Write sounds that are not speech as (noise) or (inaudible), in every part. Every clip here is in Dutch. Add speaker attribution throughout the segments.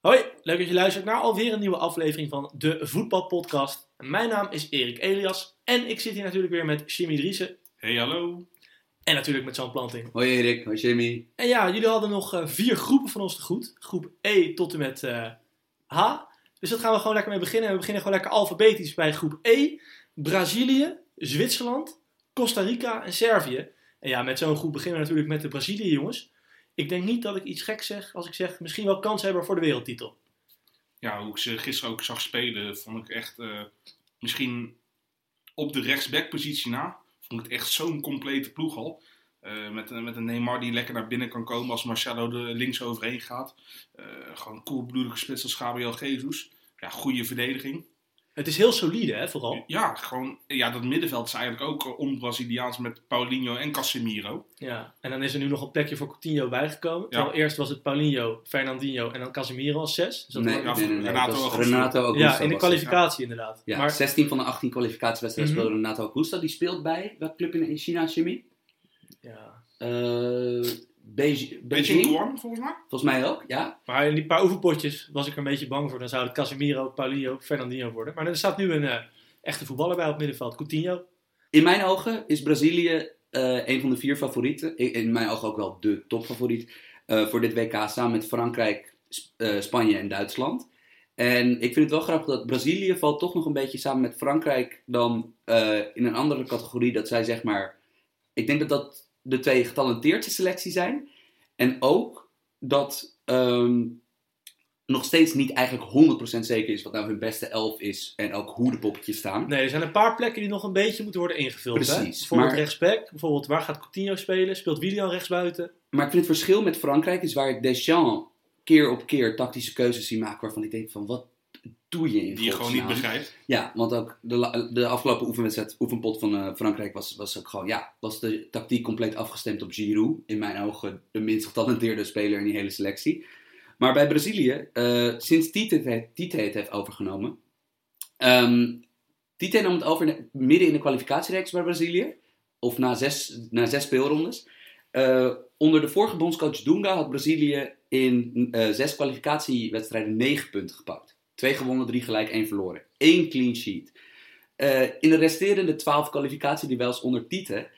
Speaker 1: Hoi, leuk dat je luistert naar alweer een nieuwe aflevering van de Voetbalpodcast. Mijn naam is Erik Elias en ik zit hier natuurlijk weer met Jimmy Driessen
Speaker 2: Hey, hallo.
Speaker 1: en natuurlijk met Sam Planting.
Speaker 3: Hoi Erik, hoi Jimmy.
Speaker 1: En ja, jullie hadden nog eh, vier groepen van ons te goed. Groep E tot en met eh, H. Dus dat gaan we gewoon lekker mee beginnen. We beginnen gewoon lekker alfabetisch bij groep E. Brazilië, Zwitserland, Costa Rica en Servië. En ja, met zo'n groep beginnen we natuurlijk met de Brazilië jongens. Ik denk niet dat ik iets gek zeg als ik zeg misschien wel kans hebben voor de wereldtitel.
Speaker 2: Ja, hoe ik ze gisteren ook zag spelen, vond ik echt eh, misschien op de rechtsbackpositie na. Vond ik het echt zo'n complete ploeg al. Eh, met, een- met een Neymar die lekker naar binnen kan komen als Marcelo er links overheen gaat. Eh, gewoon koelbloedig gesplitst als Gabriel Jesus. Ja, goede verdediging.
Speaker 1: Het is heel solide hè, vooral.
Speaker 2: Ja, gewoon, ja, dat middenveld is eigenlijk ook eh, on-Braziliaans met Paulinho en Casemiro.
Speaker 1: Ja, en dan is er nu nog een plekje voor Coutinho bijgekomen. Terwijl eerst was het Paulinho, Fernandinho en dan Casemiro als zes. Dus dat
Speaker 3: nee,
Speaker 1: wordt-
Speaker 2: ja,
Speaker 3: nee, nee, nee,
Speaker 2: Renato
Speaker 3: dat was
Speaker 2: Augusto.
Speaker 3: Renato Augusto
Speaker 1: ja, in de
Speaker 3: was het.
Speaker 1: kwalificatie inderdaad.
Speaker 3: Ja,
Speaker 1: maar
Speaker 3: 16 van de 18 kwalificatiewedstrijden
Speaker 1: Mhm.
Speaker 3: speelde Renato Augusto. Die speelt bij, welk club in in China, Jimmy?
Speaker 1: ja.
Speaker 3: Eh Beijing,
Speaker 2: Beetje
Speaker 3: Beijing,
Speaker 2: Guam, volgens mij.
Speaker 3: volgens mij ook, ja.
Speaker 1: Maar in die paar oefenpotjes was ik er een beetje bang voor. Dan zouden het Casemiro, Paulinho, Fernandinho worden. Maar er staat nu een eh, echte voetballer bij op het middenveld, Coutinho.
Speaker 3: In mijn ogen is Brazilië eh, een van de vier favorieten. In, in mijn ogen ook wel de topfavoriet eh, voor dit WK samen met Frankrijk, Sp- eh, Spanje en Duitsland. En ik vind het wel grappig dat Brazilië valt toch nog een beetje samen met Frankrijk dan eh, in een andere categorie. Dat zij zeg maar, ik denk dat dat de twee getalenteerdste selectie zijn. En ook dat ehm, nog steeds niet eigenlijk 100% zeker is wat nou hun beste elf is en ook hoe de poppetjes staan.
Speaker 1: Nee, er zijn een paar plekken die nog een beetje moeten worden ingevuld. hè?
Speaker 3: Precies,
Speaker 1: Bijvoorbeeld
Speaker 3: maar-
Speaker 1: rechtsback. Bijvoorbeeld waar gaat Coutinho spelen? Speelt Willian rechtsbuiten?
Speaker 3: Maar ik vind het verschil met Frankrijk is waar ik Deschamps keer op keer tactische keuzes zie maken waarvan ik denk van wat doe je in
Speaker 2: Die je gewoon niet
Speaker 3: godsnaam?
Speaker 2: begrijpt.
Speaker 3: Ja, want ook de, la- de afgelopen oefenwedstrijd, oefenpot van eh, Frankrijk was, was ook gewoon, ja, was de tactiek compleet afgestemd op Giroud. In mijn ogen de minst getalenteerde speler in die hele selectie. Maar bij Brazilië, eh, sinds Tite het, he- Tite het heeft overgenomen. ehm, Tite nam het over in- midden in de kwalificatiereeks bij Brazilië. Of na zes, na zes speelrondes. Eh, onder de vorige bondscoach Dunga had Brazilië in eh, zes kwalificatiewedstrijden negen punten gepakt. Twee gewonnen, drie gelijk, één verloren. Eén clean sheet. Eh, in de resterende twaalf kwalificatieduels onder Tite...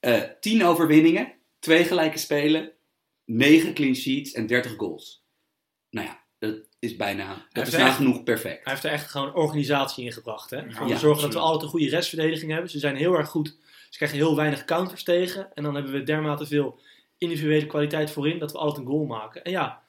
Speaker 3: eh tien overwinningen, twee gelijke spelen, negen clean sheets en 30 goals. Nou ja, dat is bijna... Dat is
Speaker 1: heeft echt-
Speaker 3: nagenoeg perfect.
Speaker 1: Hij heeft er echt gewoon organisatie in gebracht. Hè?
Speaker 2: Ja,
Speaker 1: Om te
Speaker 3: ja,
Speaker 1: zorgen dat we
Speaker 2: absoluut.
Speaker 1: altijd een goede restverdediging hebben. Ze zijn heel erg goed. Ze krijgen heel weinig counters tegen. En dan hebben we dermate veel individuele kwaliteit voorin dat we altijd een goal maken. En ja,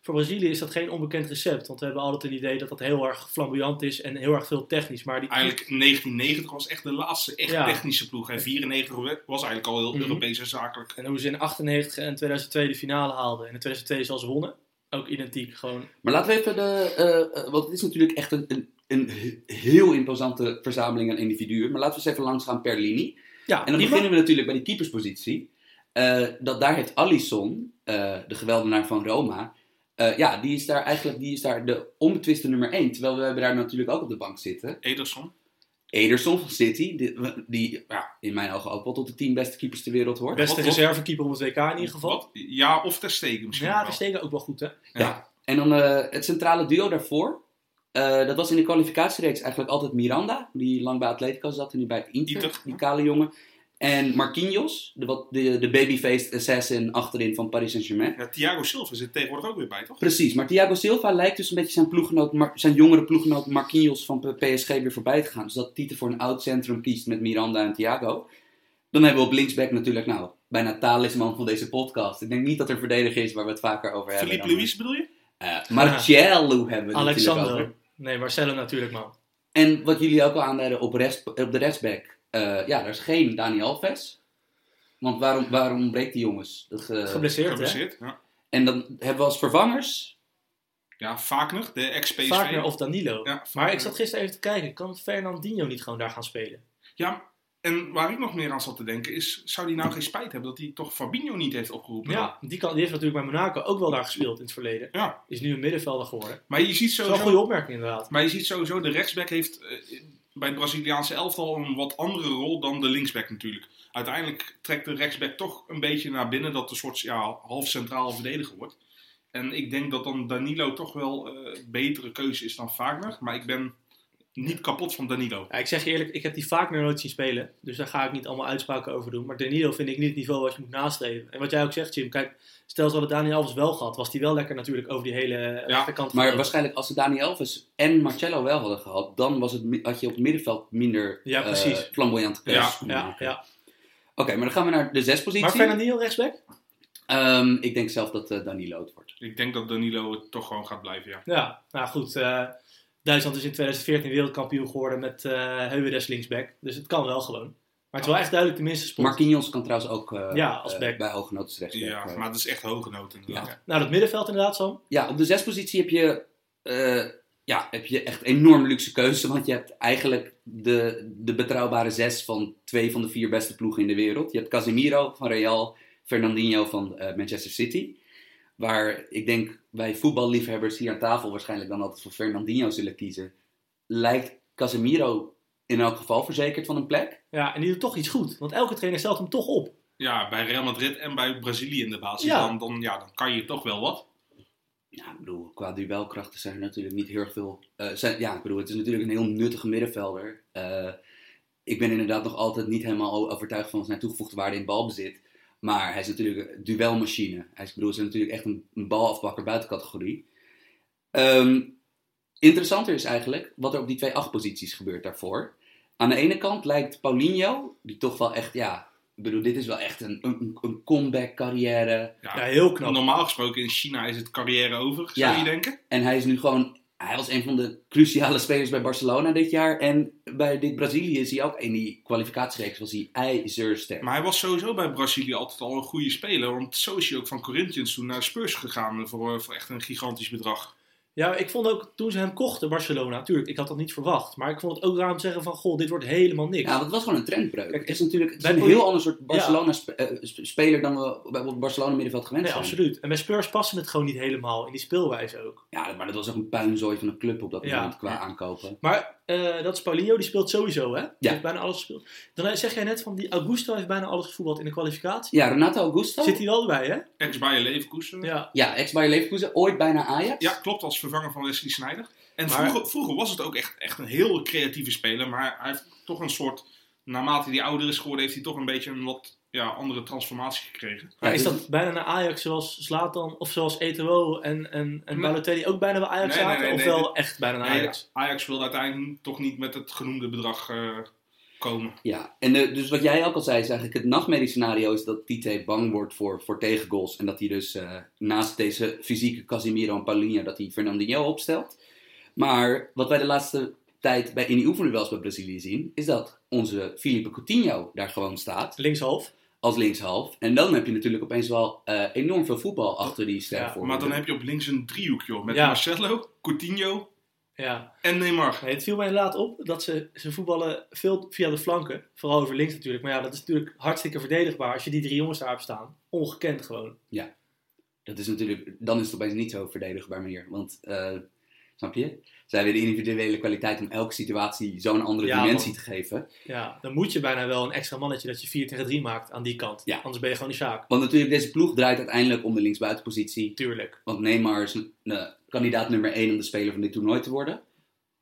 Speaker 1: voor Brazilië is dat geen onbekend recept. Want we hebben altijd een idee dat dat heel erg flamboyant is en heel erg veel technisch. Maar die
Speaker 2: Eigenlijk 1990 was echt de laatste echt
Speaker 1: Ja.
Speaker 2: technische ploeg. En 94 was eigenlijk al heel
Speaker 1: Mhm.
Speaker 2: Europees en zakelijk.
Speaker 1: En hoe ze in 98 en 2002 de finale haalden. En in 2002 zelfs wonnen. Ook identiek. Gewoon
Speaker 3: Maar laten we even de. eh, eh, want het is natuurlijk echt een, een, een he- heel imposante verzameling aan individuen. Maar laten we eens even langs gaan per linie.
Speaker 1: ja,
Speaker 3: En dan
Speaker 1: prima.
Speaker 3: beginnen we natuurlijk bij de keeperspositie. Eh, dat daar heeft Alisson, eh, de geweldenaar van Roma. eh, ja, die is daar eigenlijk die is daar de onbetwiste nummer 1. Terwijl we hebben daar natuurlijk ook op de bank zitten.
Speaker 2: Ederson.
Speaker 3: Ederson van City, die, die ja, in mijn ogen ook wel tot de 10 beste keepers ter wereld hoort.
Speaker 1: Beste
Speaker 2: Wat-
Speaker 1: reservekeeper op het WK in ieder geval.
Speaker 2: Wat? Ja, of ter steken misschien
Speaker 1: Ja,
Speaker 2: wel.
Speaker 1: de steken ook wel goed hè.
Speaker 3: En dan eh, het centrale duo daarvoor. Eh, dat was in de kwalificatiereeks eigenlijk altijd Miranda, die lang bij Atletico zat en nu bij het Inter,
Speaker 2: Inter,
Speaker 3: die
Speaker 2: ja.
Speaker 3: kale jongen. En Marquinhos, de, wat- de, de babyfaced assassin achterin van Paris Saint-Germain.
Speaker 2: Ja, Thiago Silva zit tegenwoordig ook weer bij, toch?
Speaker 3: Precies, maar Thiago Silva lijkt dus een beetje zijn, ploeggenoot, Mar- zijn jongere ploeggenoot Marquinhos van P- PSG weer voorbij te gaan. Dus dat Tite voor een oud centrum kiest met Miranda en Thiago. Dan hebben we op linksback natuurlijk, nou, bijna talisman van deze podcast. Ik denk niet dat er een verdediger is waar we het vaker over hebben.
Speaker 2: Philippe
Speaker 3: dan-
Speaker 2: Luis bedoel je?
Speaker 3: eh Marcello hebben we het natuurlijk over.
Speaker 1: Alexander. Nee, Marcelo natuurlijk man.
Speaker 3: En wat jullie ook al aanduiden op, rest, op de rechtsback. eh, ja, er is geen Dani Alves. Want waarom, waarom breekt die jongens? Dat, eh,
Speaker 1: Geblesseerd hè.
Speaker 2: Geblesseerd, ja.
Speaker 3: en dan hebben we als vervangers...
Speaker 2: Ja, Wagner, de ex-PSV.
Speaker 1: Wagner of Danilo.
Speaker 2: Ja,
Speaker 1: Maar
Speaker 2: Wagner.
Speaker 1: ik zat gisteren even te kijken, kan Fernandinho niet gewoon daar gaan spelen?
Speaker 2: Ja, en waar ik nog meer aan zat te denken is... Zou die nou geen spijt hebben dat hij toch Fabinho niet heeft opgeroepen?
Speaker 1: Ja, die, kan, die heeft natuurlijk bij Monaco ook wel daar gespeeld in het verleden.
Speaker 2: Ja.
Speaker 1: Is nu een middenvelder geworden.
Speaker 2: Maar je ziet
Speaker 1: Dat is wel een
Speaker 2: sowieso...
Speaker 1: goede opmerking inderdaad.
Speaker 2: Maar je ziet sowieso, de rechtsback heeft eh, bij het Braziliaanse elftal een wat andere rol dan de linksback natuurlijk. Uiteindelijk trekt de rechtsback toch een beetje naar binnen dat een soort ja, half centraal verdediger wordt. En ik denk dat dan Danilo toch wel eh, een betere keuze is dan Wagner. Maar ik ben niet kapot van Danilo.
Speaker 1: Ja, ik zeg je eerlijk, ik heb die vaak meer nooit zien spelen. Dus daar ga ik niet allemaal uitspraken over doen. Maar Danilo vind ik niet het niveau wat je moet nastreven. En wat jij ook zegt, Jim. Kijk, stel ze hadden Daniel Alves wel gehad. Was die wel lekker natuurlijk over die hele eh,
Speaker 2: Ja,
Speaker 1: rechterkant.
Speaker 3: Maar
Speaker 1: gegaan.
Speaker 3: waarschijnlijk als ze Dani Alves en Marcello wel hadden gehad, dan was het, mi- had je op het middenveld minder
Speaker 1: Ja,
Speaker 3: eh,
Speaker 1: precies.
Speaker 3: flamboyante keuzes kunnen
Speaker 1: ja,
Speaker 3: maken.
Speaker 1: ja.
Speaker 3: Oké, maar dan gaan we naar de zespositie.
Speaker 1: Maar Fernandinho rechtsback?
Speaker 3: Ehm, ik denk zelf dat eh Danilo het wordt.
Speaker 2: Ik denk dat Danilo het toch gewoon gaat blijven, ja.
Speaker 1: Ja, nou goed. eh, Duitsland is in 2014 wereldkampioen geworden met eh Heuwedes linksback. Dus het kan wel gewoon. Maar het is wel echt duidelijk de minste spot.
Speaker 3: Marquinhos kan trouwens ook eh,
Speaker 1: Ja, als
Speaker 3: eh,
Speaker 1: back.
Speaker 3: bij Hooggenoten terecht.
Speaker 2: Ja, maar het is echt hoge nood inderdaad.
Speaker 3: Ja.
Speaker 1: Nou, dat middenveld inderdaad, Sam.
Speaker 3: Ja, op de zespositie heb je, eh, ja, heb je echt enorm luxe keuze. Want je hebt eigenlijk de, de betrouwbare zes van twee van de vier beste ploegen in de wereld. Je hebt Casemiro van Real, Fernandinho van eh, Manchester City. Waar ik denk wij voetballiefhebbers hier aan tafel waarschijnlijk dan altijd voor Fernandinho zullen kiezen. Lijkt Casemiro in elk geval verzekerd van een plek.
Speaker 1: Ja, en die doet toch iets goed. Want elke trainer stelt hem toch op.
Speaker 2: Ja, bij Real Madrid en bij Brazilië in de basis.
Speaker 1: Ja.
Speaker 2: Dan, dan, ja, dan kan je toch wel wat.
Speaker 3: Ja, ik bedoel, qua duelkrachten zijn er natuurlijk niet heel erg veel. eh, zijn, ja, ik bedoel, het is natuurlijk een heel nuttige middenvelder. Eh, ik ben inderdaad nog altijd niet helemaal o- overtuigd van zijn toegevoegde waarde in balbezit. Maar hij is natuurlijk een duelmachine. Hij is, ik bedoel, hij is natuurlijk echt een, een balafbakker buiten categorie. Ehm, interessanter is eigenlijk wat er op die twee achtposities gebeurt daarvoor. Aan de ene kant lijkt Paulinho, die toch wel echt, ja, ik bedoel, dit is wel echt een, een, een comeback carrière.
Speaker 1: Ja, heel knap.
Speaker 2: Normaal gesproken in China is het carrière over, zou
Speaker 3: Ja.
Speaker 2: je denken.
Speaker 3: En hij is nu gewoon. Hij was een van de cruciale (laughs) spelers bij Barcelona dit jaar. En bij dit Brazilië is hij ook in die kwalificatiereeks was hij ijzersterk.
Speaker 2: Maar hij was sowieso bij Brazilië altijd al een goede speler. Want zo is hij ook van Corinthians toen naar Spurs gegaan eh, voor, eh, voor echt een gigantisch bedrag.
Speaker 1: Ja, ik vond ook toen ze hem kochten, Barcelona, natuurlijk, ik had dat niet verwacht. Maar ik vond het ook raar om te zeggen van, goh, dit wordt helemaal niks.
Speaker 3: Ja, want het was gewoon een trendbreuk.
Speaker 1: Kijk,
Speaker 3: het is natuurlijk het is
Speaker 1: bij
Speaker 3: een
Speaker 1: Poli-
Speaker 3: heel ander soort Barcelona-speler dan we bij het Barcelona middenveld gewend
Speaker 1: nee,
Speaker 3: zijn.
Speaker 1: absoluut. En bij Spurs passen het gewoon niet helemaal in die speelwijze ook.
Speaker 3: Ja, maar dat was ook een puinzooi van een club op dat
Speaker 1: Ja.
Speaker 3: moment qua aankopen.
Speaker 1: Maar eh, dat is Paulinho, die speelt sowieso, hè? Die
Speaker 3: Ja.
Speaker 1: heeft bijna alles gespeeld. Dan eh, zeg jij net van, die Augusto heeft bijna alles gevoetbald in de kwalificatie.
Speaker 3: Ja, Renato Augusto.
Speaker 1: Zit hij wel erbij, hè?
Speaker 2: Ex Bayer Leverkusen. Ja.
Speaker 1: Ja.
Speaker 3: Ja, ex-Bayer Leverkusen, ooit bijna Ajax.
Speaker 2: klopt, als vervanger van Wesley Sneijder. En
Speaker 1: Maar-
Speaker 2: vroeger, vroeger was het ook echt, echt een heel creatieve speler. Maar hij heeft toch een soort, naarmate hij ouder is geworden, heeft hij toch een beetje een wat ja, andere transformatie gekregen.
Speaker 1: Maar is
Speaker 3: dus-
Speaker 1: dat bijna naar Ajax zoals Zlatan of zoals Eto'o en, en, en
Speaker 2: Nee.
Speaker 1: Balotelli ook bijna bij Ajax
Speaker 2: Nee, nee,
Speaker 1: zaten?
Speaker 2: nee,
Speaker 1: of
Speaker 2: nee,
Speaker 1: wel
Speaker 2: dit-
Speaker 1: echt bijna naar
Speaker 2: Nee,
Speaker 1: Ajax?
Speaker 2: Ajax wilde uiteindelijk toch niet met het genoemde bedrag eh, komen.
Speaker 3: Ja, en de- dus wat jij ook al zei, is eigenlijk het nachtmerrie scenario is dat Tite bang wordt voor, voor tegengoals. En dat hij dus eh, naast deze fysieke Casimiro en Paulinho, dat hij Fernandinho opstelt. Maar wat wij de laatste tijd bij, in die oefenduels bij Brazilië zien, is dat onze Felipe Coutinho daar gewoon staat,
Speaker 1: Linkshalf.
Speaker 3: als linkshalf. En dan heb je natuurlijk opeens wel eh, enorm veel voetbal achter die ster
Speaker 1: Ja,
Speaker 3: voor.
Speaker 2: Maar dan heb je op links een driehoek, joh. Met
Speaker 1: Ja.
Speaker 2: Marcelo, Coutinho
Speaker 1: Ja.
Speaker 2: en Neymar.
Speaker 1: Nee, het viel mij inderdaad op dat ze, ze voetballen veel via de flanken. Vooral over links natuurlijk. Maar ja, dat is natuurlijk hartstikke verdedigbaar als je die drie jongens daar hebt staan. Ongekend gewoon.
Speaker 3: Dat is natuurlijk, dan is het opeens niet zo verdedigbaar meer. Want, eh, snap je? Zij hebben de individuele kwaliteit om elke situatie zo'n andere
Speaker 1: Ja,
Speaker 3: dimensie
Speaker 1: man.
Speaker 3: te geven.
Speaker 1: Ja, dan moet je bijna wel een extra mannetje dat je 4 tegen 3 maakt aan die kant.
Speaker 3: Ja.
Speaker 1: Anders ben je gewoon een zaak.
Speaker 3: Want natuurlijk, deze ploeg draait uiteindelijk om de linksbuitenpositie.
Speaker 1: Tuurlijk.
Speaker 3: Want Neymar is eh, kandidaat nummer 1 om de speler van dit toernooi te worden.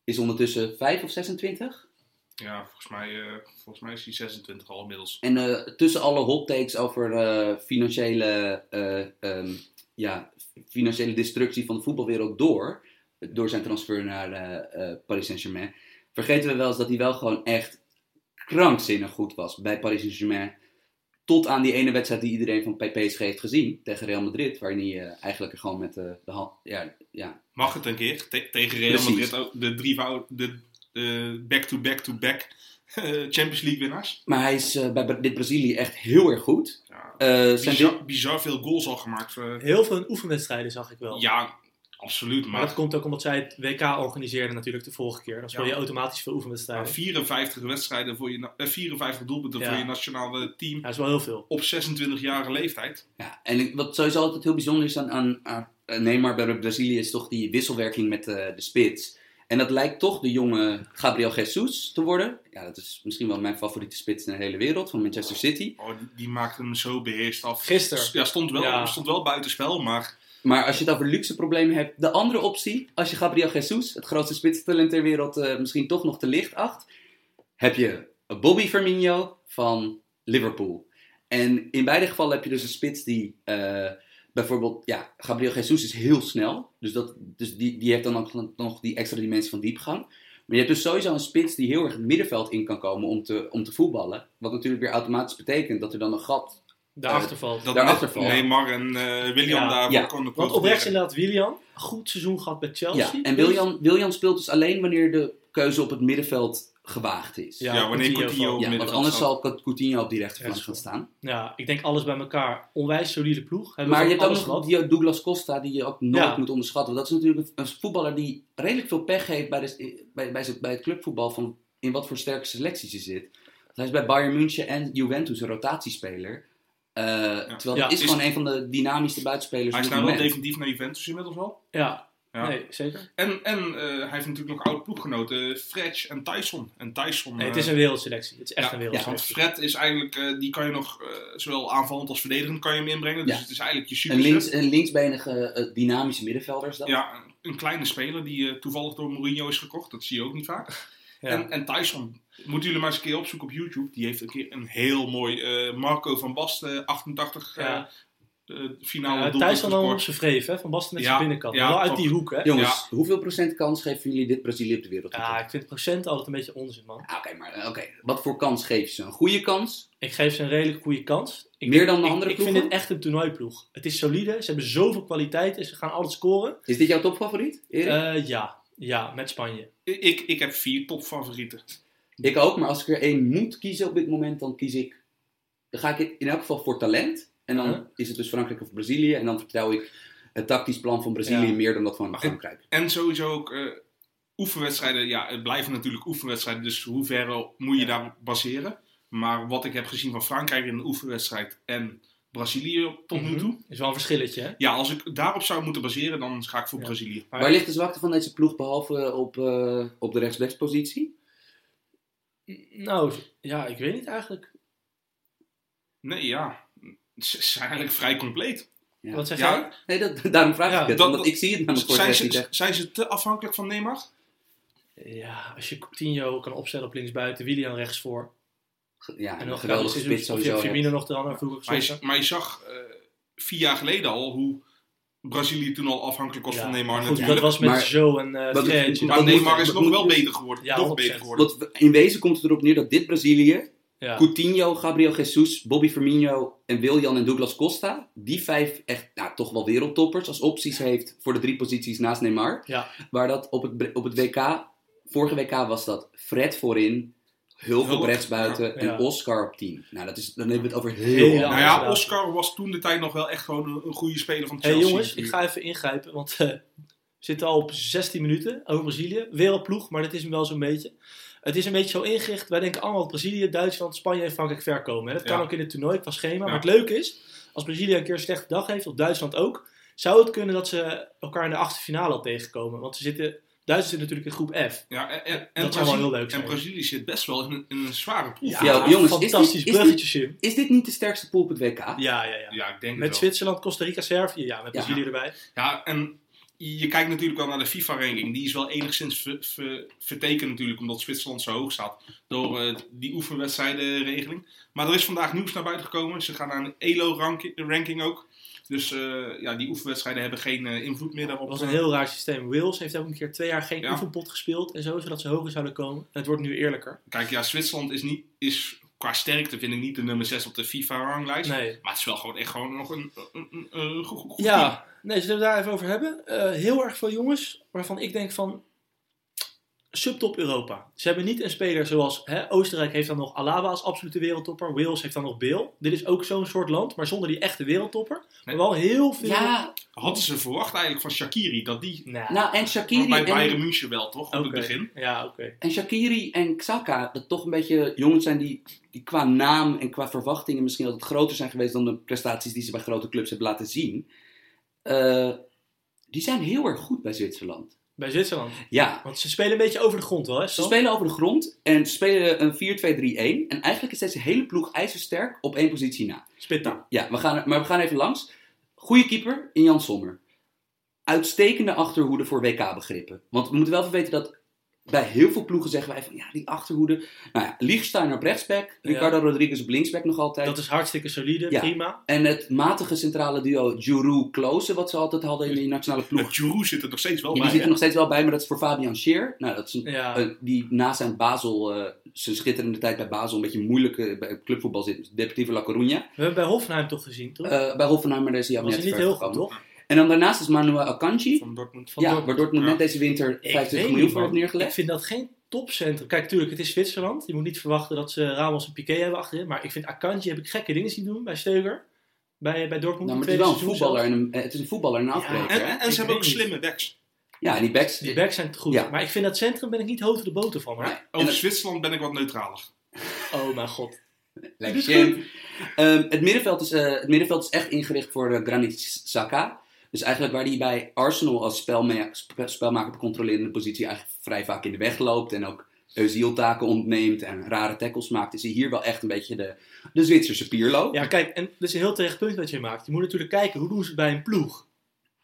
Speaker 3: Is ondertussen 5 of 26.
Speaker 2: Ja, volgens mij, eh, volgens mij is hij 26 al inmiddels.
Speaker 3: En eh, tussen alle hot takes over eh, financiële, eh, ehm, ja, financiële destructie van de voetbalwereld door. Door zijn transfer naar eh, eh, Paris Saint-Germain. Vergeten we wel eens dat hij wel gewoon echt krankzinnig goed was bij Paris Saint-Germain. Tot aan die ene wedstrijd die iedereen van PPSG heeft gezien. Tegen Real Madrid. Waarin hij eh, eigenlijk er gewoon met eh, de hand... Ja, ja,
Speaker 2: Mag het een keer? Te- tegen Real
Speaker 3: Precies.
Speaker 2: Madrid ook de drievoudig, de eh, back-to-back-to-back eh, Champions League winnaars.
Speaker 3: Maar hij is eh, bij Bra- dit Brazilië echt heel erg goed.
Speaker 2: Ja,
Speaker 3: Eh, zijn deel-
Speaker 2: bizar, bizar veel goals al gemaakt. eh.
Speaker 1: Heel veel wedstrijden zag ik wel.
Speaker 2: ja, absoluut.
Speaker 1: Maar dat
Speaker 2: Maar,
Speaker 1: komt ook omdat zij het WK organiseerden natuurlijk de vorige keer. Dan speel je
Speaker 2: Ja.
Speaker 1: automatisch veel
Speaker 2: maar
Speaker 1: oefenwedstrijden.
Speaker 2: 54 wedstrijden voor je, na- eh, 54 doelpunten
Speaker 1: Ja.
Speaker 2: voor je nationale team
Speaker 1: Ja, dat is wel heel veel.
Speaker 2: op 26-jarige leeftijd.
Speaker 3: ja, en ik- wat sowieso altijd heel bijzonder is aan, aan, aan aan Neymar bij Brazilië is toch die wisselwerking met eh, de spits. En dat lijkt toch de jonge Gabriel Jesus te worden. Ja, dat is misschien wel mijn favoriete spits in de hele wereld van Manchester City.
Speaker 2: Oh, die, die maakte hem zo beheerst af.
Speaker 1: Gisteren.
Speaker 2: Ja, stond wel,
Speaker 1: Ja.
Speaker 2: stond wel buitenspel, maar
Speaker 3: Maar als je het over luxe problemen hebt, de andere optie, als je Gabriel Jesus, het grootste spitstalent ter wereld, eh, misschien toch nog te licht acht, heb je Bobby Firmino van Liverpool. En in beide gevallen heb je dus een spits die eh, bijvoorbeeld, ja, Gabriel Jesus is heel snel, dus, dat, dus die, die heeft dan ook nog die extra dimensie van diepgang. Maar je hebt dus sowieso een spits die heel erg het middenveld in kan komen om te, om te voetballen. Wat natuurlijk weer automatisch betekent dat er dan een gat.
Speaker 1: Daarachter valt.
Speaker 2: Dat
Speaker 3: Daarachter
Speaker 2: met
Speaker 3: valt.
Speaker 2: Neymar en eh, William
Speaker 1: Ja.
Speaker 2: daarvoor
Speaker 3: Ja.
Speaker 2: konden
Speaker 1: Want oprecht
Speaker 2: profiteren.
Speaker 1: inderdaad, Willian. Goed seizoen gehad bij Chelsea.
Speaker 3: Ja, en William, William speelt dus alleen wanneer de keuze op het middenveld gewaagd is.
Speaker 1: Ja,
Speaker 2: Ja, wanneer
Speaker 1: Coutinho
Speaker 2: Coutinho
Speaker 1: valt.
Speaker 2: op
Speaker 3: Ja, want
Speaker 2: middenveld
Speaker 3: anders
Speaker 2: staat.
Speaker 3: zal Coutinho op die rechterkant
Speaker 1: Ja,
Speaker 3: gaan staan.
Speaker 1: Ja, ik denk alles bij elkaar. Onwijs solide ploeg. Hebben
Speaker 3: Maar je
Speaker 1: van
Speaker 3: hebt ook
Speaker 1: alles
Speaker 3: nog
Speaker 1: gehad.
Speaker 3: die eh, Douglas Costa, die je ook nooit
Speaker 1: Ja.
Speaker 3: moet onderschatten. Want dat is natuurlijk een voetballer die redelijk veel pech heeft bij, de, bij, bij, zijn- bij het clubvoetbal van in wat voor sterke selecties hij zit. Want hij is bij Bayern München en Juventus een rotatiespeler. Eh, Terwijl
Speaker 1: Ja,
Speaker 3: hij is,
Speaker 2: is-
Speaker 3: gewoon een van de dynamischste buitenspelers
Speaker 2: Hij is nou
Speaker 3: op het dus
Speaker 2: wel
Speaker 3: moment.
Speaker 2: definitief naar Juventus inmiddels al.
Speaker 1: Ja.
Speaker 2: Ja.
Speaker 1: nee, zeker.
Speaker 2: En, en eh, hij heeft natuurlijk nog oude ploeggenoten, eh, Fred en Tyson. En Tyson
Speaker 1: Nee, het
Speaker 2: eh,
Speaker 1: is een wereldselectie. Het is echt
Speaker 2: Ja,
Speaker 1: een
Speaker 2: ja, want
Speaker 1: wereldselectie.
Speaker 2: Fred is eigenlijk, eh, die kan je nog, eh, zowel aanvallend als verdedigend kan je hem inbrengen. Dus
Speaker 3: Ja.
Speaker 2: het is eigenlijk je
Speaker 3: Een,
Speaker 2: super.
Speaker 3: links, een linksbenige eh, dynamische middenvelder is dat.
Speaker 2: Ja, een kleine speler die eh, toevallig door Mourinho is gekocht. Dat zie je ook niet vaak.
Speaker 1: Ja.
Speaker 2: En, en Tyson, moeten jullie maar eens een keer opzoeken op YouTube. Die heeft een keer een heel mooi eh, Marco van Basten 88 eh
Speaker 1: Ja.
Speaker 2: eh, finale
Speaker 1: Nou,
Speaker 2: doelpunt
Speaker 1: Thijs dan
Speaker 2: gescoord.
Speaker 1: op zijn vreef, hè? Van Basten met
Speaker 2: Ja,
Speaker 1: zijn binnenkant.
Speaker 2: ja,
Speaker 1: wel uit
Speaker 2: top.
Speaker 1: die hoek, hè?
Speaker 3: Jongens, hoeveel procent kans geven jullie dit Brazilië op de wereld?
Speaker 1: Ja, ik vind procent altijd een beetje onzin, man.
Speaker 3: Ah, Oké, maar eh, oké. wat voor kans geef je ze? Een goede kans?
Speaker 1: Ik geef ze een redelijk goede kans. Ik
Speaker 3: Meer
Speaker 1: denk-
Speaker 3: dan de
Speaker 1: ik-
Speaker 3: andere
Speaker 1: Ik vind
Speaker 3: ploegen?
Speaker 1: dit echt een toernooiploeg. Het is solide, ze hebben zoveel kwaliteit en ze gaan alles scoren.
Speaker 3: Is dit jouw topfavoriet, Erik?
Speaker 1: Eh, ja. ja, met Spanje.
Speaker 2: Ik, ik heb vier topfavorieten.
Speaker 3: Ik ook, maar als ik er één moet kiezen op dit moment, dan kies ik. Dan ga ik in elk geval voor talent. En dan
Speaker 1: Ja.
Speaker 3: is het dus Frankrijk of Brazilië. En dan vertrouw ik het tactisch plan van Brazilië
Speaker 1: Ja.
Speaker 3: meer dan dat van
Speaker 2: Maar-
Speaker 3: Frankrijk.
Speaker 2: En sowieso ook eh, oefenwedstrijden. Ja, het blijven natuurlijk oefenwedstrijden. Dus hoe ver moet je daar baseren? Maar wat ik heb gezien van Frankrijk in de oefenwedstrijd en Brazilië tot nu
Speaker 1: Mhm.
Speaker 2: toe.
Speaker 1: Is wel een verschilletje, hè?
Speaker 2: Ja, als ik daarop zou moeten baseren, dan ga ik voor
Speaker 1: Ja.
Speaker 2: Brazilië.
Speaker 1: Maar-
Speaker 3: Waar ligt de zwakte van deze ploeg behalve op, eh, op de rechtsbackspositie?
Speaker 1: Nou, ja, ik weet niet eigenlijk.
Speaker 2: Nee, ja. Ze ze zijn eigenlijk vrij compleet.
Speaker 3: Ja.
Speaker 1: Wat zeg jij?
Speaker 2: Ja,
Speaker 3: Nee, dat, (laughs) daarom vraag
Speaker 1: Ja,
Speaker 3: ik het.
Speaker 2: dat-
Speaker 3: want
Speaker 2: dat-
Speaker 3: ik zie het namelijk voor het
Speaker 2: zijn,
Speaker 3: eerst niet
Speaker 2: ze,
Speaker 3: echt.
Speaker 2: zijn ze te afhankelijk van Neymar?
Speaker 1: Ja, als je Coutinho kan opstellen op linksbuiten, Willian rechtsvoor.
Speaker 3: Ja,
Speaker 1: En
Speaker 3: een
Speaker 1: nog
Speaker 3: geweldige spits
Speaker 1: Of je
Speaker 3: sowieso.
Speaker 1: hebt
Speaker 3: hè.
Speaker 1: Firmino nog er aan vroeger
Speaker 2: Maar
Speaker 1: gezeten.
Speaker 2: je, maar je zag eh, vier jaar geleden al hoe Brazilië toen al afhankelijk was
Speaker 1: Ja,
Speaker 2: van Neymar.
Speaker 1: Goed,
Speaker 2: natuurlijk.
Speaker 1: dat was met
Speaker 3: Maar-
Speaker 1: Zo en eh
Speaker 3: dat-
Speaker 1: Fred.
Speaker 2: maar
Speaker 3: dat
Speaker 2: Neymar
Speaker 3: moet-
Speaker 2: is
Speaker 3: dat
Speaker 2: nog
Speaker 3: moet-
Speaker 2: wel beter geworden.
Speaker 1: Ja,
Speaker 2: nog
Speaker 1: 100%.
Speaker 2: beter geworden.
Speaker 3: Want we- in wezen komt het erop neer dat dit Brazilië
Speaker 1: Ja.
Speaker 3: Coutinho, Gabriel Jesus, Bobby Firmino en Wiljan en Douglas Costa. Die vijf echt nou, toch wel wereldtoppers als opties heeft voor de drie posities naast Neymar.
Speaker 1: Ja.
Speaker 3: Waar dat op het, op het WK, vorige WK was dat Fred voorin, Hulp op
Speaker 2: Hulp,
Speaker 3: rechtsbuiten
Speaker 1: ja.
Speaker 3: en Oscar op 10. Nou, dat is, dan hebben we het over
Speaker 1: Heel
Speaker 3: heel
Speaker 1: Ja,
Speaker 2: nou
Speaker 3: anders.
Speaker 2: ja,
Speaker 1: inderdaad.
Speaker 2: Oscar was toen de tijd nog wel echt gewoon een, een goede speler van
Speaker 1: Hé hey,
Speaker 2: Chelsea.
Speaker 1: jongens, ik ga even ingrijpen, want eh, we zitten al op 16 minuten over Brazilië. Wereldploeg, maar dat is hem wel zo'n beetje. Het is een beetje zo ingericht, wij denken allemaal dat Brazilië, Duitsland, Spanje en Frankrijk ver komen. hè. Dat kan
Speaker 2: Ja.
Speaker 1: ook in het toernooi qua schema. Maar
Speaker 2: Ja.
Speaker 1: het leuke is, als Brazilië een keer een slechte dag heeft, of Duitsland ook, zou het kunnen dat ze elkaar in de achtste finale al tegenkomen. Want ze zitten, Duitsland zit natuurlijk in groep F.
Speaker 2: Ja, en, en, en
Speaker 1: Dat zou wel
Speaker 2: Brazilië-
Speaker 1: heel leuk zijn.
Speaker 2: En Brazilië zit best wel in een, in een zware proef.
Speaker 3: Ja, jongens, is dit-
Speaker 1: fantastisch
Speaker 3: is dit-
Speaker 1: bruggetje, Jim.
Speaker 3: Is dit niet de sterkste pool op het WK?
Speaker 1: Ja, ja, ja.
Speaker 2: Ja, ik denk
Speaker 1: Met
Speaker 2: het wel.
Speaker 1: Zwitserland, Costa Rica, Servië. Ja, met
Speaker 3: Ja.
Speaker 1: Brazilië erbij.
Speaker 2: Ja, en je kijkt natuurlijk wel naar de FIFA-ranking. Die is wel enigszins ver- ver- vertekend natuurlijk, omdat Zwitserland zo hoog staat door eh, die oefenwedstrijdenregeling. Maar er is vandaag nieuws naar buiten gekomen. Ze gaan naar een ELO-ranking ook. Dus eh, ja, die oefenwedstrijden hebben geen eh, invloed meer daarop.
Speaker 1: Het was een heel raar systeem. Wales heeft ook een keer twee jaar geen
Speaker 2: Ja.
Speaker 1: oefenpot gespeeld en zo, zodat ze hoger zouden komen. En het wordt nu eerlijker.
Speaker 2: Kijk, ja, Zwitserland is, niet, is qua sterkte, vind ik, niet de nummer 6 op de FIFA-ranglijst.
Speaker 1: Nee.
Speaker 2: Maar het is wel gewoon echt gewoon nog een, een, een, een goed, goed team.
Speaker 1: Ja, nee, zullen we daar even over hebben? Eh, heel erg veel jongens waarvan ik denk van subtop Europa. Ze hebben niet een speler zoals hè, Oostenrijk heeft dan nog Alaba als absolute wereldtopper. Wales heeft dan nog Bale. Dit is ook zo'n soort land, maar zonder die echte wereldtopper. Maar
Speaker 2: Nee.
Speaker 1: wel heel veel.
Speaker 3: Ja,
Speaker 2: Hadden ze verwacht eigenlijk van Shakiri dat die...
Speaker 1: Nou,
Speaker 3: nou en
Speaker 2: Maar
Speaker 3: Shakiri
Speaker 2: bij
Speaker 3: en,
Speaker 2: Bayern München wel, toch? Op
Speaker 1: oké.
Speaker 2: het begin.
Speaker 1: Ja, oké.
Speaker 3: en Shakiri en Xhaka, dat toch een beetje jongens zijn die, die qua naam en qua verwachtingen misschien altijd groter zijn geweest dan de prestaties die ze bij grote clubs hebben laten zien. Eh, die zijn heel erg goed bij Zwitserland.
Speaker 1: Bij Zwitserland.
Speaker 3: Ja,
Speaker 1: Want ze spelen een beetje over de grond wel, hè?
Speaker 3: ze
Speaker 1: Sam?
Speaker 3: spelen over de grond en ze spelen een 4-2-3-1. En eigenlijk is deze hele ploeg ijzersterk op één positie na.
Speaker 1: Spitta.
Speaker 3: Ja, we gaan, er- maar we gaan even langs. Goeie keeper in Jan Sommer. uitstekende achterhoede voor WK-begrippen. Want we moeten wel even weten dat bij heel veel ploegen zeggen wij van ja, die achterhoede. Nou ja, Liechtenstein op rechtsback,
Speaker 1: Ja.
Speaker 3: Ricardo Rodriguez op linksback nog altijd.
Speaker 1: Dat is hartstikke solide,
Speaker 3: Ja.
Speaker 1: prima.
Speaker 3: En het matige centrale duo Giroud-Klose, wat ze altijd hadden in die nationale ploeg.
Speaker 2: Maar Giroud zit er nog steeds wel
Speaker 3: Ja, die
Speaker 2: bij.
Speaker 3: zit er
Speaker 2: hè?
Speaker 3: nog steeds wel bij, maar dat is voor Fabian Scheer. Nou, dat is een,
Speaker 1: Ja.
Speaker 3: eh, die na zijn Basel, eh, zijn schitterende tijd bij Basel, een beetje moeilijk eh, bij clubvoetbal zit. Deportivo La Coruña.
Speaker 1: We hebben bij Hoffenheim toch gezien, toch?
Speaker 3: Eh, bij Hoffenheim, maar daar is hij al
Speaker 1: was
Speaker 3: net
Speaker 1: hij niet
Speaker 3: ver
Speaker 1: heel goed,
Speaker 3: gekomen.
Speaker 1: toch?
Speaker 3: En dan daarnaast is Manuel Akanji.
Speaker 2: Van Dortmund.
Speaker 1: Van
Speaker 3: ja,
Speaker 1: Dortmund.
Speaker 3: waar Dortmund
Speaker 2: Ja.
Speaker 3: net deze winter
Speaker 1: Ik
Speaker 3: 25
Speaker 1: weet
Speaker 3: miljoen
Speaker 1: niet,
Speaker 3: voor heeft
Speaker 1: man.
Speaker 3: neergelegd.
Speaker 1: Ik vind dat geen topcentrum. Kijk, tuurlijk, het is Zwitserland. Je moet niet verwachten dat ze Ramos en Piqué hebben achterin. Maar ik vind Akanji heb ik gekke dingen zien doen bij Steuger. Bij, bij Dortmund.
Speaker 3: Nou, maar het is
Speaker 1: tweede
Speaker 3: wel een
Speaker 1: seizoen zelf.
Speaker 3: voetballer en een, eh, het is een voetballer en een
Speaker 1: Ja,
Speaker 3: afbreker. hè?
Speaker 2: En, en
Speaker 1: Ik
Speaker 2: ze
Speaker 1: weet
Speaker 2: hebben ook
Speaker 1: niet.
Speaker 2: slimme backs.
Speaker 3: Ja, die backs.
Speaker 1: Die backs zijn goed.
Speaker 3: Ja.
Speaker 1: Maar ik vind dat centrum ben ik niet hoofd de boter van. Hoor.
Speaker 3: Nee. En
Speaker 2: Over
Speaker 3: dat-
Speaker 2: Zwitserland ben ik wat neutraler.
Speaker 1: Oh mijn god.
Speaker 3: Lekker
Speaker 1: Dit is
Speaker 3: shit. Ehm, het, middenveld is, eh, het middenveld is echt ingericht voor eh, Granit Saka. Dus eigenlijk waar hij bij Arsenal als spelma- sp- spelmaker op controlerende positie eigenlijk vrij vaak in de weg loopt. En ook zieltaken ontneemt en rare tackles maakt. Is hij hier wel echt een beetje de, de Zwitserse Pirlo.
Speaker 1: Ja, kijk, en dat is een heel terecht punt wat je maakt. Je moet natuurlijk kijken, hoe doen ze het bij een ploeg?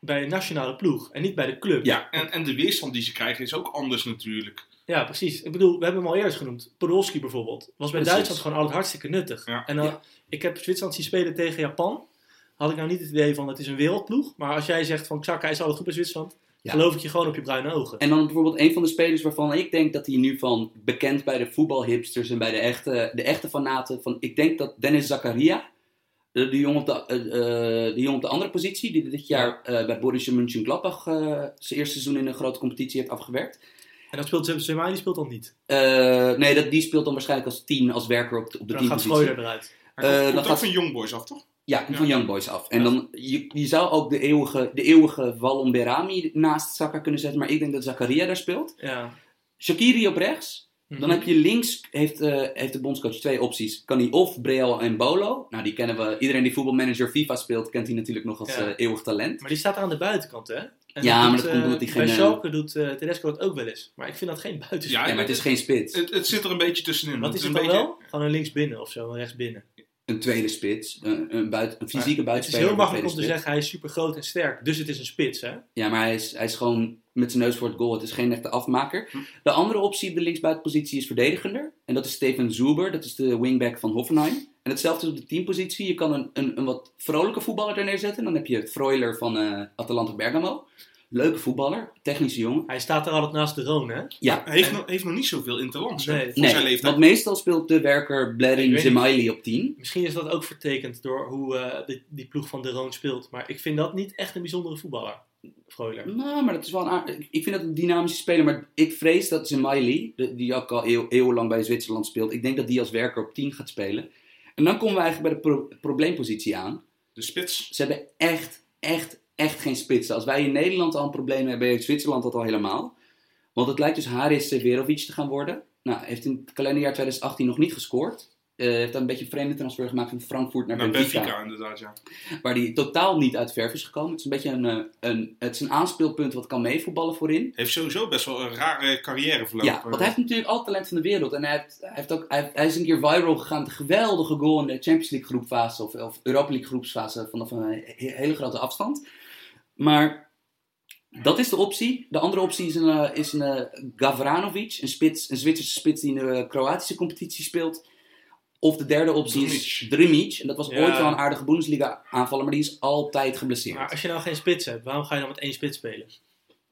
Speaker 1: Bij een nationale ploeg en niet bij de club.
Speaker 3: Ja.
Speaker 2: En, en de weerstand die ze krijgen is ook anders natuurlijk.
Speaker 1: Ja, precies. Ik bedoel, we hebben hem al eerder genoemd. Podolski bijvoorbeeld. Was bij
Speaker 3: Precies.
Speaker 1: Duitsland gewoon altijd hartstikke nuttig.
Speaker 2: Ja.
Speaker 1: En dan,
Speaker 3: Ja.
Speaker 1: ik heb Zwitserland zien spelen tegen Japan. Had ik nou niet het idee van, het is een wereldploeg. Maar als jij zegt van, Xhaka is altijd goed bij Zwitserland.
Speaker 3: Ja.
Speaker 1: Geloof ik je gewoon op je bruine ogen.
Speaker 3: En dan bijvoorbeeld een van de spelers waarvan ik denk dat hij nu van bekend bij de voetbalhipsters en bij de echte, de echte fanaten. Van, ik denk dat Dennis Zakaria, de, de, jongen op de, eh, eh, de jongen op de andere positie, die dit jaar eh, bij Borussia Mönchengladbach eh zijn eerste seizoen in een grote competitie heeft afgewerkt.
Speaker 1: En dan speelt Zemai, die speelt dan niet.
Speaker 3: Eh, nee, dat, die speelt dan waarschijnlijk als team, als werker op de, op de
Speaker 1: Dan gaat
Speaker 3: teampositie.
Speaker 1: Schreuder eruit.
Speaker 2: Hij
Speaker 3: Eh,
Speaker 2: komt-
Speaker 3: dan
Speaker 2: komt
Speaker 3: gaat-
Speaker 2: ook van Young Boys af, toch?
Speaker 3: Ja, komt
Speaker 2: Ja.
Speaker 3: van Young Boys af. En dan, je, je zou ook de eeuwige, de eeuwige Wallon Berami naast Saka kunnen zetten, maar ik denk dat Zakaria daar speelt.
Speaker 1: Ja. Mhm.
Speaker 3: Shakiri op rechts. Dan heb je links, heeft, eh, heeft de bondscoach twee opties. Kan hij of Breel en Bolo. Nou, die kennen we. Iedereen die voetbalmanager FIFA speelt, kent hij natuurlijk nog als
Speaker 1: Ja.
Speaker 3: eh, eeuwig talent.
Speaker 1: Maar die staat er aan de buitenkant, hè? En
Speaker 3: Ja, maar
Speaker 1: doet,
Speaker 3: dat komt
Speaker 1: eh,
Speaker 3: omdat hij
Speaker 1: Bij
Speaker 3: geen,
Speaker 1: Schalke doet eh, Tedesco dat ook wel eens. Maar ik vind dat geen buitenspel.
Speaker 2: Ja,
Speaker 3: Ja, maar het is geen spits.
Speaker 2: Het, het zit er een beetje tussenin.
Speaker 1: Wat is
Speaker 2: een
Speaker 1: het dan
Speaker 2: beetje-
Speaker 1: wel? Gewoon een linksbinnen of zo, een rechtsbinnen.
Speaker 3: Een tweede spits. Een, een, buit, een fysieke
Speaker 1: Het is
Speaker 3: buitenspeler.
Speaker 1: heel
Speaker 3: maar een
Speaker 1: makkelijk om te
Speaker 3: tweede spits.
Speaker 1: zeggen, hij is super groot en sterk. Dus het is een spits, hè?
Speaker 3: Ja, maar hij is, hij is gewoon met zijn neus voor het goal. Het is geen echte afmaker.
Speaker 2: Hm.
Speaker 3: De andere optie op de linksbuitenpositie is verdedigender. En dat is Steven Zuber. Dat is de wingback van Hoffenheim. En hetzelfde op de teampositie. Je kan een, een, een wat vrolijke voetballer er neerzetten. Dan heb je Freuler van eh Atalanta Bergamo. Leuke voetballer. Technische jongen.
Speaker 1: Hij staat er altijd naast de Roon, hè?
Speaker 3: Ja,
Speaker 2: Hij heeft, nog, heeft nog niet zoveel interlands hè,
Speaker 1: Nee.
Speaker 2: voor zijn
Speaker 3: nee,
Speaker 2: leeftijd.
Speaker 3: want meestal speelt de werker
Speaker 1: Ik
Speaker 3: Bladding
Speaker 1: weet niet.
Speaker 3: Zemaili op 10.
Speaker 1: Misschien is dat ook vertekend door hoe eh, die, die ploeg van de Roon speelt. Maar ik vind dat niet echt een bijzondere voetballer, Freuler.
Speaker 3: Nou, maar dat is wel een aard- Ik vind dat een dynamische speler, maar ik vrees dat Zemaili, de- die ook al eeuw- eeuwenlang bij Zwitserland speelt, ik denk dat die als werker op 10 gaat spelen. En dan komen we eigenlijk bij de pro- probleempositie aan.
Speaker 2: De spits.
Speaker 3: Ze hebben echt, echt, echt geen spitsen. Als wij in Nederland al een probleem hebben, heeft Zwitserland dat al helemaal. Want het lijkt dus Haris Severovic te gaan worden. Nou, heeft in het kalenderjaar 2018 nog niet gescoord. Eh, heeft dan een beetje een vreemde transfer gemaakt van Frankfurt naar,
Speaker 2: Naar
Speaker 3: Benfica.
Speaker 2: Benfica, inderdaad, ja.
Speaker 3: waar die totaal niet uit verf is gekomen. Het is een beetje een, eh, een, het is een aanspeelpunt wat kan meevoetballen voorin.
Speaker 2: Heeft sowieso best wel een rare carrière verlopen.
Speaker 3: Ja, want hij heeft natuurlijk al het talent van de wereld. En hij, heeft, hij, heeft ook, hij, hij is een keer viral gegaan. Een geweldige goal in de Champions League groepfase of, of Europa League groepsfase vanaf een he- hele grote afstand. Maar dat is de optie. De andere optie is een, eh, is een eh, Gavranovic, een, spits, een Zwitserse spits die in de eh, Kroatische competitie speelt. Of de derde optie is
Speaker 2: Drmic.
Speaker 3: Drmic. En dat was
Speaker 1: Ja.
Speaker 3: ooit wel een aardige Bundesliga aanvaller, maar die is altijd geblesseerd.
Speaker 1: Maar als je nou geen spits hebt, waarom ga je dan met één spits spelen?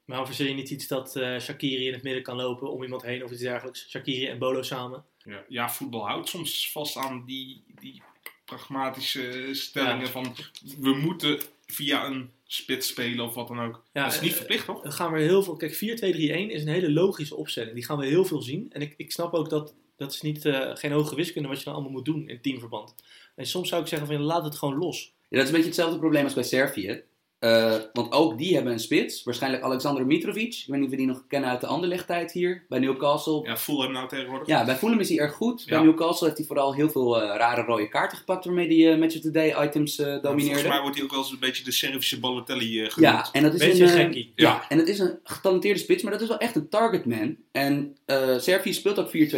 Speaker 1: Waarom verzin je niet iets dat eh Shakiri in het midden kan lopen om iemand heen of iets dergelijks? Shakiri en Bolo samen.
Speaker 2: Ja, ja, voetbal houdt soms vast aan die, die pragmatische stellingen van we moeten via een spits spelen of wat dan ook.
Speaker 1: Ja,
Speaker 2: dat is niet
Speaker 1: eh,
Speaker 2: verplicht, toch?
Speaker 1: Dan gaan we heel veel. Kijk, 4-2-3-1 is een hele logische opstelling. Die gaan we heel veel zien. En ik, ik snap ook dat dat is niet, eh, geen hoge wiskunde wat je dan allemaal moet doen in teamverband. En soms zou ik zeggen van laat het gewoon los.
Speaker 3: Ja, dat is een beetje hetzelfde probleem als bij Servië. Eh, want ook die hebben een spits. Waarschijnlijk Alexander Mitrovic. Ik weet niet of we die nog kennen uit de anderlegtijd hier. Bij Newcastle. Ja,
Speaker 2: Ja, Fulham nou tegenwoordig.
Speaker 3: bij Fulham is hij erg goed. Bij
Speaker 2: Ja.
Speaker 3: Newcastle heeft hij vooral heel veel eh, rare rode kaarten gepakt. Waarmee hij eh, Match of the Day items eh
Speaker 2: Volgens mij
Speaker 3: domineerde.
Speaker 2: wordt hij ook wel eens een beetje de Servische Balotelli eh genoemd.
Speaker 3: Ja, en dat is
Speaker 1: Beetje
Speaker 3: een eh,
Speaker 1: gekkie.
Speaker 3: Ja.
Speaker 2: Ja.
Speaker 3: en het is een getalenteerde spits. Maar dat is wel echt een targetman. En eh, Servië speelt ook 4-2-3-1.
Speaker 1: Ja,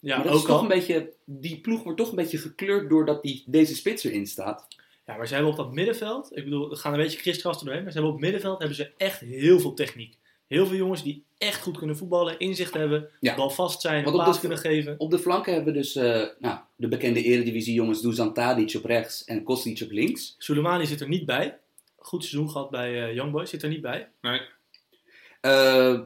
Speaker 3: maar dat is
Speaker 1: ook
Speaker 3: toch
Speaker 1: al.
Speaker 3: een beetje, die ploeg wordt toch een beetje gekleurd doordat die, deze spits erin staat.
Speaker 1: Ja, maar ze hebben op dat middenveld, ik bedoel, we gaan een beetje kristrasten doorheen, maar ze hebben op het middenveld hebben ze echt heel veel techniek. Heel veel jongens die echt goed kunnen voetballen, inzicht hebben,
Speaker 3: Ja.
Speaker 1: balvast zijn,
Speaker 3: Want op
Speaker 1: paas
Speaker 3: dat-
Speaker 1: kunnen geven.
Speaker 3: Op de flanken hebben we dus eh, nou, de bekende eredivisie jongens Dusan Tadic op rechts en Kostic op links.
Speaker 1: Soleimani zit er niet bij. Goed seizoen gehad bij eh, Young Boys, zit er niet bij.
Speaker 3: Eh,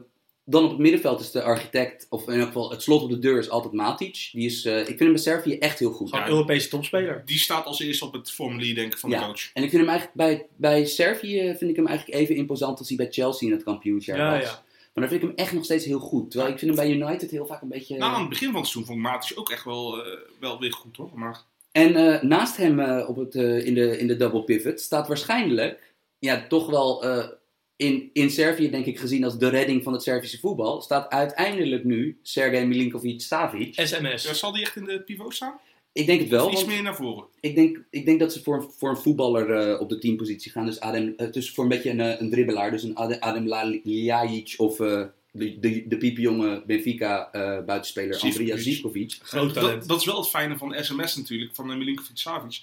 Speaker 3: dan op het middenveld is de architect, of in elk geval het slot op de deur is altijd Matic. Die is, eh, ik vind hem bij Servië echt heel goed.
Speaker 1: Gewoon
Speaker 2: Ja.
Speaker 1: Europese topspeler.
Speaker 2: Die staat als eerste op het formulier, denk ik, van
Speaker 3: Ja.
Speaker 2: de coach.
Speaker 3: En ik vind hem eigenlijk bij, bij Servië eh, vind ik hem eigenlijk even imposant als hij bij Chelsea in het kampioensjaar
Speaker 1: Ja,
Speaker 3: was.
Speaker 1: ja.
Speaker 3: Maar dan vind ik hem echt nog steeds heel goed. Terwijl ik vind hem bij United heel vaak een beetje.
Speaker 2: Nou, aan het begin van het seizoen vond ik Matis ook echt wel, eh, wel weer goed, hoor. Maar
Speaker 3: En eh, naast hem eh, op het, eh, in, de, in de double pivot staat waarschijnlijk, ja, toch wel eh, in, in Servië, denk ik, gezien als de redding van het Servische voetbal, staat uiteindelijk nu Sergej Milinkovic-Savic.
Speaker 1: SMS.
Speaker 2: ja, zal die echt in de pivot staan?
Speaker 3: Ik denk het wel,
Speaker 2: Of iets
Speaker 3: want
Speaker 2: meer naar voren?
Speaker 3: ik denk, ik denk dat ze voor, een- voor een voetballer eh, op de teampositie gaan. Dus, Adem, eh, dus voor een beetje een, eh, een dribbelaar, dus een Adem, Adem La- Ljajic of eh, de, de, de piepjonge Benfica eh, buitenspeler
Speaker 2: Zivkovic.
Speaker 3: Andrija Zivkovic.
Speaker 1: Groot talent.
Speaker 2: Dat, dat is wel het fijne van SMS natuurlijk, van eh, Milinkovic-Savic.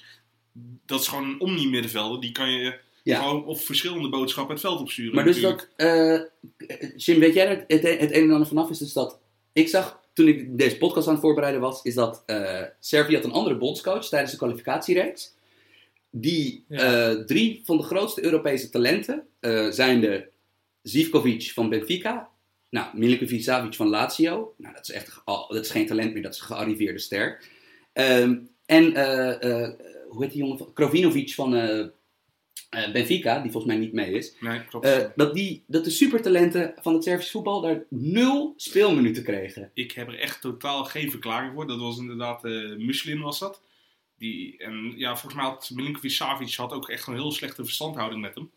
Speaker 2: Dat is gewoon een omni-middenvelder. Die kan je
Speaker 3: Ja.
Speaker 2: gewoon op verschillende boodschappen het veld opsturen.
Speaker 3: Maar dus
Speaker 2: natuurlijk.
Speaker 3: dat, eh Jim, weet jij dat het, het een en ander vanaf is? Dus dat ik zag toen ik deze podcast aan het voorbereiden was, is dat eh Servië had een andere bondscoach tijdens de kwalificatiereeks. Die
Speaker 1: Ja.
Speaker 3: eh, drie van de grootste Europese talenten eh zijn de Zivkovic van Benfica, nou, Milinkovic Savic van Lazio. Nou, dat is echt ge- al- dat is geen talent meer, dat is een gearriveerde ster. Ehm, en eh, eh, hoe heet die jongen? van- Krovinovic van eh, eh, Benfica, die volgens mij niet mee is.
Speaker 2: Nee, klopt.
Speaker 3: Eh, dat, die, dat de supertalenten van het Servisch voetbal daar nul speelminuten kregen.
Speaker 2: ik heb er echt totaal geen verklaring voor. Dat was inderdaad eh Muslin was dat. Die, en ja, volgens mij had Milinkovic Savic had ook echt een heel slechte verstandhouding met hem.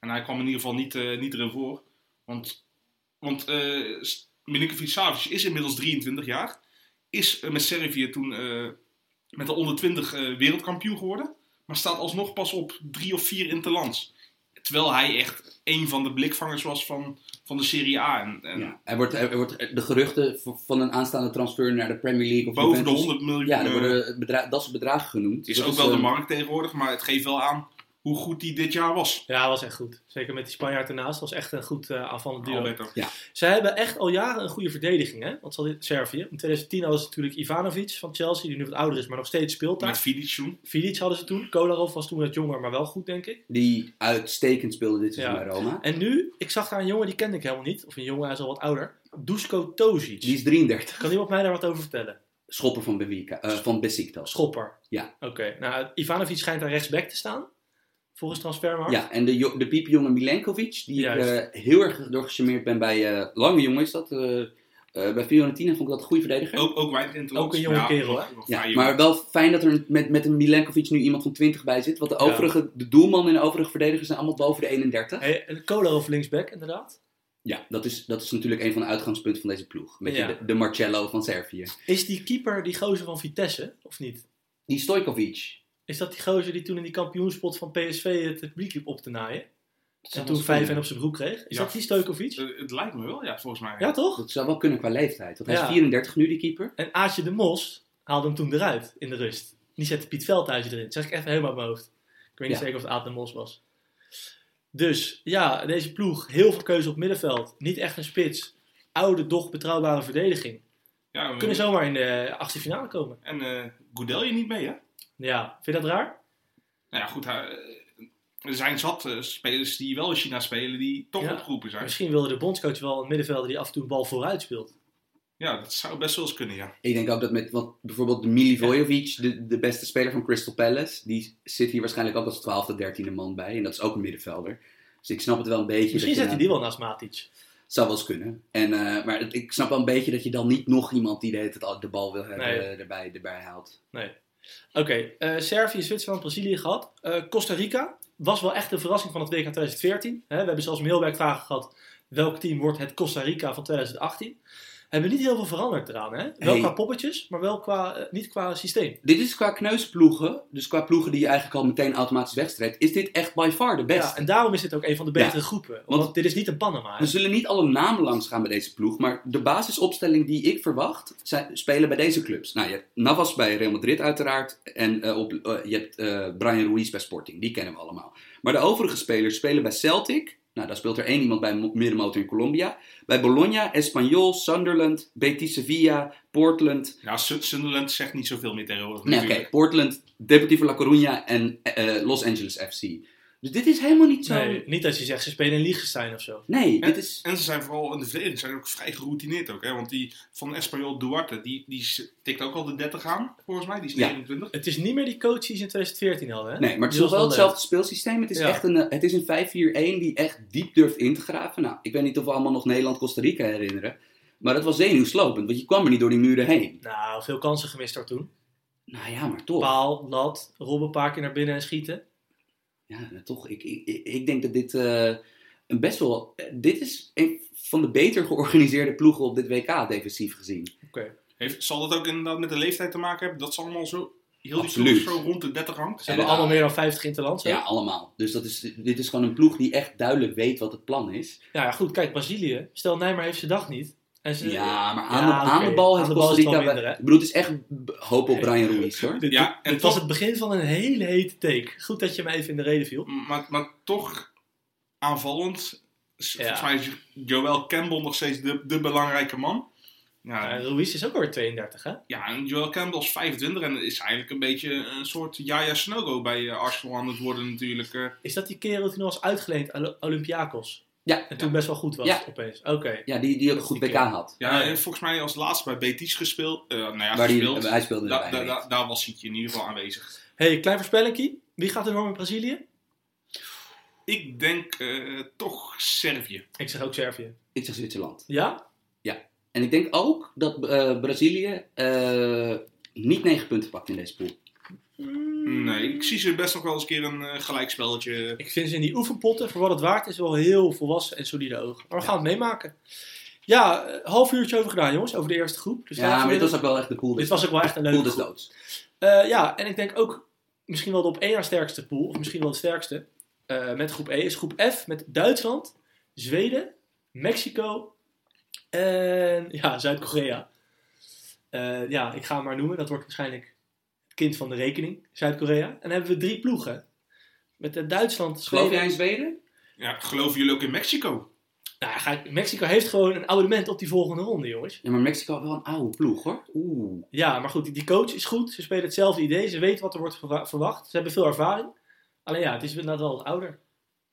Speaker 2: En hij kwam in ieder geval niet, eh, niet erin voor. Want, want eh, S- Milinkovic Savic is inmiddels 23 jaar. Is eh, met Servië toen eh, met de onder 20 eh, wereldkampioen geworden. Maar staat alsnog pas op drie of vier interlands. Terwijl hij echt een van de blikvangers was van, van de Serie A. En, en
Speaker 3: Ja. Er, wordt, er wordt de geruchten v- van een aanstaande transfer naar de Premier League of
Speaker 2: boven de
Speaker 3: Juventus-
Speaker 2: 100 miljoen.
Speaker 3: Ja, er
Speaker 2: eh,
Speaker 3: worden bedra- dat soort bedragen genoemd.
Speaker 2: Het is
Speaker 3: Dat
Speaker 2: ook wel de
Speaker 3: eh,
Speaker 2: markt tegenwoordig, maar het geeft wel aan hoe goed die dit jaar was.
Speaker 1: Ja, was echt goed. Zeker met die Spanjaard ernaast. was echt een goed eh aanvallend duo.
Speaker 2: Alberto.
Speaker 1: Ze hebben echt al jaren een goede verdediging, hè? Want ze hadden Servië. In 2010 hadden ze natuurlijk Ivanovic van Chelsea, die nu wat ouder is, maar nog steeds speelt daar.
Speaker 2: Met Fidic toen.
Speaker 1: Vidic hadden ze toen. Kolarov was toen wat jonger, maar wel goed, denk ik.
Speaker 3: Die uitstekend speelde dit seizoen
Speaker 1: Ja.
Speaker 3: bij Roma.
Speaker 1: En nu, ik zag daar een jongen, die kende ik helemaal niet. Of een jongen, hij is al wat ouder. Dusko Tozic.
Speaker 3: Die is 33.
Speaker 1: Kan iemand mij daar wat over vertellen?
Speaker 3: Schopper van, Benfica, eh, van Besiktas.
Speaker 1: Schopper.
Speaker 3: Ja.
Speaker 1: Oké. Nou, Ivanovic schijnt daar rechtsback te staan. Volgens Transfermarkt.
Speaker 3: Ja, en de, jo- de piepjonge Milenkovic, die ik
Speaker 1: Juist.
Speaker 3: eh, heel erg door gecharmeerd ben bij... eh, lange jongen is dat. eh, eh, bij Fiorentina vond ik dat een goede verdediger.
Speaker 2: Ook, ook wij in het
Speaker 1: Ook een jonge kerel, hè?
Speaker 3: Ja,
Speaker 2: Ja,
Speaker 3: maar wel fijn dat er met, met een Milenkovic nu iemand van 20 bij zit. Want de,
Speaker 1: Ja.
Speaker 3: overige, de doelman en de overige verdedigers zijn allemaal boven de 31.
Speaker 1: Hey, en Kolarov linksback, inderdaad.
Speaker 3: Ja, dat is, dat is natuurlijk een van de uitgangspunten van deze ploeg. Een beetje
Speaker 1: Ja.
Speaker 3: de, de Marcello van Servië.
Speaker 1: Is die keeper die gozer van Vitesse, of niet?
Speaker 3: Die Stojkovic.
Speaker 1: Is dat die gozer die toen in die kampioenspot van PSV het publiek liep op te naaien? En
Speaker 3: zou
Speaker 1: toen
Speaker 3: wel eens
Speaker 1: vijf en
Speaker 3: kunnen.
Speaker 1: op zijn broek kreeg? Is
Speaker 2: Ja.
Speaker 1: dat die Stojkovic?
Speaker 2: Eh, Het lijkt me wel, ja, volgens mij.
Speaker 1: Ja, toch?
Speaker 3: Dat zou wel kunnen qua leeftijd. Want hij
Speaker 1: Ja.
Speaker 3: is 34 nu, die keeper.
Speaker 1: En Aatje de Mos haalde hem toen eruit in de rust. Die zette Piet Veldhuizen erin. Dat zeg ik even helemaal uit mijn hoofd. Ik weet niet
Speaker 3: Ja.
Speaker 1: zeker of het Aatje de Mos was. Dus ja, deze ploeg. Heel veel keuze op middenveld. Niet echt een spits. Oude, doch betrouwbare verdediging.
Speaker 2: Ja,
Speaker 1: We
Speaker 2: we-
Speaker 1: kunnen zomaar in de achtste finale komen.
Speaker 2: En eh Goedelje niet mee, hè?
Speaker 1: Ja, vind je dat raar?
Speaker 2: Nou ja, goed. hij- eh, er zijn zat eh, spelers die wel in China spelen, die toch
Speaker 1: Ja.
Speaker 2: opgeroepen zijn.
Speaker 1: Misschien wilde de bondscoach wel een middenvelder die af en toe een bal vooruit speelt.
Speaker 2: Ja, dat zou best wel eens kunnen, ja.
Speaker 3: Ik denk ook dat met wat, bijvoorbeeld Milivojevic, de, de beste speler van Crystal Palace. Die zit hier waarschijnlijk ook als 12e, 13e man bij. En dat is ook een middenvelder. Dus ik snap het wel een beetje.
Speaker 1: Misschien
Speaker 3: dat
Speaker 1: zet
Speaker 3: je
Speaker 1: hij die wel naast Matic.
Speaker 3: Zou wel eens kunnen. En, eh, maar het- ik snap wel een beetje dat je dan niet nog iemand die de, hele tijd al de bal wil hebben
Speaker 1: Nee.
Speaker 3: eh, erbij, erbij haalt.
Speaker 1: Oké, eh, Servië, Zwitserland, Brazilië gehad. Eh, Costa Rica was wel echt de verrassing van het WK 2014. Hè, we hebben zelfs mailwerk vragen gehad. Welk team wordt het Costa Rica van 2018? hebben niet heel veel veranderd eraan. Hè? Wel
Speaker 3: Hey.
Speaker 1: qua poppetjes, maar wel qua, eh, niet qua systeem.
Speaker 3: Dit is qua kneusploegen, dus qua ploegen die je eigenlijk al meteen automatisch wegstreept, is dit echt by far de beste.
Speaker 1: Ja, en daarom is dit ook een van de betere groepen. Want,
Speaker 3: Want- Dus-
Speaker 1: dit is niet een Panama. hè.
Speaker 3: We zullen niet alle namen langs gaan bij deze ploeg, maar de basisopstelling die ik verwacht, zijn, spelen bij deze clubs. Nou, je hebt Navas bij Real Madrid uiteraard en eh, op, eh, je hebt eh, Brian Ruiz bij Sporting, die kennen we allemaal. Maar de overige spelers spelen bij Celtic, nou daar speelt er één iemand bij Mo- middenmotor in Colombia, bij Bologna, Espanyol, Sunderland, Betis Sevilla, Portland.
Speaker 2: Ja, Sun- Sunderland zegt niet zoveel meer tegenwoordig
Speaker 3: Nee, oké,
Speaker 2: natuurlijk.
Speaker 3: Portland, Deportivo La Coruña en eh, Los Angeles FC. Dus dit is helemaal niet zo...
Speaker 1: Nee, nou- niet dat je zegt, ze spelen in Liechtenstein of zo.
Speaker 3: nee dit is...
Speaker 2: En ze zijn vooral in de verdediging zijn ook vrij geroutineerd ook. Hè? Want die van Espanyol Duarte, die, die s- tikt ook al de 30 aan, volgens mij. Die is
Speaker 3: Ja.
Speaker 2: 29.
Speaker 1: Het is niet meer die coach die ze in 2014 hadden. Hè?
Speaker 3: Nee, maar het is
Speaker 1: Die
Speaker 3: wel
Speaker 1: was wel
Speaker 3: hetzelfde speelsysteem. Het is,
Speaker 1: Ja.
Speaker 3: echt een, eh, het is een 5-4-1 die echt diep durft in te graven. Nou, ik weet niet of we allemaal nog Nederland-Costa Rica herinneren. Maar dat was zenuwslopend, want je kwam er niet door die muren heen.
Speaker 1: Nou, veel kansen gemist daar toen.
Speaker 3: Nou ja, maar toch.
Speaker 1: Paal, lat, robben een paar keer naar binnen en schieten.
Speaker 3: Ja, maar toch. Ik, ik, ik- ik denk dat dit eh, een best wel... eh, dit is een van de beter georganiseerde ploegen op dit WK defensief gezien.
Speaker 2: Heeft, zal dat ook inderdaad met de leeftijd te maken hebben? Dat ze allemaal zo, heel die
Speaker 3: Absoluut.
Speaker 2: ploeg zo rond de 30 hangt?
Speaker 1: Ze hebben
Speaker 3: ja.
Speaker 1: allemaal meer dan 50 interlands. hè?
Speaker 3: Ja, allemaal. Dus dat is, dit is gewoon een ploeg die echt duidelijk weet wat het plan is.
Speaker 1: Nou ja, goed, kijk, Brazilië. Stel, Nijmer heeft zijn dag niet. En ze,
Speaker 3: Ja, maar aan,
Speaker 1: Ja,
Speaker 3: de, aan
Speaker 1: oké.
Speaker 3: de bal heeft
Speaker 1: Aan de bal is
Speaker 3: Costa
Speaker 1: het wel
Speaker 3: Rica...
Speaker 1: minder, hè?
Speaker 3: ik bedoel, het is echt b- hoop op Brian
Speaker 1: (laughs)
Speaker 3: Ruiz, hoor.
Speaker 1: Dit-
Speaker 2: Ja, en
Speaker 1: dit was
Speaker 2: toch-
Speaker 1: het begin van een hele hete take. Goed dat je me even in de reden viel.
Speaker 2: Maar, maar toch aanvallend. S-
Speaker 1: Ja.
Speaker 2: Volgens mij is Joel Campbell nog steeds de, de belangrijke man. Ja,
Speaker 1: Maar Ruiz is ook alweer 32, hè?
Speaker 2: ja, en Joel Campbell is 25 en is eigenlijk een beetje een soort Jaya Snogo bij eh, Arsenal aan het worden natuurlijk. eh.
Speaker 1: Is dat die kerel die toen was uitgeleend aan Olympiakos?
Speaker 3: Ja.
Speaker 1: En toen best wel goed was,
Speaker 3: Ja.
Speaker 1: opeens. Oké.
Speaker 3: Ja, die, die ook een goed
Speaker 1: Die
Speaker 3: WK
Speaker 1: keer.
Speaker 3: had.
Speaker 2: Ja,
Speaker 1: Ja.
Speaker 2: en volgens mij als laatst bij Betis gespeeld. eh, nou ja,
Speaker 3: Waar die,
Speaker 2: gespeeld.
Speaker 3: hij speelde
Speaker 2: Da-
Speaker 3: erbij.
Speaker 2: da- da- daar was hij in ieder geval aanwezig.
Speaker 1: hey, klein voorspellingkie. Wie gaat er door met Brazilië?
Speaker 2: Ik denk eh, toch Servië.
Speaker 1: Ik zeg ook Servië.
Speaker 3: Ik zeg Zwitserland.
Speaker 1: Ja?
Speaker 3: En ik denk ook dat eh, Brazilië eh, niet 9 punten pakt in deze
Speaker 1: Dus
Speaker 3: pool.
Speaker 2: Nee, ik zie ze best nog wel eens een keer een eh, gelijkspelletje.
Speaker 1: Ik vind ze in die oefenpotten, voor wat het waard is, wel heel volwassen en solide ogen. Maar we gaan het meemaken. Ja, eh, half uurtje over gedaan, jongens, over de eerste groep. Dus daar
Speaker 3: ja, maar dit was ook dus wel echt de pool.
Speaker 1: dit
Speaker 3: Dit
Speaker 1: was ook wel echt een leuke
Speaker 3: pool des
Speaker 1: groep.
Speaker 3: doods.
Speaker 1: Eh, ja, en ik denk ook misschien wel de op één na sterkste pool, of misschien wel de sterkste, eh, met groep E, is groep F met Duitsland, Zweden, Mexico en ja, Zuid-Korea. Eh, ja, ik ga hem maar noemen, dat wordt waarschijnlijk het kind van de rekening, Zuid-Korea. En dan hebben we drie ploegen. Met eh, Duitsland,
Speaker 3: Geloof
Speaker 1: Zweden.
Speaker 3: jij in Zweden?
Speaker 2: Ja, geloven jullie ook in Mexico?
Speaker 1: Nou, ga ik- Mexico heeft gewoon een abonnement op die volgende ronde, jongens.
Speaker 3: Ja, maar Mexico had wel een oude ploeg hoor. Oeh.
Speaker 1: Ja, maar goed, die- die coach is goed. Ze spelen hetzelfde idee. Ze weten wat er wordt verwa- verwacht. Ze hebben veel ervaring. Alleen ja, het is inderdaad wel wat ouder.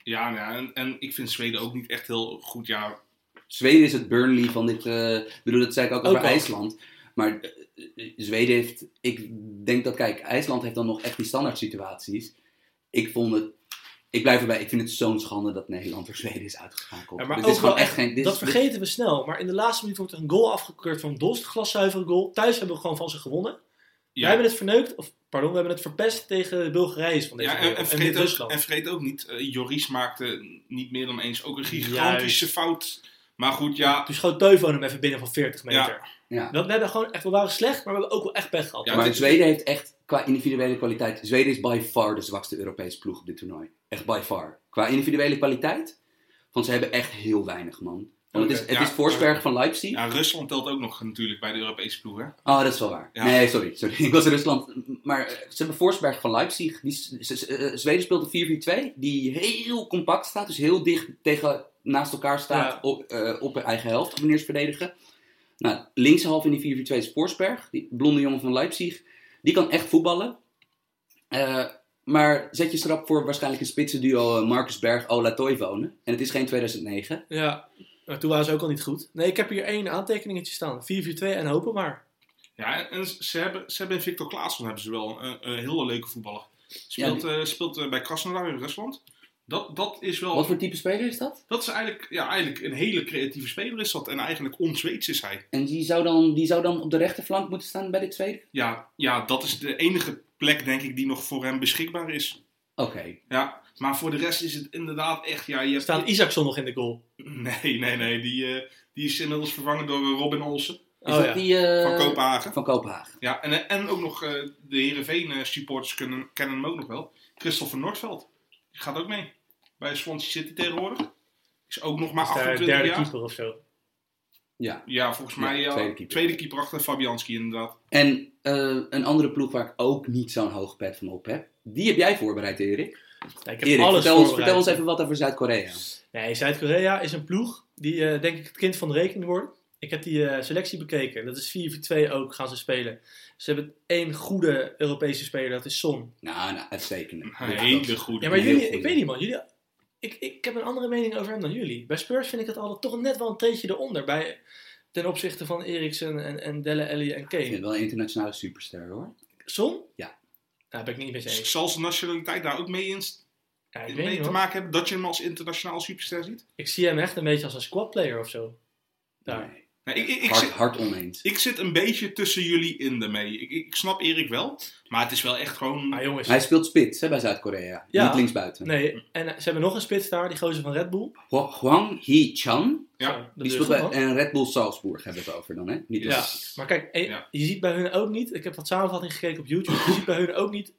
Speaker 2: Ja, nou ja, en, en ik vind Zweden ook niet echt heel goed. Ja,
Speaker 3: Zweden is het Burnley van dit. eh, ik bedoel, dat zei ik ook,
Speaker 1: Ook
Speaker 3: over
Speaker 1: wel.
Speaker 3: IJsland. Maar eh, eh, Zweden heeft. Ik denk dat, kijk, IJsland heeft dan nog echt die standaard situaties. Ik vond het. Ik blijf erbij, ik vind het zo'n schande dat Nederland door Zweden is uitgeschakeld.
Speaker 1: Ja, maar
Speaker 3: dit
Speaker 1: ook
Speaker 3: is gewoon
Speaker 1: wel
Speaker 3: echt geen. Dit
Speaker 1: dat
Speaker 3: is,
Speaker 1: vergeten we snel. Maar in de laatste minuut wordt er een goal afgekeurd van Dost. Glaszuivere goal. Thuis hebben we gewoon van ze gewonnen.
Speaker 2: ja.
Speaker 1: Wij hebben het verneukt. Of pardon, we hebben het verpest tegen de Bulgarije van deze
Speaker 2: Ja, en,
Speaker 1: wereld.
Speaker 2: en,
Speaker 1: en dit
Speaker 2: vergeet ook,
Speaker 1: Rusland.
Speaker 2: en vergeet ook niet, eh, Joris maakte niet meer dan eens ook een gigantische
Speaker 1: Juist.
Speaker 2: fout. Maar goed, ja,
Speaker 1: Toen schoot Teufel hem even binnen van 40
Speaker 2: Ja.
Speaker 1: meter.
Speaker 3: ja.
Speaker 1: Dat, we hebben gewoon echt, we waren slecht, maar we hebben ook wel echt pech gehad.
Speaker 2: Ja,
Speaker 3: maar
Speaker 2: het is-
Speaker 3: Zweden heeft echt, qua individuele kwaliteit, Zweden is by far de zwakste Europese ploeg op dit toernooi. Echt by far. Qua individuele kwaliteit, want ze hebben echt heel weinig, man. Want het is,
Speaker 1: Oké,
Speaker 3: het
Speaker 2: ja,
Speaker 3: is Forsberg van Leipzig.
Speaker 2: ja, Rusland telt ook nog natuurlijk bij de Europese ploeg. Hè?
Speaker 3: Oh, dat is wel waar.
Speaker 2: Ja.
Speaker 3: Nee, sorry, sorry. (laughs) Ik was in Rusland. Maar eh, ze hebben Forsberg van Leipzig. Die, s- s- eh, Zweden speelt een 4-4-2, die heel compact staat, dus heel dicht tegen, naast elkaar staat
Speaker 1: Ja.
Speaker 3: op, eh, op hun eigen helft, wanneer ze verdedigen. Nou, linkshalf in die 4-4-2 is Forsberg, die blonde jongen van Leipzig. Die kan echt voetballen. Eh, maar zet je strap voor waarschijnlijk een spitsenduo eh, Marcus Berg, Ola Toivonen. En het is geen 2009.
Speaker 1: Ja, maar toen waren ze ook al niet goed. Nee, ik heb hier één aantekeningetje staan. 4-4-2 en hopen maar.
Speaker 2: Ja, en ze hebben, ze hebben in Victor Claesson hebben ze wel een, een hele leuke voetballer. Speelt, eh, speelt eh, bij Krasnodar in Rusland. Dat, dat is wel...
Speaker 3: Wat voor type speler is dat?
Speaker 2: Dat is eigenlijk, ja, eigenlijk een hele creatieve speler is dat. En eigenlijk on-Zweeds is hij.
Speaker 3: En die zou, dan, die zou dan op de rechterflank moeten staan bij de tweede?
Speaker 2: Ja, ja, dat is de enige plek, denk ik, die nog voor hem beschikbaar is.
Speaker 3: Oké.
Speaker 2: Ja, maar voor de rest is het inderdaad echt... Ja, je hebt-
Speaker 1: Staat Isaacson nog in de goal?
Speaker 2: (laughs) Nee, nee, nee. Die, eh, die is inmiddels vervangen door eh, Robin Olsen
Speaker 3: Is
Speaker 1: Oh
Speaker 3: dat
Speaker 1: ja.
Speaker 3: die... eh,
Speaker 2: van Kopenhagen.
Speaker 3: Van Kopenhagen.
Speaker 2: Ja, en, eh, en ook nog eh, de Heerenveen eh, supporters kunnen, kennen hem ook nog wel. Christopher Noordveld. Die gaat ook mee. Bij Swansea City tegenwoordig. Is ook nog maar
Speaker 1: Is daar
Speaker 2: 28
Speaker 1: derde
Speaker 2: jaar.
Speaker 1: keeper of zo?
Speaker 2: Ja, volgens
Speaker 3: Ja,
Speaker 2: mij ja,
Speaker 3: tweede
Speaker 2: tweede,
Speaker 3: keeper.
Speaker 2: keeper. achter Fabianski inderdaad.
Speaker 3: En eh, een andere ploeg waar ik ook niet zo'n hoog pet van op heb. Die heb jij voorbereid, Erik.
Speaker 1: Ja, ik heb
Speaker 3: Erik,
Speaker 1: alles
Speaker 3: vertel ons,
Speaker 1: voorbereid.
Speaker 3: vertel ons even wat over Zuid-Korea.
Speaker 1: Nee, Zuid-Korea is een ploeg die eh, denk ik het kind van de rekening wordt. Ik heb die eh, selectie bekeken. Dat is 4-4-2 ook gaan ze spelen. Ze hebben één goede Europese speler, dat is Son.
Speaker 3: Nou, nou uitstekende.
Speaker 1: Ah,
Speaker 2: Een
Speaker 3: Ja,
Speaker 2: hele
Speaker 3: dat-
Speaker 2: goede.
Speaker 1: Ja, maar
Speaker 3: Een
Speaker 1: jullie,
Speaker 3: heel
Speaker 1: ik
Speaker 3: goede.
Speaker 1: weet niet man, jullie, ik, ik heb een andere mening over hem dan jullie. Bij Spurs vind ik het altijd toch net wel een treetje eronder. Bij, ten opzichte van Eriksen en, en Delle Alli en
Speaker 3: Ik vind het
Speaker 1: Kane.
Speaker 3: wel een internationale superster, hoor.
Speaker 1: Son?
Speaker 3: Ja.
Speaker 1: Nou, daar ben ik niet mee eens.
Speaker 2: Zal zijn nationaliteit daar ook mee, in,
Speaker 1: Ja, ik, weet
Speaker 2: mee
Speaker 1: niet,
Speaker 2: te
Speaker 1: man.
Speaker 2: maken hebben? Dat je hem als internationaal superster ziet?
Speaker 1: ik zie hem echt een beetje als een squadplayer of zo. Daar.
Speaker 3: Nee.
Speaker 2: Nee, ik, ik, ik,
Speaker 3: Hard,
Speaker 2: zit,
Speaker 3: hard oneens.
Speaker 2: ik zit een beetje tussen jullie in daarmee. Ik, ik snap Erik wel, maar het is wel echt
Speaker 1: Maar
Speaker 2: gewoon...
Speaker 1: jongens,
Speaker 3: Hij speelt spits hè, bij Zuid-Korea.
Speaker 1: Ja.
Speaker 3: Niet linksbuiten.
Speaker 1: nee. En eh, ze hebben nog een spits daar, die gozer van Red Bull.
Speaker 3: Hwa- Hwang Hee-chan.
Speaker 2: Ja,
Speaker 1: Zo, dat
Speaker 3: Die
Speaker 1: is
Speaker 3: speelt
Speaker 1: goed,
Speaker 3: bij
Speaker 1: man.
Speaker 3: en Red Bull Salzburg hebben we het over dan, hè? Niet
Speaker 1: Ja,
Speaker 3: als-
Speaker 1: maar kijk, eh,
Speaker 2: Ja.
Speaker 1: je ziet bij hun ook niet, ik heb wat samenvatting gekeken op YouTube, je ziet bij hun ook niet,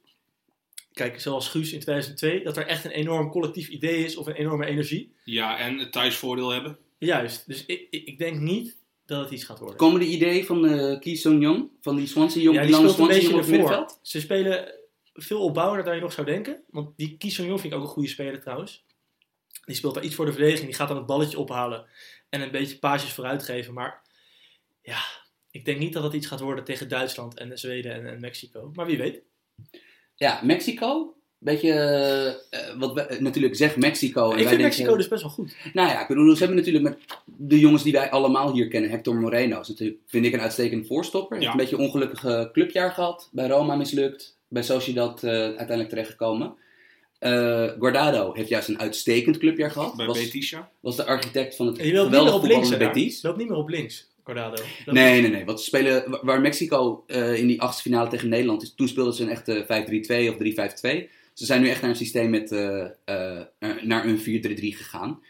Speaker 1: kijk, zoals Guus in 2002, dat er echt een enorm collectief idee is of een enorme energie.
Speaker 2: Ja, en het thuisvoordeel hebben.
Speaker 1: Juist, dus ik, ik ik denk niet dat het iets gaat worden.
Speaker 3: Komen de idee van eh Ki Sung-jong? Van die Swansea-jong?
Speaker 1: ja, die
Speaker 3: lange
Speaker 1: speelt een beetje
Speaker 3: Swansea-jong op het
Speaker 1: ervoor.
Speaker 3: middenveld?
Speaker 1: Ze spelen veel opbouwender dan je nog zou denken, want die Kies Jong vind ik ook een goede speler trouwens. Die speelt daar iets voor de verdediging, die gaat dan het balletje ophalen en een beetje paasjes vooruit geven, maar ja... Ik denk niet dat dat iets gaat worden tegen Duitsland en Zweden en, en Mexico. Maar wie weet.
Speaker 3: Ja, Mexico. Beetje, eh, wat we- eh, natuurlijk zegt Mexico. En
Speaker 1: Ik
Speaker 3: wij
Speaker 1: vind Mexico
Speaker 3: denken-
Speaker 1: dus best wel goed.
Speaker 3: Nou ja, ik bedoel, ze hebben natuurlijk met de jongens die wij allemaal hier kennen. Hector Moreno is natuurlijk, vind ik, een uitstekende voorstopper. Heeft
Speaker 2: Ja.
Speaker 3: een beetje een ongelukkige clubjaar gehad. Bij Roma mislukt. Bij Sociedad eh uiteindelijk terechtgekomen. Eh Guardado heeft juist een uitstekend clubjaar gehad.
Speaker 2: Bij
Speaker 3: Was,
Speaker 2: Betisha.
Speaker 3: was de architect van het
Speaker 1: En je loopt niet meer
Speaker 3: geweldige
Speaker 1: op
Speaker 3: voetbal
Speaker 1: links,
Speaker 3: van
Speaker 1: hè?
Speaker 3: Betis.
Speaker 1: Je loopt niet meer op links, Cordado. Dat-
Speaker 3: Nee, nee, nee. Wat ze spelen, wa- waar Mexico eh, in die achtste finale tegen Nederland is, toen speelden ze een echte 5-3-2 of 3-5-2. Ze zijn nu echt naar een systeem met, eh, eh, naar een 4-3-3 gegaan.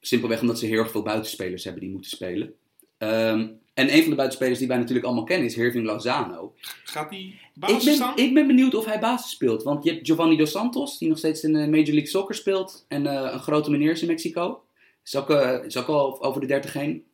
Speaker 3: Simpelweg omdat ze heel erg veel buitenspelers hebben die moeten spelen. Ehm, en een van de buitenspelers die wij natuurlijk allemaal kennen is Herving Lozano.
Speaker 2: Gaat die
Speaker 3: Ik
Speaker 2: basis
Speaker 3: ben,
Speaker 2: staan?
Speaker 3: ik ben benieuwd of hij basis speelt. Want je hebt Giovanni Dos Santos, die nog steeds in de Major League Soccer speelt. En eh, een grote meneer is in Mexico. Is ook, eh, is ook al over de 30 heen.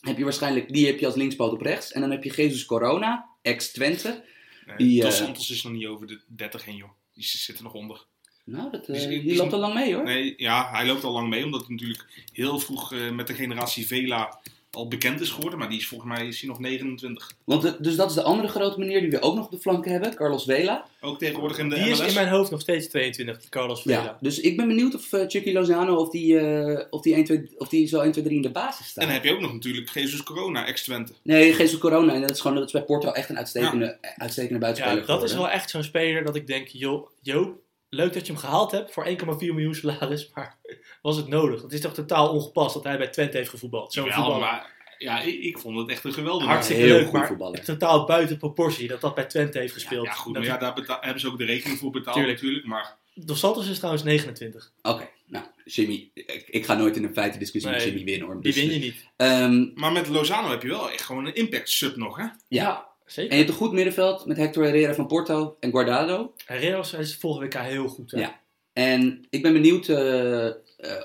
Speaker 3: Heb je waarschijnlijk, die heb je als linkspoot op rechts. En dan heb je Jesus Corona, ex-Twente.
Speaker 2: Nee,
Speaker 3: die,
Speaker 2: Dos
Speaker 3: eh,
Speaker 2: Santos is nog niet over de 30 heen, joh. Die zitten nog onder.
Speaker 3: Nou, dat, eh,
Speaker 2: Dus-
Speaker 3: die
Speaker 2: dus-
Speaker 3: loopt al lang mee hoor.
Speaker 2: Nee, ja, hij loopt al lang mee, omdat hij natuurlijk heel vroeg eh, met de generatie Vela al bekend is geworden. Maar die is volgens mij is hij nog 29.
Speaker 3: Want de- dus dat is de andere grote meneer die we ook nog op de flanken hebben. Carlos Vela.
Speaker 2: Ook tegenwoordig in de
Speaker 1: die is
Speaker 2: MLS.
Speaker 1: in mijn hoofd nog steeds 22, die Carlos Vela.
Speaker 3: Ja, dus ik ben benieuwd of eh, Chucky Lozano of die, eh, of, die 1, 2, of die zo 1, 2, 3 in de basis staat.
Speaker 2: En dan heb je ook nog natuurlijk Jesus Corona, ex-Twente.
Speaker 3: Nee, Jesus Corona. En dat is gewoon dat is bij Porto echt een uitstekende, uitstekende
Speaker 1: Ja,
Speaker 3: buitenspeler
Speaker 1: dat is
Speaker 3: geworden.
Speaker 1: wel echt zo'n speler dat ik denk, joh, joh, leuk dat je hem gehaald hebt voor 1,4 miljoen salaris, (laughs) maar was het nodig? Het is toch totaal ongepast dat hij bij Twente heeft gevoetbald. Zo'n
Speaker 2: Wel,
Speaker 1: voetballer.
Speaker 2: maar ja, ik, ik vond het echt een geweldige
Speaker 1: Hartstikke
Speaker 3: Heel
Speaker 1: leuk,
Speaker 3: goed
Speaker 1: maar
Speaker 3: voetballer.
Speaker 1: totaal buiten proportie dat dat bij Twente heeft gespeeld.
Speaker 2: Ja, goed,
Speaker 1: Dat-
Speaker 2: maar ja, daar beta- hebben ze ook de rekening voor betaald
Speaker 1: Tuurlijk.
Speaker 2: natuurlijk. Maar
Speaker 1: Dos Santos is trouwens 29.
Speaker 3: Oké, nou, Jimmy, ik, ik ga nooit in een feitendiscussie met
Speaker 1: Nee,
Speaker 3: Jimmy winnen hoor.
Speaker 1: Die
Speaker 3: Dus,
Speaker 1: win je niet.
Speaker 3: ehm,
Speaker 2: Maar met Lozano heb je wel echt gewoon een impact sub nog, hè?
Speaker 3: ja, en
Speaker 1: Zeker.
Speaker 3: je hebt een goed middenveld met Hector Herrera van Porto en Guardado.
Speaker 1: Herreros is volgende week heel goed. hè?
Speaker 3: Ja. En ik ben benieuwd, eh, eh,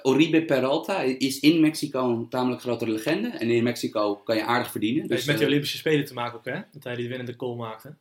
Speaker 3: Oribe Peralta is in Mexico een tamelijk grote legende. En in Mexico kan je aardig verdienen.
Speaker 1: Dat
Speaker 3: Dus,
Speaker 1: heeft met de
Speaker 3: eh,
Speaker 1: Olympische Spelen te maken ook, hè? Dat hij die winnende goal maakte.